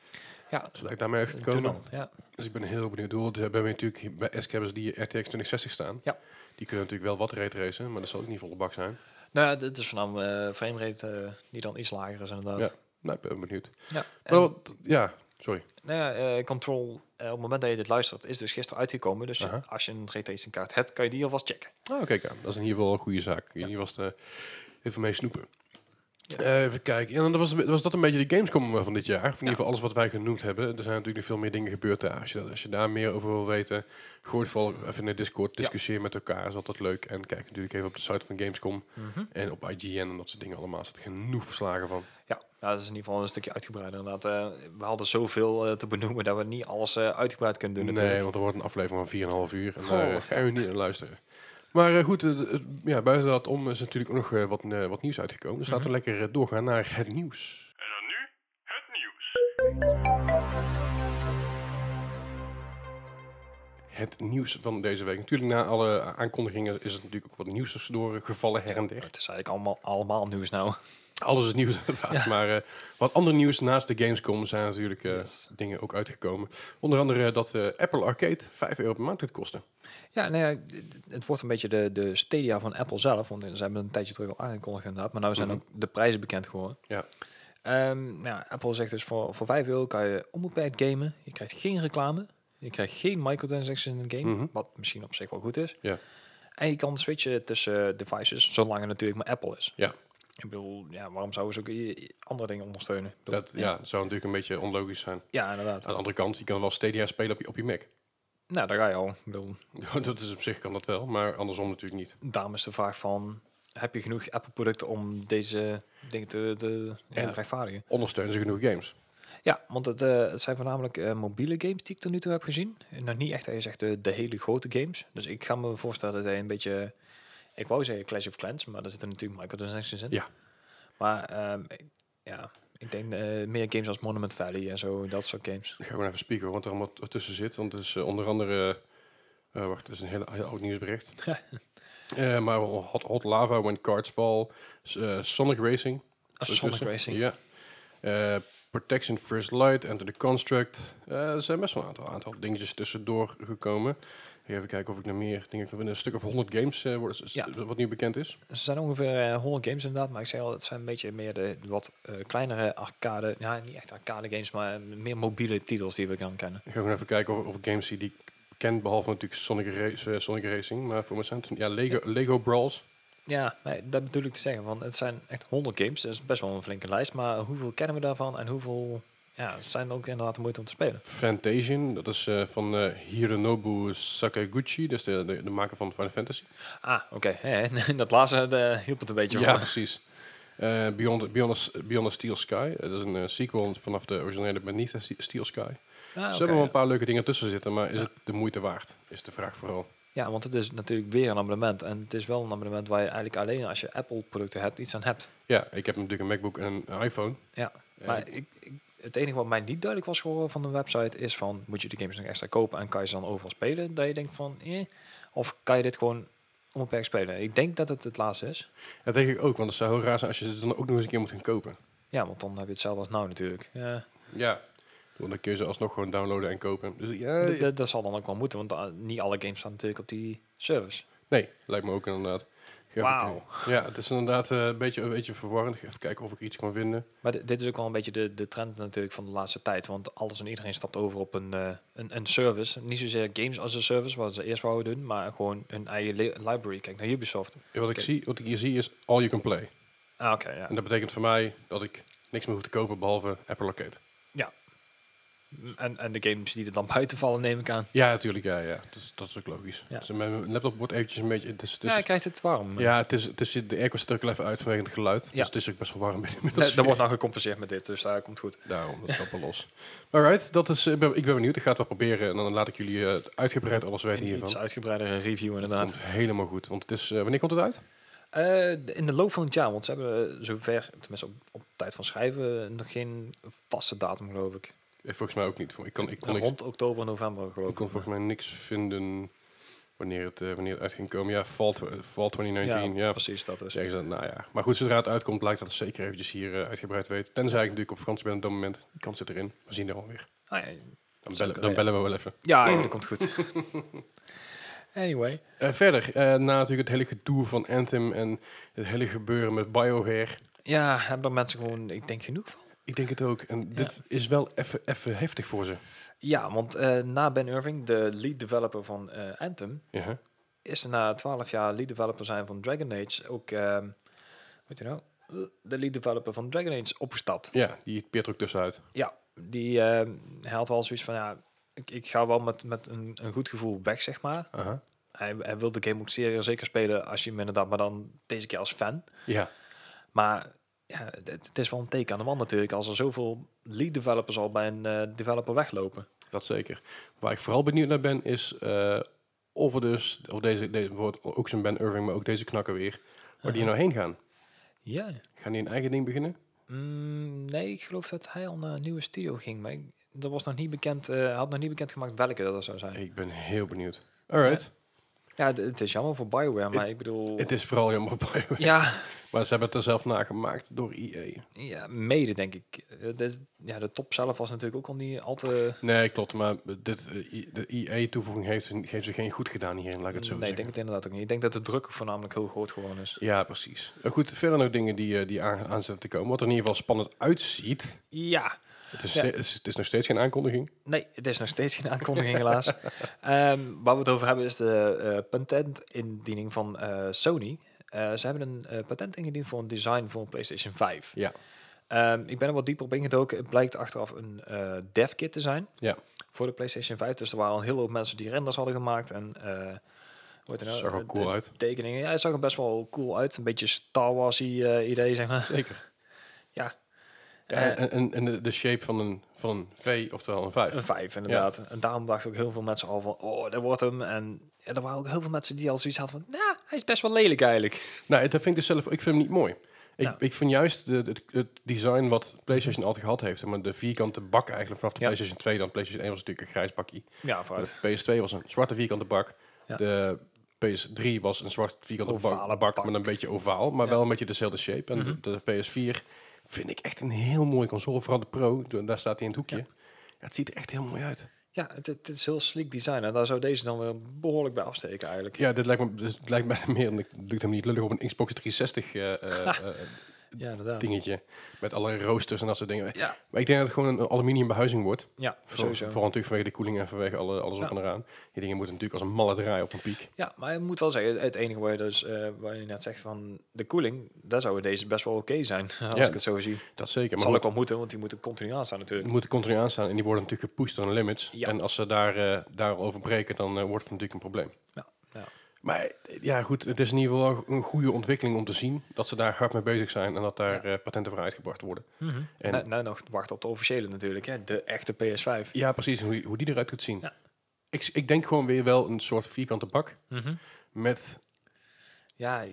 A: ja,
B: Zodat ik daarmee echt
A: doe
B: gekomen.
A: dan. Ja.
B: Dus ik ben heel benieuwd. Doel, we hebben natuurlijk bij SK hebben ze die RTX 2060 staan.
A: Ja.
B: Die kunnen natuurlijk wel wat raytracen, maar dat zal ook niet volle bak zijn.
A: Nou ja, dit is voornamelijk eh framerate eh, die dan iets lager is, inderdaad.
B: Ja. Nou, ik ben benieuwd.
A: Ja, en-
B: Maar wat- ja, sorry.
A: Nou ja, eh, Control, eh, op het moment dat je dit luistert, is dus gisteren uitgekomen. Dus je-
B: Aha.
A: als je een raytracing kaart hebt, kan je die alvast checken.
B: Nou, kijk aan. Dat is in ieder geval een goede zaak. Hier was het eh, even mee snoepen.
A: Yes.
B: Eh, even kijken. En dan was, was dat een beetje de Gamescom eh, van dit jaar. Of in ieder
A: Ja.
B: geval alles wat wij genoemd hebben. Er zijn natuurlijk nog veel meer dingen gebeurd daar. Als je, als je daar meer over wil weten, gooi het vooral even in de Discord. Discussieer met elkaar. is altijd leuk. En kijk natuurlijk even op de site van Gamescom.
A: Mhm.
B: En op IGN en dat soort dingen allemaal. Er zit genoeg verslagen van.
A: Ja, nou, dat is in ieder geval een stukje uitgebreider. Inderdaad, eh, we hadden zoveel eh, te benoemen dat we niet alles eh, uitgebreid kunnen doen.
B: nee,
A: natuurlijk.
B: want er wordt een aflevering van 4,5 uur. En
A: Goh.
B: daar eh, gaan we niet naar luisteren. Maar eh, goed, het- het- ja, buiten dat om is natuurlijk ook nog eh, wat, eh, wat nieuws uitgekomen. Dus laten we
A: Mhm.
B: lekker eh, doorgaan naar het nieuws.
C: En dan nu het nieuws.
B: Het nieuws van deze week. Natuurlijk, na alle aankondigingen is het natuurlijk ook wat nieuws tussendoor gevallen her en der.
A: Het is eigenlijk allemaal, allemaal nieuws nou.
B: Alles is nieuws inderdaad. Maar eh, wat ander nieuws naast de Gamescom zijn natuurlijk eh,
A: Yes.
B: dingen ook uitgekomen. Onder andere dat eh, Apple Arcade 5 euro per maand gaat kosten.
A: Ja, nou ja, d- het wordt een beetje de, de stadia van Apple zelf. Want ze hebben een tijdje terug al aangekondigd inderdaad. Maar nu zijn
B: Mhm.
A: ook de prijzen bekend geworden.
B: Ja.
A: Ehm, ja, Apple zegt dus voor, voor 5 euro kan je onbeperkt gamen. Je krijgt geen reclame. Je krijgt geen microtransactions in het game.
B: Mhm.
A: Wat misschien op zich wel goed is.
B: Ja.
A: En je kan switchen tussen devices, zolang het natuurlijk maar Apple is.
B: Ja.
A: Ik bedoel, ja, waarom zouden ze ook i- i- andere dingen ondersteunen? Ik bedoel,
B: Dat, ja, dat zou natuurlijk een beetje onlogisch zijn.
A: ja, inderdaad.
B: Aan de andere kant, je kan wel Stadia spelen op je, op je Mac.
A: Nou, daar ga je al. Ik bedoel,
B: dat is op zich kan dat wel, maar andersom natuurlijk niet.
A: daarom is de vraag van... Heb je genoeg Apple-producten om deze dingen te, te ja,
B: En-
A: rechtvaardigen?
B: Ondersteunen ze genoeg games.
A: Ja, want het, eh, het zijn voornamelijk eh, mobiele games die ik tot nu toe heb gezien. En nog niet echt, hij zegt, eh, de, de hele grote games. Dus ik ga me voorstellen dat hij een beetje... Ik wou zeggen Clash of Clans, maar daar zitten natuurlijk microtransactions in.
B: Ja.
A: Maar ehm, ik- ja, ik denk eh, meer games als Monument Valley en zo, dat soort games.
B: Ik ga gewoon even spieken wat er allemaal t- tussen zit. Want het is eh, onder andere... eh, eh, wacht, het is een heel, heel oud nieuwsbericht. Eh, maar wel hot, hot Lava, When Cards Fall, s- eh, Sonic Racing.
A: Ah,
B: ertussen.
A: Sonic Racing.
B: Dus Ja. eh, Protection First Light, Enter the Construct. Eh, er zijn best wel een aantal, aantal dingetjes tussendoor gekomen. Even kijken of ik nog meer dingen kan vinden. Een stuk of 100 games, eh, wordt- is-
A: Ja.
B: wat nu bekend is.
A: Er zijn ongeveer eh, 100 games inderdaad, maar ik zei al, het zijn een beetje meer de wat eh, kleinere arcade, ja, niet echt arcade games, maar eh, meer mobiele titels die we kan kennen.
B: Ik ga gewoon even kijken of, of ik games zie die ik ken, behalve natuurlijk Sonic, Race, eh, Sonic Racing. Maar voor mij zijn het ja, Lego, Lego Brawls.
A: Ja, nee, dat bedoel ik te zeggen, want het zijn echt 100 games, dat is best wel een flinke lijst, maar hoeveel kennen we daarvan en hoeveel ja, zijn er ook inderdaad de moeite om te spelen?
B: Fantasian, dat is eh, van eh, Hironobu Sakaguchi, dus de, de, de maker van Final Fantasy.
A: Ah, oké, hè, hè, dat laatste eh, hielp het een beetje
B: Ja,
A: voor.
B: precies. Eh, Beyond, Beyond, a S- Beyond a Steel Sky, dat is een eh, sequel vanaf de originele Beneath a Steel Sky.
A: Ah,
B: Ze
A: oké,
B: hebben wel
A: ja.
B: een paar leuke dingen tussen zitten, maar is het de moeite waard? Is de vraag vooral.
A: Ja, want het is natuurlijk weer een abonnement. En het is wel een abonnement waar je eigenlijk alleen als je Apple-producten hebt iets aan hebt.
B: Ja, ik heb natuurlijk een MacBook en een iPhone.
A: Ja,
B: Eh,
A: maar ik, ik- het enige wat mij niet duidelijk was geworden van de website is van... moet je de games nog extra kopen en kan je ze dan overal spelen? Dat je denkt van, eh, of kan je dit gewoon onbeperkt spelen? Ik denk dat het het laatste is.
B: Dat denk ik ook, want het zou heel raar zijn als je ze dan ook nog eens een keer moet gaan kopen.
A: Ja, want dan heb je hetzelfde als nou natuurlijk.
B: Eh,
A: Ja,
B: Ja. Want dan kun je ze alsnog gewoon downloaden en kopen. Dus ja,
A: d- d- dat zal dan ook wel moeten, want eh, niet alle games staan natuurlijk op die service.
B: nee, lijkt me ook inderdaad. Ik ga even
A: Wauw.
B: kijken. Ja, het is inderdaad eh, een, beetje, een beetje verwarrend. Ik ga even kijken of ik iets kan vinden.
A: Maar di- dit is ook wel een beetje de, de trend natuurlijk van de laatste tijd. Want alles en iedereen stapt over op een, eh, een, een service. Niet zozeer games als een service, wat ze eerst wouden doen. Maar gewoon hun eigen li- library. Kijk naar Ubisoft.
B: En wat, ik
A: Oké.
B: zie, wat ik hier zie is all you can play.
A: Ah, oké, ja.
B: En dat betekent voor mij dat ik niks meer hoef te kopen behalve Apple Arcade.
A: En, en de games die er dan buiten vallen, neem ik aan.
B: Ja, natuurlijk. Ja, ja. Dat, is, dat is ook logisch.
A: Ja.
B: Dus mijn laptop wordt eventjes een beetje... Het is, het is,
A: ja,
B: ja,
A: je krijgt Dus het warm.
B: het is, het is, de airco zit ook al even uit vanwege het geluid.
A: Ja.
B: Dus het is ook best wel warm binnen.
A: Eh,
B: inmiddels.
A: dat wordt nou gecompenseerd met dit, dus daar komt goed.
B: Daarom, dat is wel los. Alright, dat is, ik, ben, ik ben benieuwd. Ik ga het wel proberen. En dan laat ik jullie eh, uitgebreid alles weten
A: Een
B: hiervan.
A: iets uitgebreidere review
B: Dat
A: inderdaad.
B: komt helemaal goed. Want het is, eh, wanneer komt het uit?
A: Eh, d- in de loop van het jaar, want ze hebben eh, zover, tenminste op, op tijd van schrijven, eh, nog geen vaste datum geloof ik.
B: Eh, volgens mij ook niet. Ik kan, ik kon, niks-
A: Rond oktober, november geloof
B: ik kon volgens mij niks vinden wanneer het, eh, wanneer het uit ging komen. Ja, fall, tw- eh, fall 2019. Ja,
A: precies dat dus.
B: zeggen ze dat, nou ja. Maar goed, zodra het uitkomt, laat ik dat zeker eventjes hier eh, uitgebreid weten. Tenzij ik natuurlijk op vakantie ben op dat moment. Die kans zit erin. We zien er alweer.
A: Ah, ja,
B: Dan
A: Zo
B: bellen,
A: kan,
B: dan
A: ja.
B: bellen we wel even.
A: Ja, ja, dat komt goed. anyway.
B: Eh, verder, eh, na natuurlijk het hele gedoe van Anthem en het hele gebeuren met BioWare.
A: Ja, hebben mensen gewoon, ik denk, genoeg van?
B: Ik denk het ook. En dit is wel even even heftig voor ze.
A: Ja, want eh, na Ben Irving, de lead developer van eh, Anthem,
B: Ja.
A: is er na 12 jaar lead developer zijn van Dragon Age ook, ehm weet je nou, de lead developer van Dragon Age opgestapt.
B: ja, die peert er ook tussenuit.
A: Ja, die ehm hij had wel zoiets van, ja, ik, ik ga wel met, met een, een goed gevoel weg, zeg maar.
B: Aha.
A: Hij, hij wil de game ook zeer zeker spelen als je hem inderdaad, maar dan deze keer als fan.
B: Ja.
A: Maar ja, het, het is wel een teken aan de wand natuurlijk. Als er zoveel lead developers al bij een eh, developer weglopen.
B: Dat zeker. Waar ik vooral benieuwd naar ben, is eh, of er dus, of deze, deze wordt ook zo'n Ben Irving, maar ook deze knakker weer, waar die nou heen gaan.
A: Ja.
B: Gaan die een eigen ding beginnen?
A: Mm, nee, ik geloof dat hij al naar een nieuwe studio ging. Maar ik- dat was nog niet bekend. eh, hij had nog niet bekend gemaakt welke dat zou zijn.
B: Ik ben heel benieuwd. Alright.
A: Ja, d- het is jammer voor Bioware, maar ik bedoel.
B: Het is vooral jammer voor BioWare.
A: ja,
B: Maar ze hebben het er zelf nagemaakt door E. EA.
A: ja, mede denk ik. Eh, dit- ja, de top zelf was natuurlijk ook al niet al te.
B: Nee, klopt. Maar dit, eh, I- de EA-toevoeging heeft, heeft ze geen goed gedaan hierin, laat ik het zo
A: nee, ik
B: zeggen.
A: denk het inderdaad ook niet. Ik denk dat de druk voornamelijk heel groot geworden is.
B: Ja, precies. Eh, Goed, verder nog dingen die, eh, die aan, aan zitten te komen. Wat er in ieder geval spannend uitziet.
A: Ja,
B: Het is,
A: Ja.
B: het is, het is nog steeds geen aankondiging.
A: Nee, het is nog steeds geen aankondiging helaas. Ehm, waar we het over hebben is de eh, patentindiening van eh, Sony. Eh, ze hebben een eh, patent ingediend voor een design voor een PlayStation 5.
B: Ja.
A: Ehm, ik ben er wat dieper op ingedoken. Het blijkt achteraf een eh dev kit te zijn
B: Ja.
A: voor de PlayStation 5. Dus er waren al heel veel mensen die renders hadden gemaakt. En eh hoe heet het nou?
B: Zag er
A: De
B: cool uit.
A: Tekeningen. Ja, het zag er best wel cool uit. Een beetje Star Wars-y eh, idee, zeg maar.
B: Zeker.
A: Ja. Eh,
B: Ja, en en, en de, de shape van een, van een V, oftewel een 5.
A: Een vijf, inderdaad. En daarom dachten ook heel veel mensen al van, oh, dat wordt hem. En ja, er waren ook heel veel mensen die al zoiets hadden van, nou, hij is best wel lelijk eigenlijk.
B: Nou, dat vind ik dus zelf... Ik vind hem niet mooi. Ik,
A: Nou.
B: ik vind juist de, het, het design wat PlayStation altijd gehad heeft. Maar de vierkante bak eigenlijk vanaf de
A: Ja.
B: PlayStation 2 dan. PlayStation 1 was natuurlijk een grijs bakje.
A: Ja,
B: De
A: vooruit.
B: PS2 was een zwarte vierkante bak.
A: Ja.
B: De PS3 was een zwart vierkante bak,
A: Ovale
B: bak
A: bak.
B: met een beetje ovaal, maar
A: Ja. Mhm.
B: wel een beetje dezelfde shape. En de, de PS4 Vind ik echt een heel mooi console. Vooral de Pro, da- daar staat hij in het hoekje. Ja, het ziet er echt heel mooi uit.
A: Ja, het, het is heel sleek design. En daar zou deze dan wel behoorlijk bij afsteken eigenlijk.
B: Ja, dit lijkt me, dit lijkt me meer, omdat ik lukt hem niet lullig, op een Xbox 360 eh, eh, eh,
A: Ja, inderdaad.
B: dingetje. Met alle roosters en dat soort dingen.
A: Ja,
B: Maar ik denk dat het gewoon een aluminium behuizing wordt.
A: ja
B: Vooral,
A: sowieso.
B: vooral natuurlijk vanwege de koeling en vanwege alle, alles op
A: Ja.
B: en eraan. Die dingen moeten natuurlijk als een malle draaien op een piek.
A: Ja, maar ik moet wel zeggen, het enige waar je, dus, eh, waar je net zegt van de koeling, daar zou deze best wel oké zijn, als ik het zo zie.
B: Dat zeker.
A: Dat zal
B: Maar goed, Mm.
A: ook wel moeten, want die moeten continu aanstaan natuurlijk.
B: die moeten continu aanstaan en die worden natuurlijk gepusht door de limits.
A: Ja.
B: En als ze daar, eh daarover breken, dan eh, wordt het natuurlijk een probleem.
A: Ja, ja.
B: Maar eh, ja, goed, het is in ieder geval een goede ontwikkeling om te zien dat ze daar hard mee bezig zijn en dat daar eh, patenten voor uitgebracht worden. En-
A: En nou, nog wachten op de officiële natuurlijk, hè, de echte PS5.
B: Ja, precies, hoe, hoe die eruit kunt zien.
A: Ja.
B: Ik, ik denk gewoon weer wel een soort vierkante bak met
A: Ja,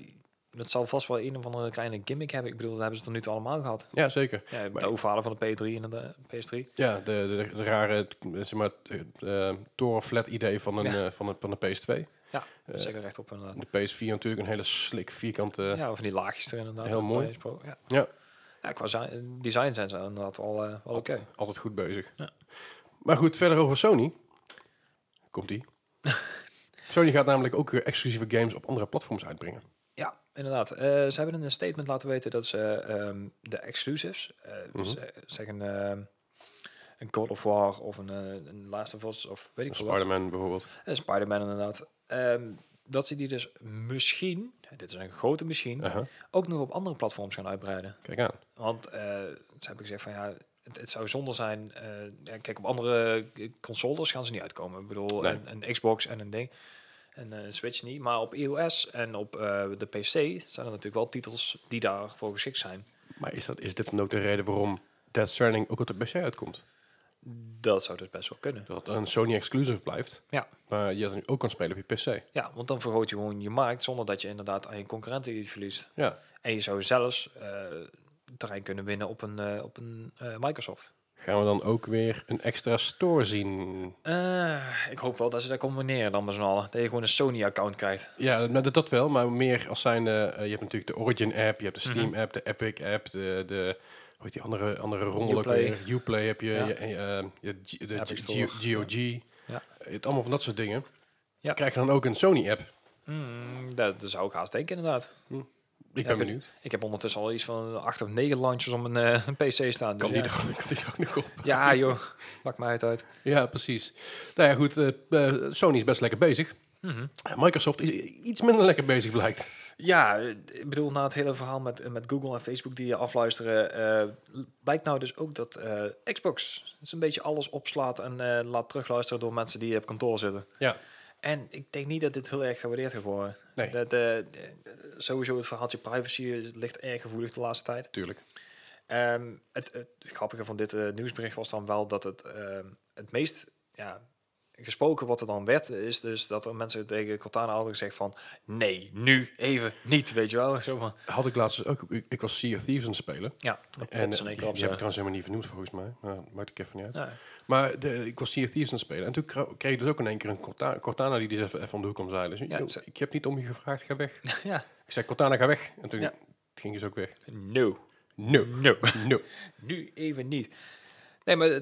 A: dat zal vast wel een of andere kleine gimmick hebben. Ik bedoel, dat hebben ze tot nu toe allemaal gehad.
B: Ja, zeker.
A: Ja, het
B: Maar- Eh.
A: overhalen van de P3 en de eh, PS3.
B: Ja, de, de, de rare t- zeg maar, eh, eh, torenflat idee van een,
A: Ja.
B: eh, van een, van een PS2.
A: Ja,
B: Eh,
A: zeker rechtop inderdaad.
B: De PS4 natuurlijk een hele slik vierkante... Ja,
A: ja, van die laagjes er inderdaad.
B: heel
A: op
B: mooi.
A: PS Pro, Ja. ja, qua zi- design zijn ze inderdaad al eh, wel oké.
B: altijd goed bezig.
A: Ja.
B: Maar goed, verder over Sony. Komt-ie. Sony gaat namelijk ook eh, exclusieve games op andere platforms uitbrengen.
A: Ja, inderdaad. Eh, ze hebben in een statement laten weten dat ze ehm, de exclusives, eh, ze- zeg een, ehm, een God of War of een, eh, een Last of Us of weet ik veel wat,
B: Spider-Man bijvoorbeeld.
A: Eh, Spider-Man inderdaad, Ehm, dat ze die dus misschien, dit is een grote misschien,
B: Aha,
A: ook nog op andere platforms gaan uitbreiden.
B: Kijk aan.
A: Want eh, ze hebben gezegd van ja, het, het zou zonde zijn. eh, ja, kijk, op andere eh, consoles gaan ze niet uitkomen. Ik bedoel,
B: Nee.
A: een, een Xbox en een ding. En eh, een Switch niet. Maar op iOS en op eh, de PC zijn er natuurlijk wel titels die daarvoor geschikt zijn.
B: Maar is, dat, is dit dan ook de reden waarom Dead Stranding ook op de PC uitkomt?
A: Dat zou dus best wel kunnen.
B: Dat het een Sony exclusive blijft,
A: Ja.
B: maar je dat nu ook kan spelen op je PC.
A: ja, want dan vergroot je gewoon je markt zonder dat je inderdaad aan je concurrenten iets verliest.
B: Ja,
A: En je zou zelfs eh, terrein kunnen winnen op een, eh, op een eh, Microsoft.
B: gaan we dan ook weer een extra store zien?
A: Eh, ik hoop wel dat ze dat combineren dan met z'n allen. Dat je gewoon een Sony-account krijgt.
B: Ja, nou, dat, dat wel, maar meer als zijn... eh, eh, je hebt natuurlijk de Origin-app, je hebt de
A: Mhm.
B: Steam-app, de Epic-app, de, de... Hoe heet die andere, andere rommel ook
A: Uplay.
B: weer? Uplay heb je,
A: Ja.
B: je, eh, je G- de
A: Epic
B: G-
A: Store.
B: G- GOG.
A: Ja.
B: Het allemaal van dat soort dingen.
A: Ja.
B: Krijg je dan ook een Sony-app?
A: Mm, dat, dat zou ik haast denken, inderdaad.
B: Ik
A: Ja,
B: ben benieuwd.
A: Ik heb ondertussen al iets van acht of negen launches om een, eh, een PC staan.
B: Kan,
A: dus
B: die
A: ja.
B: er, kan die er ook nog op?
A: ja, joh. Maakt mij het uit.
B: Ja, precies. Nou ja, goed. eh, eh, Sony is best lekker bezig.
A: Mhm.
B: Microsoft is iets minder lekker bezig, blijkt.
A: Ja, eh, ik bedoel, na het hele verhaal met, met Google en Facebook die je afluisteren, eh, blijkt nou dus ook dat eh, Xbox dus een beetje alles opslaat en eh, laat terugluisteren door mensen die op kantoor zitten.
B: Ja.
A: En ik denk niet dat dit heel erg gewaardeerd gaat worden.
B: Nee.
A: Dat, eh, eh, sowieso het verhaaltje privacy eh, ligt erg gevoelig de laatste tijd.
B: Tuurlijk.
A: Ehm, het, het grappige van dit eh, nieuwsbericht was dan wel dat het ehm, het meest ja, gesproken wat er dan werd, is dus dat er mensen tegen Cortana hadden gezegd van nee, nu even niet, weet je wel. Zo van,
B: Had ik laatst ook... Ik, ik was Sea of Thieves aan het spelen.
A: ja, dat
B: En
A: en,
B: eh,
A: in één
B: die
A: keer
B: heb
A: op
B: ik
A: zijn-
B: trouwens helemaal niet vernoemd volgens mij. Maar dat maakt ik even niet uit.
A: Ja,
B: Maar de, ik was Sea of Thieves aan het spelen. En toen kra- kreeg ik dus ook in één keer een Cortana, Cortana die dus even, even om de hoek kwam zeilen. Dus,
A: Ja,
B: "Yo,
A: ze-
B: ik heb niet om je gevraagd, ga weg.
A: ja,
B: ik zei, Cortana, ga weg. En toen
A: Ja.
B: ging ze ook weg.
A: no,
B: No,
A: no,
B: no.
A: nu even niet. Nee, maar eh,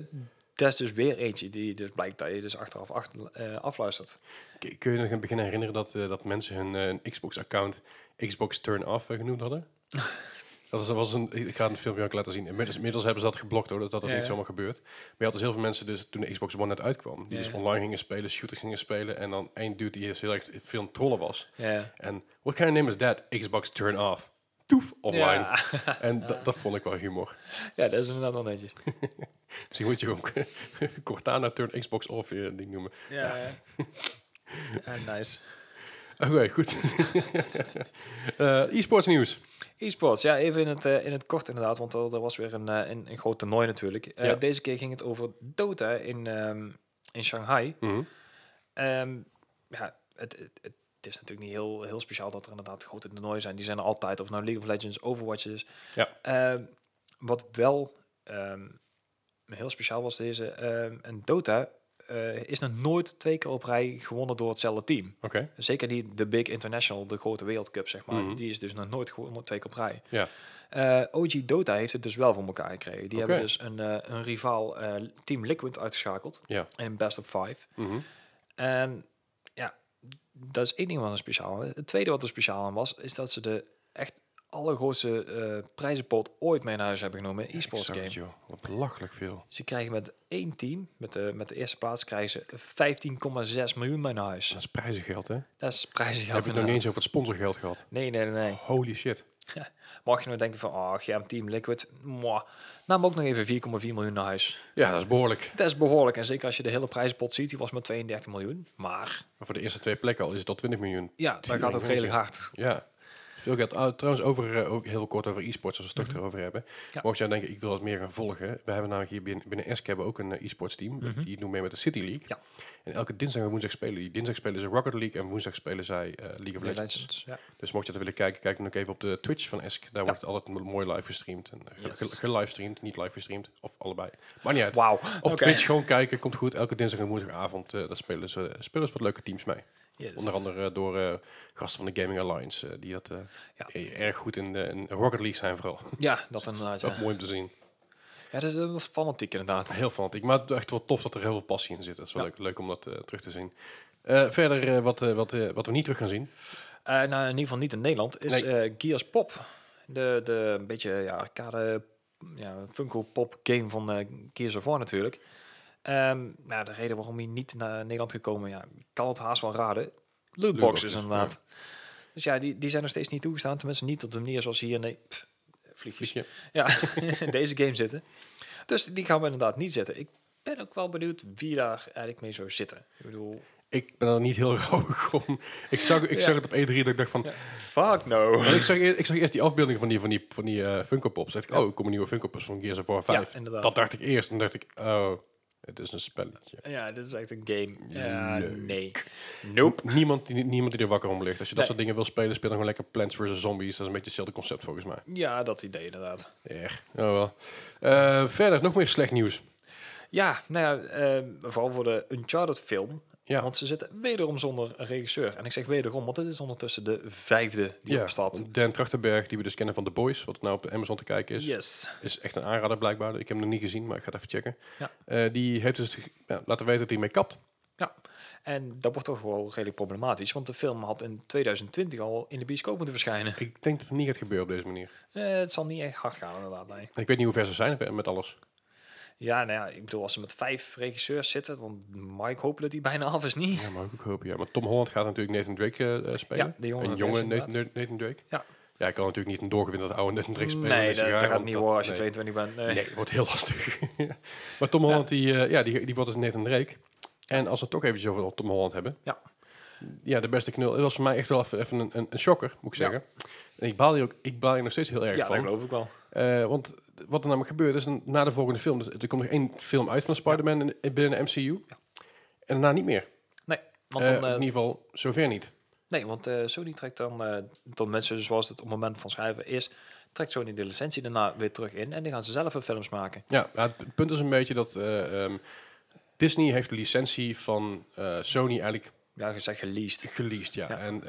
A: dat is dus weer eentje die dus blijkt dat je dus achteraf achter, eh, afluistert.
B: K- Kun je nog in het begin herinneren dat, eh, dat mensen hun eh, een Xbox-account Xbox Turn Off eh, genoemd hadden? dat is- dat was een, ik ga het filmpje ook laten zien. Inmiddels, inmiddels hebben ze dat geblokt hoor, dat dat,
A: Ja,
B: niet
A: ja.
B: zomaar gebeurt. Maar je had dus heel veel mensen dus, toen de Xbox One net uitkwam, die
A: Ja,
B: dus
A: ja.
B: online gingen spelen, shooters gingen spelen en dan één dude die dus heel erg veel aan het trollen was.
A: Ja.
B: En what kind of name is that? Xbox Turn Off. Toef, online.
A: Ja.
B: En dat, dat vond ik wel humor.
A: ja, dat is inderdaad wel netjes.
B: Misschien moet je gewoon Cortana Turn Xbox Off eh, ding noemen.
A: Ja, ja. Ah, nice.
B: Ah, Oké, goed. Eh, E-sports nieuws.
A: E-sports, ja, even in het, eh, in het kort inderdaad, want er, er was weer een, eh, een, een groot toernooi natuurlijk. Eh,
B: Ja.
A: Deze keer ging het over Dota in, ehm, in Shanghai.
B: Mhm.
A: Ehm, ja, het, het, het is natuurlijk niet heel, heel speciaal dat er inderdaad grote toernooien zijn. Die zijn er altijd, of het nou League of Legends, Overwatch is.
B: Ja.
A: Ehm, wat wel ehm, heel speciaal was deze, ehm, en Dota eh, is nog nooit twee keer op rij gewonnen door hetzelfde team.
B: Oké.
A: Zeker die de Big International, de grote wereldcup, zeg maar.
B: Mhm.
A: Die is dus nog nooit gewonnen, twee keer op rij.
B: Ja.
A: Eh, OG Dota heeft het dus wel voor elkaar gekregen. Die
B: Oké.
A: hebben dus een, eh, een rivaal eh, Team Liquid uitgeschakeld
B: Ja.
A: in Best of Five.
B: Mhm.
A: En ja, dat is één ding wat er speciaal aan was. Het tweede wat er speciaal aan was, is dat ze de echt allergrootste eh prijzenpot ooit mee naar huis hebben genomen in e-sports
B: Ik zag het,
A: game.
B: joh. Wat belachelijk veel.
A: Ze krijgen met één team, met de, met de eerste plaats, krijgen ze 15,6 miljoen mee naar huis.
B: Dat is prijzengeld, hè?
A: Dat is prijzengeld.
B: Heb ik nog niet
A: inderdaad.
B: eens over het sponsorgeld gehad.
A: Nee, nee, nee. nee.
B: Holy shit.
A: Mag je nou denken van, oh, GM Team Liquid, mwah. Nam ook nog even 4,4 miljoen naar huis.
B: Ja, dat is behoorlijk.
A: Dat is behoorlijk. En zeker als je de hele prijzenpot ziet, die was maar 32 miljoen. Maar
B: Maar voor de eerste twee plekken al is het al 20 miljoen.
A: ja, dan gaat het redelijk hard.
B: Ja. Veel geld. Ah, trouwens, over, eh, ook heel kort over e-sports, als we het toch erover hebben.
A: Mhm. Ja.
B: Mocht jij denken, ik wil dat meer gaan volgen. We hebben namelijk hier binnen, binnen ESC hebben we ook een eh, e-sports team. Die doen mee met de City League.
A: Mhm. Ja.
B: En elke dinsdag en woensdag spelen die. Dinsdag spelen ze Rocket League en woensdag spelen zij eh, League of
A: De
B: Legends.
A: Legends, ja.
B: Dus mocht je dat willen kijken, kijk dan ook even op de Twitch van ESC. Daar wordt het altijd m- mooi live gestreamd. En, eh, ge-
A: Yes.
B: ge- gelivestreamd, niet live gestreamd. Of allebei. Maar niet uit.
A: Wauw.
B: Op
A: oké.
B: Twitch gewoon kijken, komt goed. Elke dinsdag en woensdagavond eh, daar spelen ze, spelen ze wat leuke teams mee.
A: Yes.
B: Onder andere eh, door eh, gasten van de Gaming Alliance, eh, die dat eh,
A: Ja.
B: eh, erg goed in, de, in Rocket League zijn vooral.
A: Ja, dat inderdaad.
B: Dat
A: Ja.
B: is mooi om te zien.
A: Ja, dat is eh, wel fanatiek inderdaad.
B: Heel fanatiek, maar het is echt wel tof dat er heel veel passie in zit. Dat is wel leuk, leuk om dat eh, terug te zien. Eh, verder, eh, wat, eh, wat, eh, wat we niet terug gaan zien.
A: Eh, nou, in ieder geval niet in Nederland. Is eh Gears Pop. De, de een beetje ja, arcade, ja, Funko Pop game van eh Gears of War natuurlijk. Ehm, nou, de reden waarom hij niet naar Nederland gekomen, ja, ik kan het haast wel raden.
B: Lootboxes,
A: Lootboxes inderdaad. Dus ja, die, die zijn nog steeds niet toegestaan. Tenminste niet op de manier zoals hier nee, pff, vliegjes.
B: Vliegje.
A: Ja, in deze game zitten. Dus die gaan we inderdaad niet zetten. Ik ben ook wel benieuwd wie daar eigenlijk mee zou zitten. Ik bedoel,
B: Ik ben er niet heel rauwig om. Ik zag, ik
A: Ja.
B: zag het op E3 dat ik dacht van...
A: fuck no.
B: Maar ik, zag, eer- ik zag eerst die afbeelding van die, van die, van die eh, Funko Pops. Dacht ik, oh, er komen nieuwe Funko Pops van Gears of War 5.
A: inderdaad.
B: dat dacht ik eerst. En dacht ik, oh, het is een spelletje.
A: Ja, dit is echt een game. Ja,
B: Leuk.
A: nee. Nope.
B: Niemand die, niemand die er wakker om ligt. Als je dat
A: Nee.
B: soort dingen wil spelen, speel dan gewoon lekker Plants vs. Zombies. Dat is een beetje hetzelfde concept volgens mij.
A: Ja, dat idee inderdaad.
B: Echt. Oh wel. Eh, verder, nog meer slecht nieuws.
A: Ja, nou ja, eh, vooral voor de Uncharted film.
B: Ja.
A: Want ze zitten wederom zonder een regisseur. En ik zeg wederom, want dit is ondertussen de vijfde die opstapt.
B: Dan Trachtenberg, die we dus kennen van The Boys, wat nou op Amazon te kijken is.
A: Yes.
B: Is echt een aanrader blijkbaar. Ik heb hem nog niet gezien, maar ik ga het even checken.
A: Ja.
B: Eh, die heeft dus ge- ja, laten weten dat hij mee kapt.
A: Ja. En dat wordt toch wel redelijk problematisch. Want de film had in 2020 al in de bioscoop moeten verschijnen.
B: Ik denk dat het niet gaat gebeuren op deze manier.
A: Eh, het zal niet echt hard gaan inderdaad, nee.
B: Ik weet niet hoe ver ze zijn met alles.
A: Ja, nou ja, ik bedoel, als ze met vijf regisseurs zitten, dan mag ik hopen dat die bijna af is niet.
B: Ja, maar ook hopen. Ja. Maar Tom Holland gaat natuurlijk Nathan Drake eh, eh, spelen.
A: Ja, de jonge
B: een jonge
A: versie,
B: Nathan, Nathan Drake.
A: Ja.
B: Ja, ik kan natuurlijk niet een doorgewinterde oude Nathan Drake spelen.
A: Nee,
B: deze
A: dat,
B: jaar,
A: dat gaat
B: want
A: niet
B: dat-
A: worden als je
B: nee.
A: 22 bent. Nee.
B: Nee, dat wordt heel lastig. maar Tom Holland, die, eh, ja, die, die wordt dus Nathan Drake. En als we het toch eventjes over Tom Holland hebben.
A: Ja.
B: Ja, de beste knul. Dat was voor mij echt wel even, even een, een, een shocker, moet ik
A: Ja.
B: zeggen. En ik baal hier ook, ik baal hier nog steeds heel erg
A: Ja,
B: van.
A: dat geloof ik wel.
B: Eh, want wat er namelijk gebeurt is, een- na de volgende film, dus er komt nog één film uit van Spider-Man in- binnen de MCU. En daarna niet meer.
A: Nee, want,
B: Eh,
A: dan, eh,
B: in ieder geval, zover niet.
A: nee, want eh, Sony trekt dan, eh dan mensen zoals het op het moment van schrijven is, trekt Sony de licentie daarna weer terug in en dan gaan ze zelf hun films maken.
B: Ja, maar het punt is een beetje dat eh, ehm, Disney heeft de licentie van eh, Sony eigenlijk
A: Ja, gezegd geleased.
B: geleased, ja.
A: Ja.
B: En eh,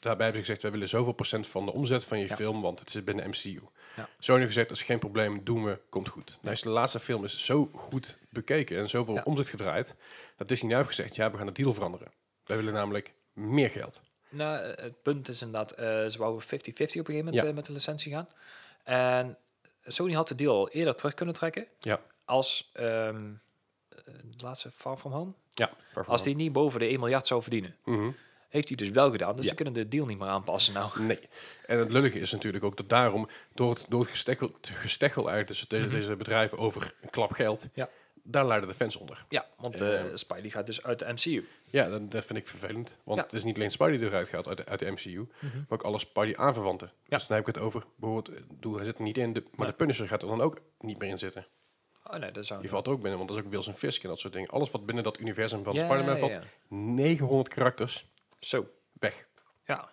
B: daarbij hebben ze gezegd, wij willen zoveel procent van de omzet van je
A: Ja.
B: film, want het zit binnen MCU.
A: Ja.
B: Sony heeft gezegd, dat is geen probleem, doen we, komt goed. Nou is de laatste film is zo goed bekeken en zoveel
A: Ja.
B: omzet gedraaid, dat Disney nu heeft gezegd, ja, we gaan de deal veranderen. Wij willen namelijk meer geld.
A: Nou, eh, het punt is inderdaad, eh, ze wouden 50-50 op een gegeven moment
B: Ja.
A: eh, met de licentie gaan. En Sony had de deal al eerder terug kunnen trekken
B: Ja.
A: als ehm, eh, de laatste Far From Home,
B: Ja, waarvan
A: als die niet boven de 1 miljard zou verdienen.
B: dan? Mhm.
A: Heeft hij dus wel gedaan, dus
B: Ja.
A: ze kunnen de deal niet meer aanpassen nou.
B: Mhm. Nee. En het lullige is natuurlijk ook dat daarom, door het, door het gestekkel, het gestekkel eigenlijk tussen deze, deze bedrijven over een klap geld,
A: Mhm. Ja.
B: daar leiden de fans onder.
A: Ja, want eh Spidey gaat dus uit de MCU.
B: Ja, dat, dat vind ik vervelend. Want
A: Ja. Mhm.
B: het is niet alleen Spidey die eruit gaat uit de, uit de MCU, maar ook alle Spidey-aanverwanten. Dus dan heb ik het over, bijvoorbeeld, eh, doe, hij zit er niet in, de, maar
A: Nee.
B: de Punisher gaat er dan ook niet meer in zitten.
A: Oh nee, dat zou
B: Die valt er ook binnen, want dat is ook Wilson Fisk en dat soort dingen. Alles wat binnen dat universum van
A: Ja,
B: Spider-Man
A: ja,
B: valt,
A: ja.
B: 900 karakters,
A: Zo,
B: weg.
A: ja.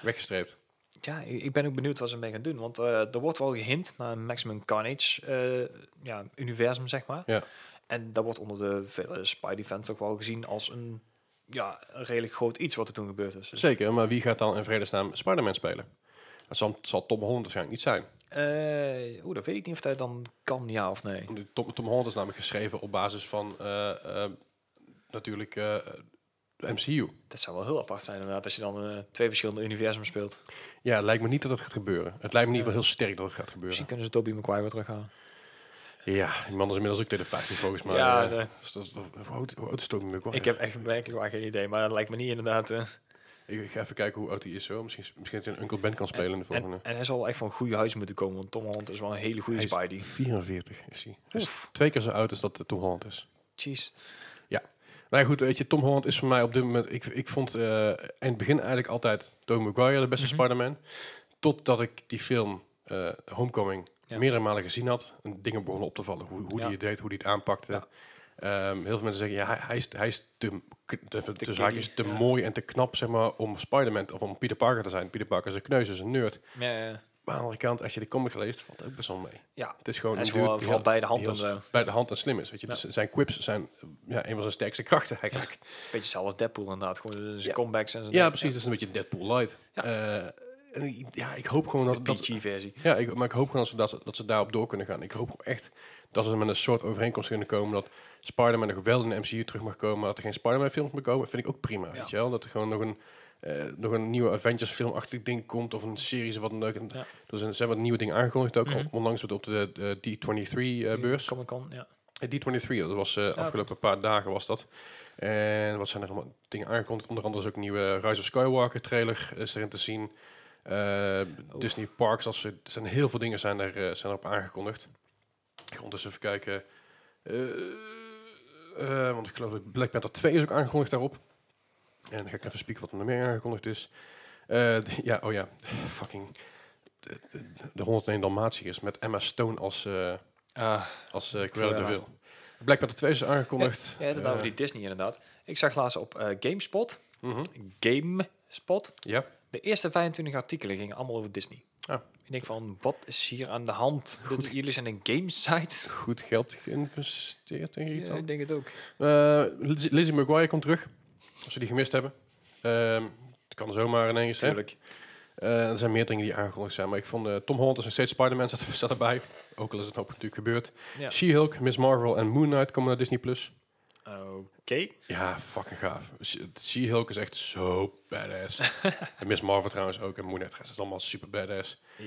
B: Weggestreept.
A: Ja, ik ik ben ook benieuwd wat ze mee gaan doen. Want eh, er wordt wel gehint naar een Maximum Carnage eh, ja, universum, zeg maar.
B: Ja.
A: En dat wordt onder de vele Spidey-fans ook wel gezien als een, ja, een redelijk groot iets wat er toen gebeurd is. Dus,
B: Zeker, maar wie gaat dan in vredesnaam Spider-Man spelen? Dat zal, zal Tom Holland waarschijnlijk niet zijn.
A: eh, Oeh, dat weet ik niet of dat dan kan, ja of nee.
B: De Tom, Tom Holland is namelijk geschreven op basis van eh, eh, natuurlijk eh, de MCU.
A: Dat zou wel heel apart zijn inderdaad, als je dan eh, twee verschillende universums speelt.
B: Ja, het lijkt me niet dat het gaat gebeuren. Het lijkt me in ieder geval heel sterk dat het gaat gebeuren.
A: Misschien kunnen ze Tobey Maguire weer terughalen.
B: Ja, die man is inmiddels ook tegen de 15 volgens mij.
A: Ja,
B: Eh,
A: de-
B: dus dat is toch- hoe oud- hoe oud is Tobey Maguire?
A: Ik heb echt werkelijk waar geen idee, maar dat lijkt me niet inderdaad. eh.
B: Ik ga even kijken hoe oud hij is. Zo. Misschien, misschien dat hij een Uncle Ben kan spelen in de volgende.
A: en, en hij zal echt van een goede huis moeten komen, want Tom Holland is wel een hele goede
B: Hij is
A: Spidey.
B: 44 is hij. Hij is twee keer zo oud als dat eh, Tom Holland is.
A: Jeez.
B: Nou ja, goed, weet je, Tom Holland is voor mij op dit moment... Ik, ik vond eh, in het begin eigenlijk altijd Tobey Maguire de
A: Mhm.
B: beste Spider-Man. Totdat ik die film eh, Homecoming
A: Ja.
B: meerdere malen gezien had. En dingen begonnen op te vallen. Hoe, hoe
A: Ja.
B: die het deed, hoe die het aanpakte.
A: Ja.
B: Ehm, heel veel mensen zeggen, ja, hij, hij is, hij is te, k- te, te,
A: kiddie,
B: haakjes te
A: ja.
B: mooi en te knap zeg maar, om Spider-Man of om Peter Parker te zijn. Peter Parker is een kneus, is een nerd.
A: Ja, ja, ja.
B: Maar aan de andere kant, als je de comics leest, valt het ook best wel mee.
A: ja.
B: Het is gewoon
A: Hij is
B: een dude
A: wel-
B: die
A: vooral bij de hand
B: die
A: en
B: heel
A: zo.
B: s- Bij de hand en slim is. Weet je.
A: Ja.
B: Dus zijn quips zijn ja, een van zijn sterkste krachten eigenlijk.
A: Beetje hetzelfde als Deadpool inderdaad, gewoon zijn
B: Ja.
A: comebacks en zijn eh,
B: Ja, precies. Dat is een beetje Deadpool Light. Eh,
A: Ja.
B: en ik- ja, ik hoop gewoon dat... dat
A: PG-versie.
B: ja, ik, maar ik hoop gewoon dat ze, dat, ze- dat ze daarop door kunnen gaan. Ik hoop gewoon echt dat ze met een soort overeenkomst kunnen komen dat Spider-Man nog wel in de MCU terug mag komen, maar dat er geen Spider-Man films meer komen, vind ik ook prima, weet je wel. Dat er gewoon nog een, eh, nog een nieuwe Avengers filmachtig ding komt of een serie of wat dan ook. En
A: Ja. Mhm.
B: Er zijn, zijn wat nieuwe dingen aangekondigd ook, onlangs op de, de D23 eh, beurs.
A: Comic Con, ja.
B: Eh, D23, dat was eh, afgelopen paar dagen was dat. En wat zijn er allemaal dingen aangekondigd? Onder andere is ook een nieuwe Rise of Skywalker trailer is erin te zien. Eh, Disney Parks, als er er zijn heel veel dingen zijn, er, eh, zijn erop aangekondigd. Ik ga ondertussen even kijken. Eh, eh, want ik geloof dat Black Panther 2 is ook aangekondigd daarop. En dan ga ik even spieken wat er nog meer aangekondigd is. Eh, d- ja, oh ja, fucking... De, de, de 101 Dalmatiërs met Emma Stone als... eh, als eh Cruella de
A: Cruella.
B: Vil. Black Panther 2 is aangekondigd.
A: Ja, het is nou
B: Eh,
A: over die Disney inderdaad. Ik zag laatst op eh, GameSpot.
B: mhm.
A: GameSpot.
B: Ja,
A: De eerste 25 artikelen gingen allemaal over Disney.
B: Ah.
A: Ik denk van, wat is hier aan de hand? Dit is- jullie zijn een gamesite.
B: goed geld geïnvesteerd, denk ik
A: Ja,
B: dan.
A: ik denk het ook.
B: Eh, Liz- Lizzie McGuire komt terug, als ze die gemist hebben. Ehm, het kan zomaar ineens. Hè?
A: Tuurlijk.
B: Eh, er zijn meer dingen die aangekondigd zijn, maar ik vond eh, Tom Holland is nog steeds Spider-Man zat, zat erbij. Ook al is het nou natuurlijk gebeurd.
A: Ja.
B: She-Hulk, Miss Marvel en Moon Knight komen naar Disney+. Plus.
A: Oké.
B: Ja, fucking gaaf. She- She-Hulk is echt zo badass. en Miss Marvel trouwens ook. En Moon Knight het is allemaal super badass.
A: Ja.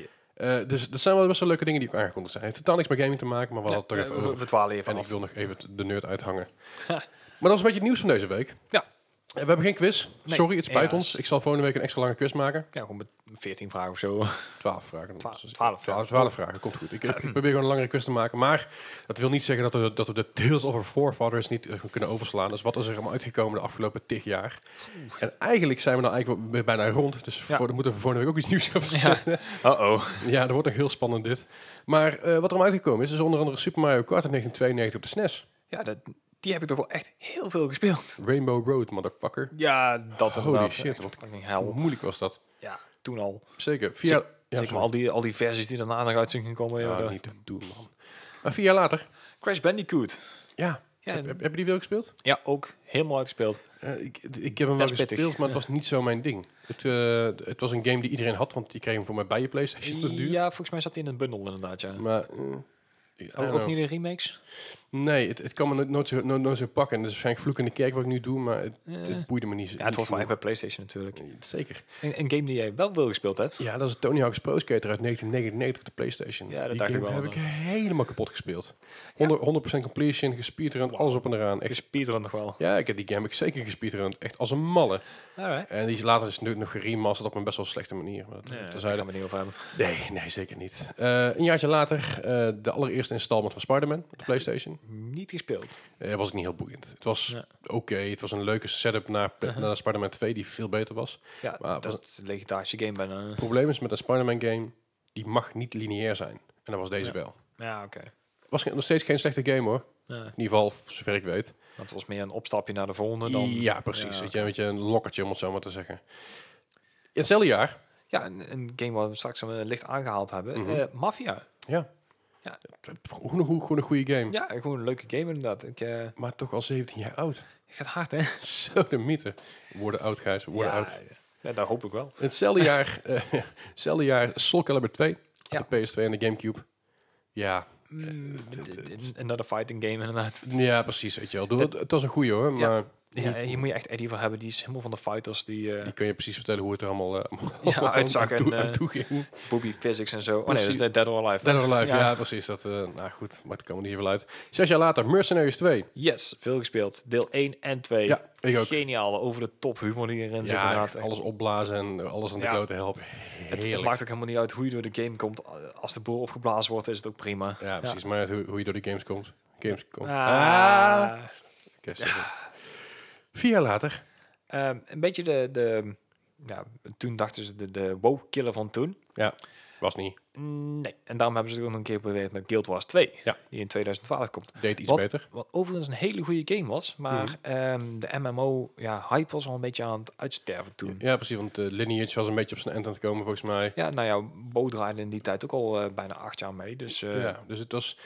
B: Eh, dus dat zijn wel best wel leuke dingen die ook aangekondigd zijn. Het heeft totaal niks met gaming te maken, maar we
A: Ja,
B: hadden het toch
A: Eh, we-
B: even
A: we, we
B: over.
A: dwalen hiervan
B: En ik
A: af.
B: wil nog even t- de nerd uithangen. maar dat was een beetje het nieuws van deze week.
A: Ja.
B: Eh, We hebben geen quiz.
A: Nee,
B: Sorry, het spijt
A: helaas.
B: ons. Ik zal volgende week een extra lange quiz maken.
A: Ja, gewoon met 14 vragen of zo.
B: Twaalf vragen.
A: Twa-
B: Dus-
A: twaalf, ja.
B: twaalf, twaalf vragen, komt goed. Ik eh, probeer gewoon een langere quiz te maken. Maar dat wil niet zeggen dat we, dat we de Tales of Our Forefathers niet eh, kunnen overslaan. Dus wat is er allemaal uitgekomen de afgelopen tig jaar? En eigenlijk zijn we nou eigenlijk wel weer bijna rond. Dus
A: Ja.
B: voor, dan moeten we volgende week ook iets nieuws gaan verzinnen.
A: Uh-oh.
B: Ja. dat wordt nog heel spannend dit. Maar eh, wat er allemaal uitgekomen is, is onder andere Super Mario Kart in 1992 op de E SNES.
A: Ja, dat, die heb ik toch wel echt heel veel gespeeld.
B: Rainbow Road, motherfucker.
A: Ja, dat
B: Holy
A: inderdaad.
B: shit,
A: Echt
B: wat-
A: fucking
B: Hoe
A: hell.
B: moeilijk was dat?
A: Ja, toen al.
B: Zeker.
A: Zeg-
B: Vier jaar- ja,
A: Zeg maar,
B: sorry.
A: al die, al die versies die daarna nog uit zijn gekomen. joh,
B: Ja,
A: dat-
B: niet te doen, man. Maar vier jaar later,
A: Crash Bandicoot.
B: ja.
A: Ja,
B: Heb, heb, heb je die wel gespeeld?
A: Ja, ook helemaal uitgespeeld.
B: Eh, ik, ik heb hem wel
A: Best pittig.
B: gespeeld, maar het was niet zo mijn ding. Het, eh, het was een game die iedereen had, want die kreeg hem voor mij bij je PlayStation. Dat duur.
A: Ja, volgens mij zat hij in een bundel inderdaad, ja.
B: Maar eh, I don't
A: Ook, ook
B: know.
A: niet de remakes?
B: Nee, het, het kan me nooit- nooit zo, nooit, nooit zo pakken. En dat is waarschijnlijk vloek in de kerk wat ik nu doe, maar het, het boeide me niet.
A: Eh, Ja, het hoort wel echt bij PlayStation natuurlijk.
B: Oh. Zeker.
A: Een, een game die jij wel veel gespeeld hebt.
B: Ja, dat is Tony Hawk's Pro Skater uit 1999 op de PlayStation.
A: Ja, dat
B: Die
A: dacht ik
B: game
A: wel,
B: heb ik helemaal kapot gespeeld. 100, 100% completion, gespeedrun, alles op en eraan.
A: Je
B: Echt,
A: speedrun dus nog wel.
B: ja, ik heb die game heb ik zeker gespeedrun. Echt als een malle.
A: Alright.
B: En die is later is nu nog geremasterd op een best wel slechte manier. Maar dat,
A: Ja, daar
B: dat
A: gaan
B: zeiden-
A: we het niet over hebben.
B: Nee, nee, zeker niet. Eh, een jaartje later, eh, de allereerste installment van Spider-Man op de PlayStation.
A: Niet gespeeld.
B: Eh, was het niet heel boeiend. Het was
A: Ja. Uh-huh.
B: oké, het was een leuke setup naar, pla- naar Spider-Man 2, die veel beter was.
A: Ja,
B: Maar
A: dat is een legendarische game bijna.
B: Het probleem is met een Spider-Man game, die mag niet lineair zijn. En dat was deze
A: Ja.
B: wel.
A: Ja, oké.
B: Was ge- nog steeds geen slechte game hoor.
A: Ja,
B: In ieder geval, voor zover ik weet.
A: dat was meer een opstapje naar de volgende dan...
B: ja, precies.
A: Ja,
B: Weet je, weet je, een lokkertje om het zo maar te zeggen. Hetzelfde jaar. Mhm.
A: Ja, een, een game waar we straks een licht aangehaald hebben. eh, Mafia.
B: Ja.
A: Ja.
B: Gewoon een, goe- gewoon een goede game.
A: Ja, gewoon een leuke game inderdaad. Ik, eh,
B: Maar toch al 17 jaar oud.
A: het gaat hard, hè?
B: Zo de mythe. Worden oud, Gijs. Worden
A: ja,
B: oud.
A: Ja, dat hoop ik wel. Hetzelfde
B: Hetzelfde jaar, eh, hetzelfde jaar Soul Calibur 2.
A: Ja.
B: Op de PS2 en de Gamecube. Ja, Mm,
A: Eh, Another fighting game inderdaad.
B: ja precies. Weet je wel. Doe-
A: Dat-
B: het was een goeie hoor,
A: Ja.
B: maar
A: Ja, hier moet je echt Eddie voor hebben. Die is helemaal van de fighters. Die eh
B: die kun je precies vertellen hoe het er allemaal, eh,
A: Ja,
B: allemaal
A: uitzag en,
B: aan, toe, aan
A: eh,
B: toe ging.
A: booby physics en zo. Oh nee, dat
B: Precies.
A: is Dead Dead or Alive.
B: Dead or Alive, ja.
A: ja.
B: precies. Dat, eh, nou goed, maar dat kan me niet even uit. Zes jaar later, Mercenaries 2.
A: Yes, veel gespeeld. Deel 1 en 2.
B: Ja, ik ook.
A: Geniale, over de top humor die erin zit.
B: Ja,
A: inderdaad.
B: echt alles opblazen en alles aan de
A: Ja.
B: klote helpen.
A: Het, het
B: Heerlijk.
A: maakt ook helemaal niet uit hoe je door de game komt. Als de boel opgeblazen wordt, is het ook prima.
B: Ja, precies. Maar hoe, hoe je door die games komt. Games komt. Ah.
A: Ah.
B: Oké, sorry. Vier jaar later.
A: Ehm, een beetje de... de ja, toen dachten ze de, de wow-killer van toen.
B: Ja, was niet.
A: Nee, en daarom hebben ze het ook nog een keer geprobeerd met Guild Wars 2.
B: Ja.
A: Die in 2012 komt.
B: Deed iets
A: Wat?
B: beter.
A: Wat overigens een hele goede game was. Maar
B: Mhm.
A: ehm, de MMO-hype was al een beetje aan het uitsterven toen.
B: Ja, precies. Want eh, Lineage was een beetje op zijn eind aan het komen, volgens mij.
A: Ja, nou ja, Bo draaide in die tijd ook al eh, bijna acht jaar mee. Dus eh, ja.
B: ja, dus het was...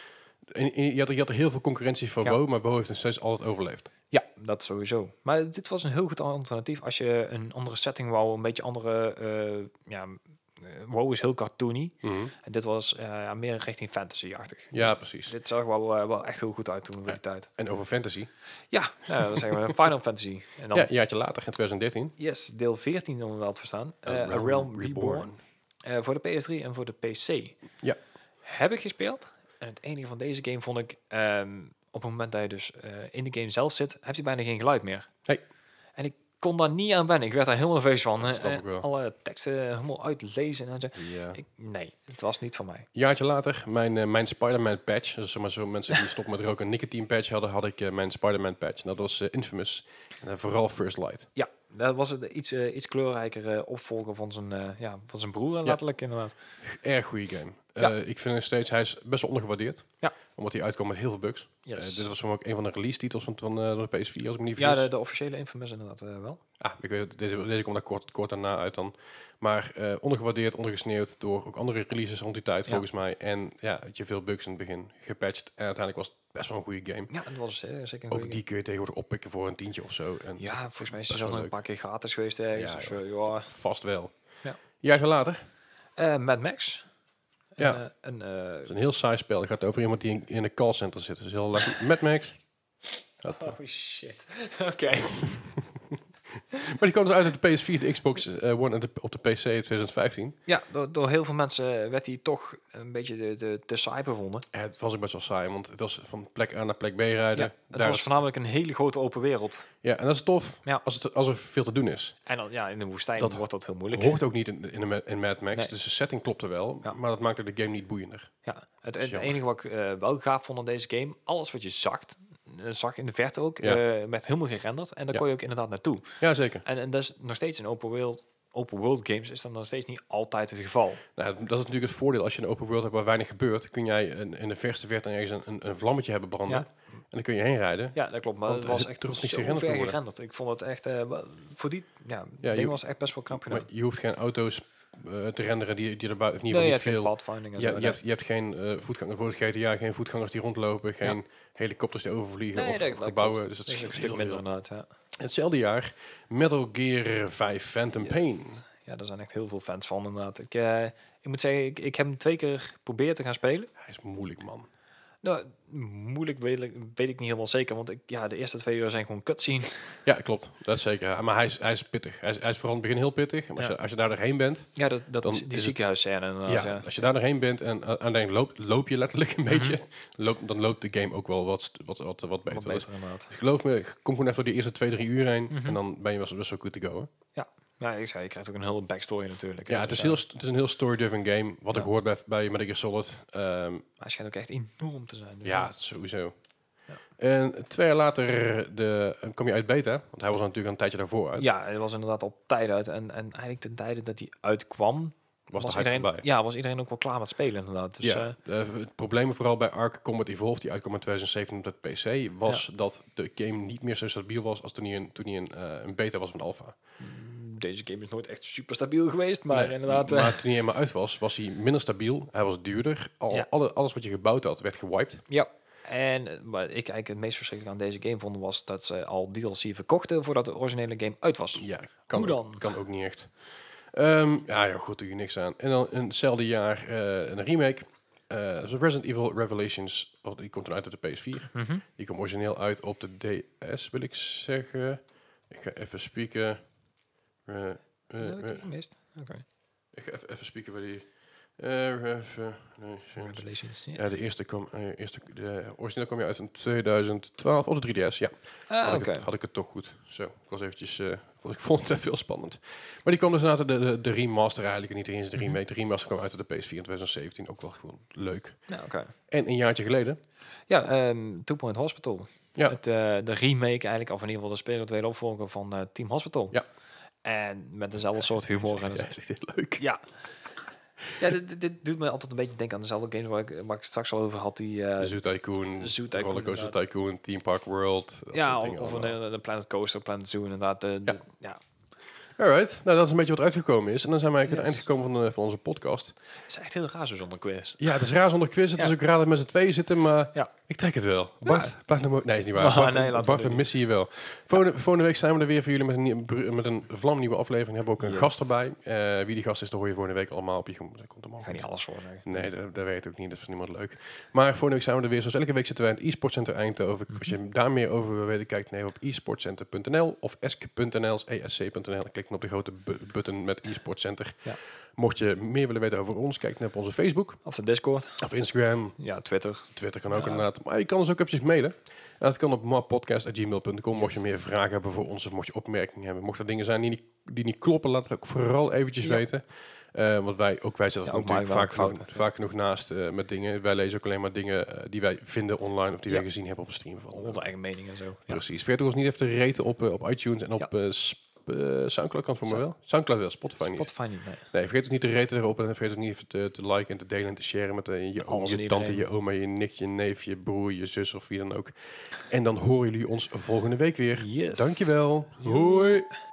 B: en- en je, had, er- je had er heel veel concurrentie voor
A: Ja.
B: WoW, maar WoW heeft nog steeds altijd overleefd.
A: dat sowieso. Maar dit was een heel goed alternatief als je een andere setting wou, een beetje andere... eh, ja, eh, WoW is heel cartoony. En dit was eh, ja, meer richting fantasy-achtig.
B: Ja, precies.
A: Dit zag wel, eh, wel echt heel goed uit toen voor die tijd.
B: En over fantasy.
A: Ja, nou, dan zeggen we Final Fantasy. En dan
B: Ja, een jaartje later, in 2013.
A: Yes, deel 14 om wel te verstaan. Eh, A Realm, Reborn. Eh, voor de PS3 en voor de PC.
B: Ja.
A: Heb ik gespeeld. En het enige van deze game vond ik... ehm, op het moment dat je dus eh, in de game zelf zit... heb je bijna geen geluid meer.
B: Nee.
A: En ik kon daar niet aan wennen. Ik werd daar heel nerveus van. hè.
B: snap ik
A: Eh,
B: wel.
A: Alle teksten helemaal uitlezen en zo.
B: Ja.
A: Ik, nee, het was niet van mij.
B: jaartje later, mijn, eh, mijn Spider-Man patch. Dus zeg maar zo mensen die stop met roken een nicotine patch hadden, had ik eh, mijn Spider-Man patch. En dat was eh, Infamous. En dan vooral First Light.
A: Ja, dat was het iets, eh, iets kleurrijker eh, opvolger van zijn, eh, ja, van zijn broer letterlijk inderdaad.
B: Erg goede game.
A: Ja.
B: Eh, ik vind nog steeds, hij is best wel ondergewaardeerd.
A: Ja.
B: Omdat hij uitkwam met heel veel bugs. Eh,
A: Yes.
B: dit was voor mij ook een van de release titels van, van eh, de PS4, als ik me niet
A: ja,
B: vergis.
A: de, de officiële Infamous inderdaad eh, wel.
B: Ah, ik weet, het, deze, deze komt daar kort, kort daarna uit dan. Maar eh, ondergewaardeerd, ondergesneeuwd door ook andere releases rond die tijd,
A: Ja.
B: volgens mij. En ja, had je veel bugs in het begin gepatcht. En uiteindelijk was het best wel een goede game.
A: Ja, dat was eh, zeker een goede
B: Ook die kun je tegenwoordig oppikken voor een tientje of zo. En
A: Ja, volgens mij is
B: Dat
A: hij
B: is
A: zelf
B: wel
A: nog een paar keer gratis geweest ergens. dus,
B: Ja,
A: of zo, ja.
B: Vast wel.
A: Ja.
B: Een Jaar later.
A: Eh, Mad Max.
B: Ja.
A: Eh, en,
B: Het
A: eh,
B: is een heel saai spel. Het gaat over iemand die in, in een callcenter zit. Dus heel leuk. Mad Max. Dat, eh,
A: oh shit. Oké.
B: maar die kwam dus uit op de PS4, de Xbox eh, One en de, op de PC in 2015.
A: Ja, door, door heel veel mensen eh, werd hij toch een beetje de, de, te saai bevonden.
B: Eh, het was ook best wel saai, want het was van plek A naar plek B
A: Ja,
B: rijden.
A: het
B: Daar
A: was
B: is-
A: voornamelijk een hele grote open wereld.
B: ja, en dat is tof
A: Ja.
B: als, het, als er veel te doen is.
A: En dan, ja, in de woestijn
B: Dat
A: wordt dat heel moeilijk.
B: Het hoort ook niet in, in, de Ma- in Mad Max.
A: Nee.
B: Dus de setting klopte wel.
A: Ja.
B: Maar dat maakte de game niet boeiender.
A: Ja, het,
B: is
A: het
B: jammer.
A: enige wat ik eh, wel gaaf vond aan deze game, alles wat je zakt, eh, zag in de verte ook,
B: Ja.
A: eh, werd helemaal gerenderd. En daar
B: Ja.
A: kon je ook inderdaad naartoe.
B: Ja, zeker.
A: En, en dat is nog steeds in open world, open world games is dat nog steeds niet altijd het geval.
B: Nou, dat is natuurlijk het voordeel. Als je een open world hebt waar weinig gebeurt... kun jij in, in de verste verte ergens een, een, een vlammetje hebben branden.
A: Ja.
B: En dan kun je heen rijden.
A: Ja, dat klopt. Maar
B: Want
A: het was
B: het
A: echt
B: hoeft
A: zo
B: niet gerenderd te
A: ver
B: worden.
A: gerenderd. Ik vond het echt... eh, wa- voor die... Ja,
B: Ja,
A: ding
B: je-
A: was echt best wel knap
B: Maar
A: gedaan.
B: je hoeft geen auto's eh, te renderen die, die er buiten... Of in
A: Nee,
B: ieder
A: je
B: geval
A: hebt geen
B: niet veel...
A: pathfinding en
B: Ja,
A: zo.
B: je, hebt, je hebt geen eh, voetgangers, bijvoorbeeld GTA, geen voetgangers die rondlopen, geen helikopters die overvliegen
A: Nee,
B: of
A: dat- dat
B: gebouwen.
A: klopt.
B: Dus dat
A: Dat
B: is
A: is ook een stuk minder inderdaad, ja.
B: Hetzelfde jaar, Metal Gear 5 Phantom Pain.
A: Yes. Ja, daar zijn echt heel veel fans van inderdaad. Ik, eh, ik moet zeggen, ik, ik heb hem twee keer geprobeerd te gaan spelen.
B: Hij is moeilijk, man.
A: Nou, moeilijk weet ik, weet ik niet helemaal zeker. Want ik, ja, de eerste twee uur zijn gewoon cutscene.
B: Ja, klopt. Dat is zeker. Ja, Maar hij is, hij is pittig. Hij is, hij is vooral in het begin heel pittig. Maar als,
A: Ja.
B: je, als je daar doorheen bent,
A: Ja, dat, dat,
B: Dan is
A: die
B: het-
A: ziekenhuisscène
B: ja,
A: inderdaad, ja. Mhm.
B: als je daar doorheen bent en eh, aan het eind loopt, loop je letterlijk een beetje, loopt, dan loopt de game ook wel wat, st- wat, wat, wat beter.
A: Wat beter Mhm. inderdaad.
B: Dus geloof me, kom gewoon even door die eerste twee, drie uur heen en dan ben je best, best wel goed te go. hoor.
A: Ja, ik zei, je krijgt ook een hele backstory natuurlijk. hè.
B: Ja, het is,
A: Dus,
B: heel,
A: eh,
B: st- het is een heel story-driven game. Wat ik hoor bij, bij Metal Gear Solid. Ehm,
A: Maar hij schijnt ook echt enorm te zijn. dus
B: ja, sowieso. En twee jaar later de, kwam je uit beta, want hij was natuurlijk al een tijdje daarvoor uit.
A: Ja, het was inderdaad al tijd uit. En, en eigenlijk ten tijde dat hij uitkwam...
B: Was de hype
A: iedereen,
B: voorbij.
A: Ja, was iedereen ook wel klaar met spelen inderdaad. Dus,
B: ja,
A: eh,
B: eh, het probleem vooral bij Ark Combat Evolved, die uitkwam in 2017 op de PC, was dat de game niet meer zo stabiel was als toen hij een, toen hij een, eh, een beta was van Alpha.
A: deze game is nooit echt super stabiel geweest, maar
B: Nee,
A: inderdaad... eh,
B: Maar toen hij eenmaal uit was, was hij minder stabiel. Hij was duurder. Al,
A: Ja.
B: alle, alles wat je gebouwd had, werd gewiped.
A: ja. En eh, wat ik eigenlijk het meest verschrikkelijk aan deze game vond, was dat ze al DLC verkochten voordat de originele game uit was.
B: Ja, kan,
A: Hoe
B: ook-
A: dan?
B: kan ook niet echt. Ehm, ja, joh, goed, doe je niks aan. En dan in hetzelfde jaar eh, een remake. Eh, dus Resident Evil Revelations, of, die komt dan uit op de PS4.
A: Mhm.
B: Die komt origineel uit op de DS, wil ik zeggen. Ik ga even spieken. Eh, eh,
A: Dat heb ik
B: eh,
A: die gemist. Oké.
B: ik ga even, even spieken bij die... eh, Revelations.
A: Revelations. ja.
B: Ja, de eerste kwam, eh, eerste, de origineel kwam je uit in 2012 op de 3DS, ja.
A: Ah,
B: had,
A: oké.
B: ik het, had ik het toch goed. Zo, ik was eventjes, eh, vond, ik vond het veel spannend. Maar die kwam dus later, de, de, de remaster eigenlijk, en niet eens de
A: Mhm.
B: remake. De remaster kwam uit op de PS4 in 2017, ook wel gewoon leuk.
A: Nou, oké.
B: En een jaartje geleden,
A: Ja, ehm Two Point Hospital.
B: Ja.
A: Het, eh, de remake eigenlijk, of in ieder geval de spirituele opvolger van eh, Team Hospital.
B: Ja.
A: En met dezelfde soort humor. En
B: ja, is echt heel leuk.
A: ja. Ja, dit, dit- dit doet me altijd een beetje denken aan dezelfde games waar ik, waar ik het straks al over had. Die, eh,
B: Zoo Tycoon,
A: Zoo Tycoon,
B: Rollercoaster
A: inderdaad.
B: Tycoon, Theme Park World. dat
A: ja,
B: soort
A: of,
B: dingen
A: of een,
B: allemaal.
A: eh, de Planet Coaster, Planet Zoo inderdaad. De, de-
B: Ja.
A: ja.
B: Alright, nou dat is een beetje wat uitgekomen is. En dan zijn we eigenlijk aan
A: Yes.
B: het eind gekomen van, eh, van onze podcast.
A: Het is echt heel raar zo zonder quiz.
B: Ja, het is raar zonder quiz. Het
A: Ja.
B: is ook raar dat we met z'n tweeën zitten, maar
A: Ja.
B: ik trek het wel. Bart, Bart de Mo- Nee, is niet waar.
A: Ah,
B: Bart,
A: nee, laten we
B: Bart
A: doen.
B: we missen je wel. Volgende, volgende week zijn we er weer voor jullie met een, nieuw- br- met een vlamnieuwe aflevering. Hebben we ook een
A: Yes.
B: gast erbij. Eh, wie die gast is, dat hoor je volgende week allemaal op je gemoed. Dat komt allemaal
A: Ik ga niet
B: goed.
A: alles voorleggen.
B: Nee, dat, dat weet ik ook niet. Dat is voor niemand leuk. Maar volgende week zijn we er weer. Zoals elke week zitten wij in het e-sportcenter Eindhoven. Als
A: Mhm.
B: je daar meer over wil weten, kijk nee, op e-sportcenter.nl of esc.nl, esc.nl. Klik dan op de grote bu- button met e-sportcenter.
A: Ja.
B: Mocht je meer willen weten over ons, kijk dan op onze Facebook
A: Of de Discord.
B: of Instagram.
A: Ja, Twitter.
B: Twitter kan ook
A: Ja.
B: inderdaad. Maar je kan ons ook eventjes mailen. En dat kan op mappodcast.gmail.com. Mocht je meer vragen hebben voor ons of mocht je opmerkingen hebben. Mocht er dingen zijn die niet, die niet kloppen, laat het ook vooral eventjes
A: Ja.
B: weten. Eh, want wij, ook wij zitten
A: Ja,
B: er
A: ook mij
B: natuurlijk
A: waren
B: vaak genoeg,
A: fouten.
B: vaak genoeg naast eh, met dingen. Wij lezen ook alleen maar dingen eh, die wij vinden online of die wij
A: Ja.
B: gezien hebben op een stream. Van.
A: Onze eigen mening en zo. Ja.
B: Precies. Vergeet ons niet even te reten op, eh, op iTunes en op eh, Sp- eh, Soundcloud kan het voor me
A: Sa-
B: wel. Soundcloud wel, Spotify niet.
A: Spotify niet, nee.
B: Nee, vergeet het niet te reten erop en vergeet het niet even te, te liken en te delen en te sharen met eh, je oom,
A: Alles en
B: je tante, je
A: iedereen.
B: oma, je nicht, je neef, je broer, je zus of wie dan ook. En dan horen jullie ons volgende week weer.
A: Yes.
B: Dankjewel. Hoi.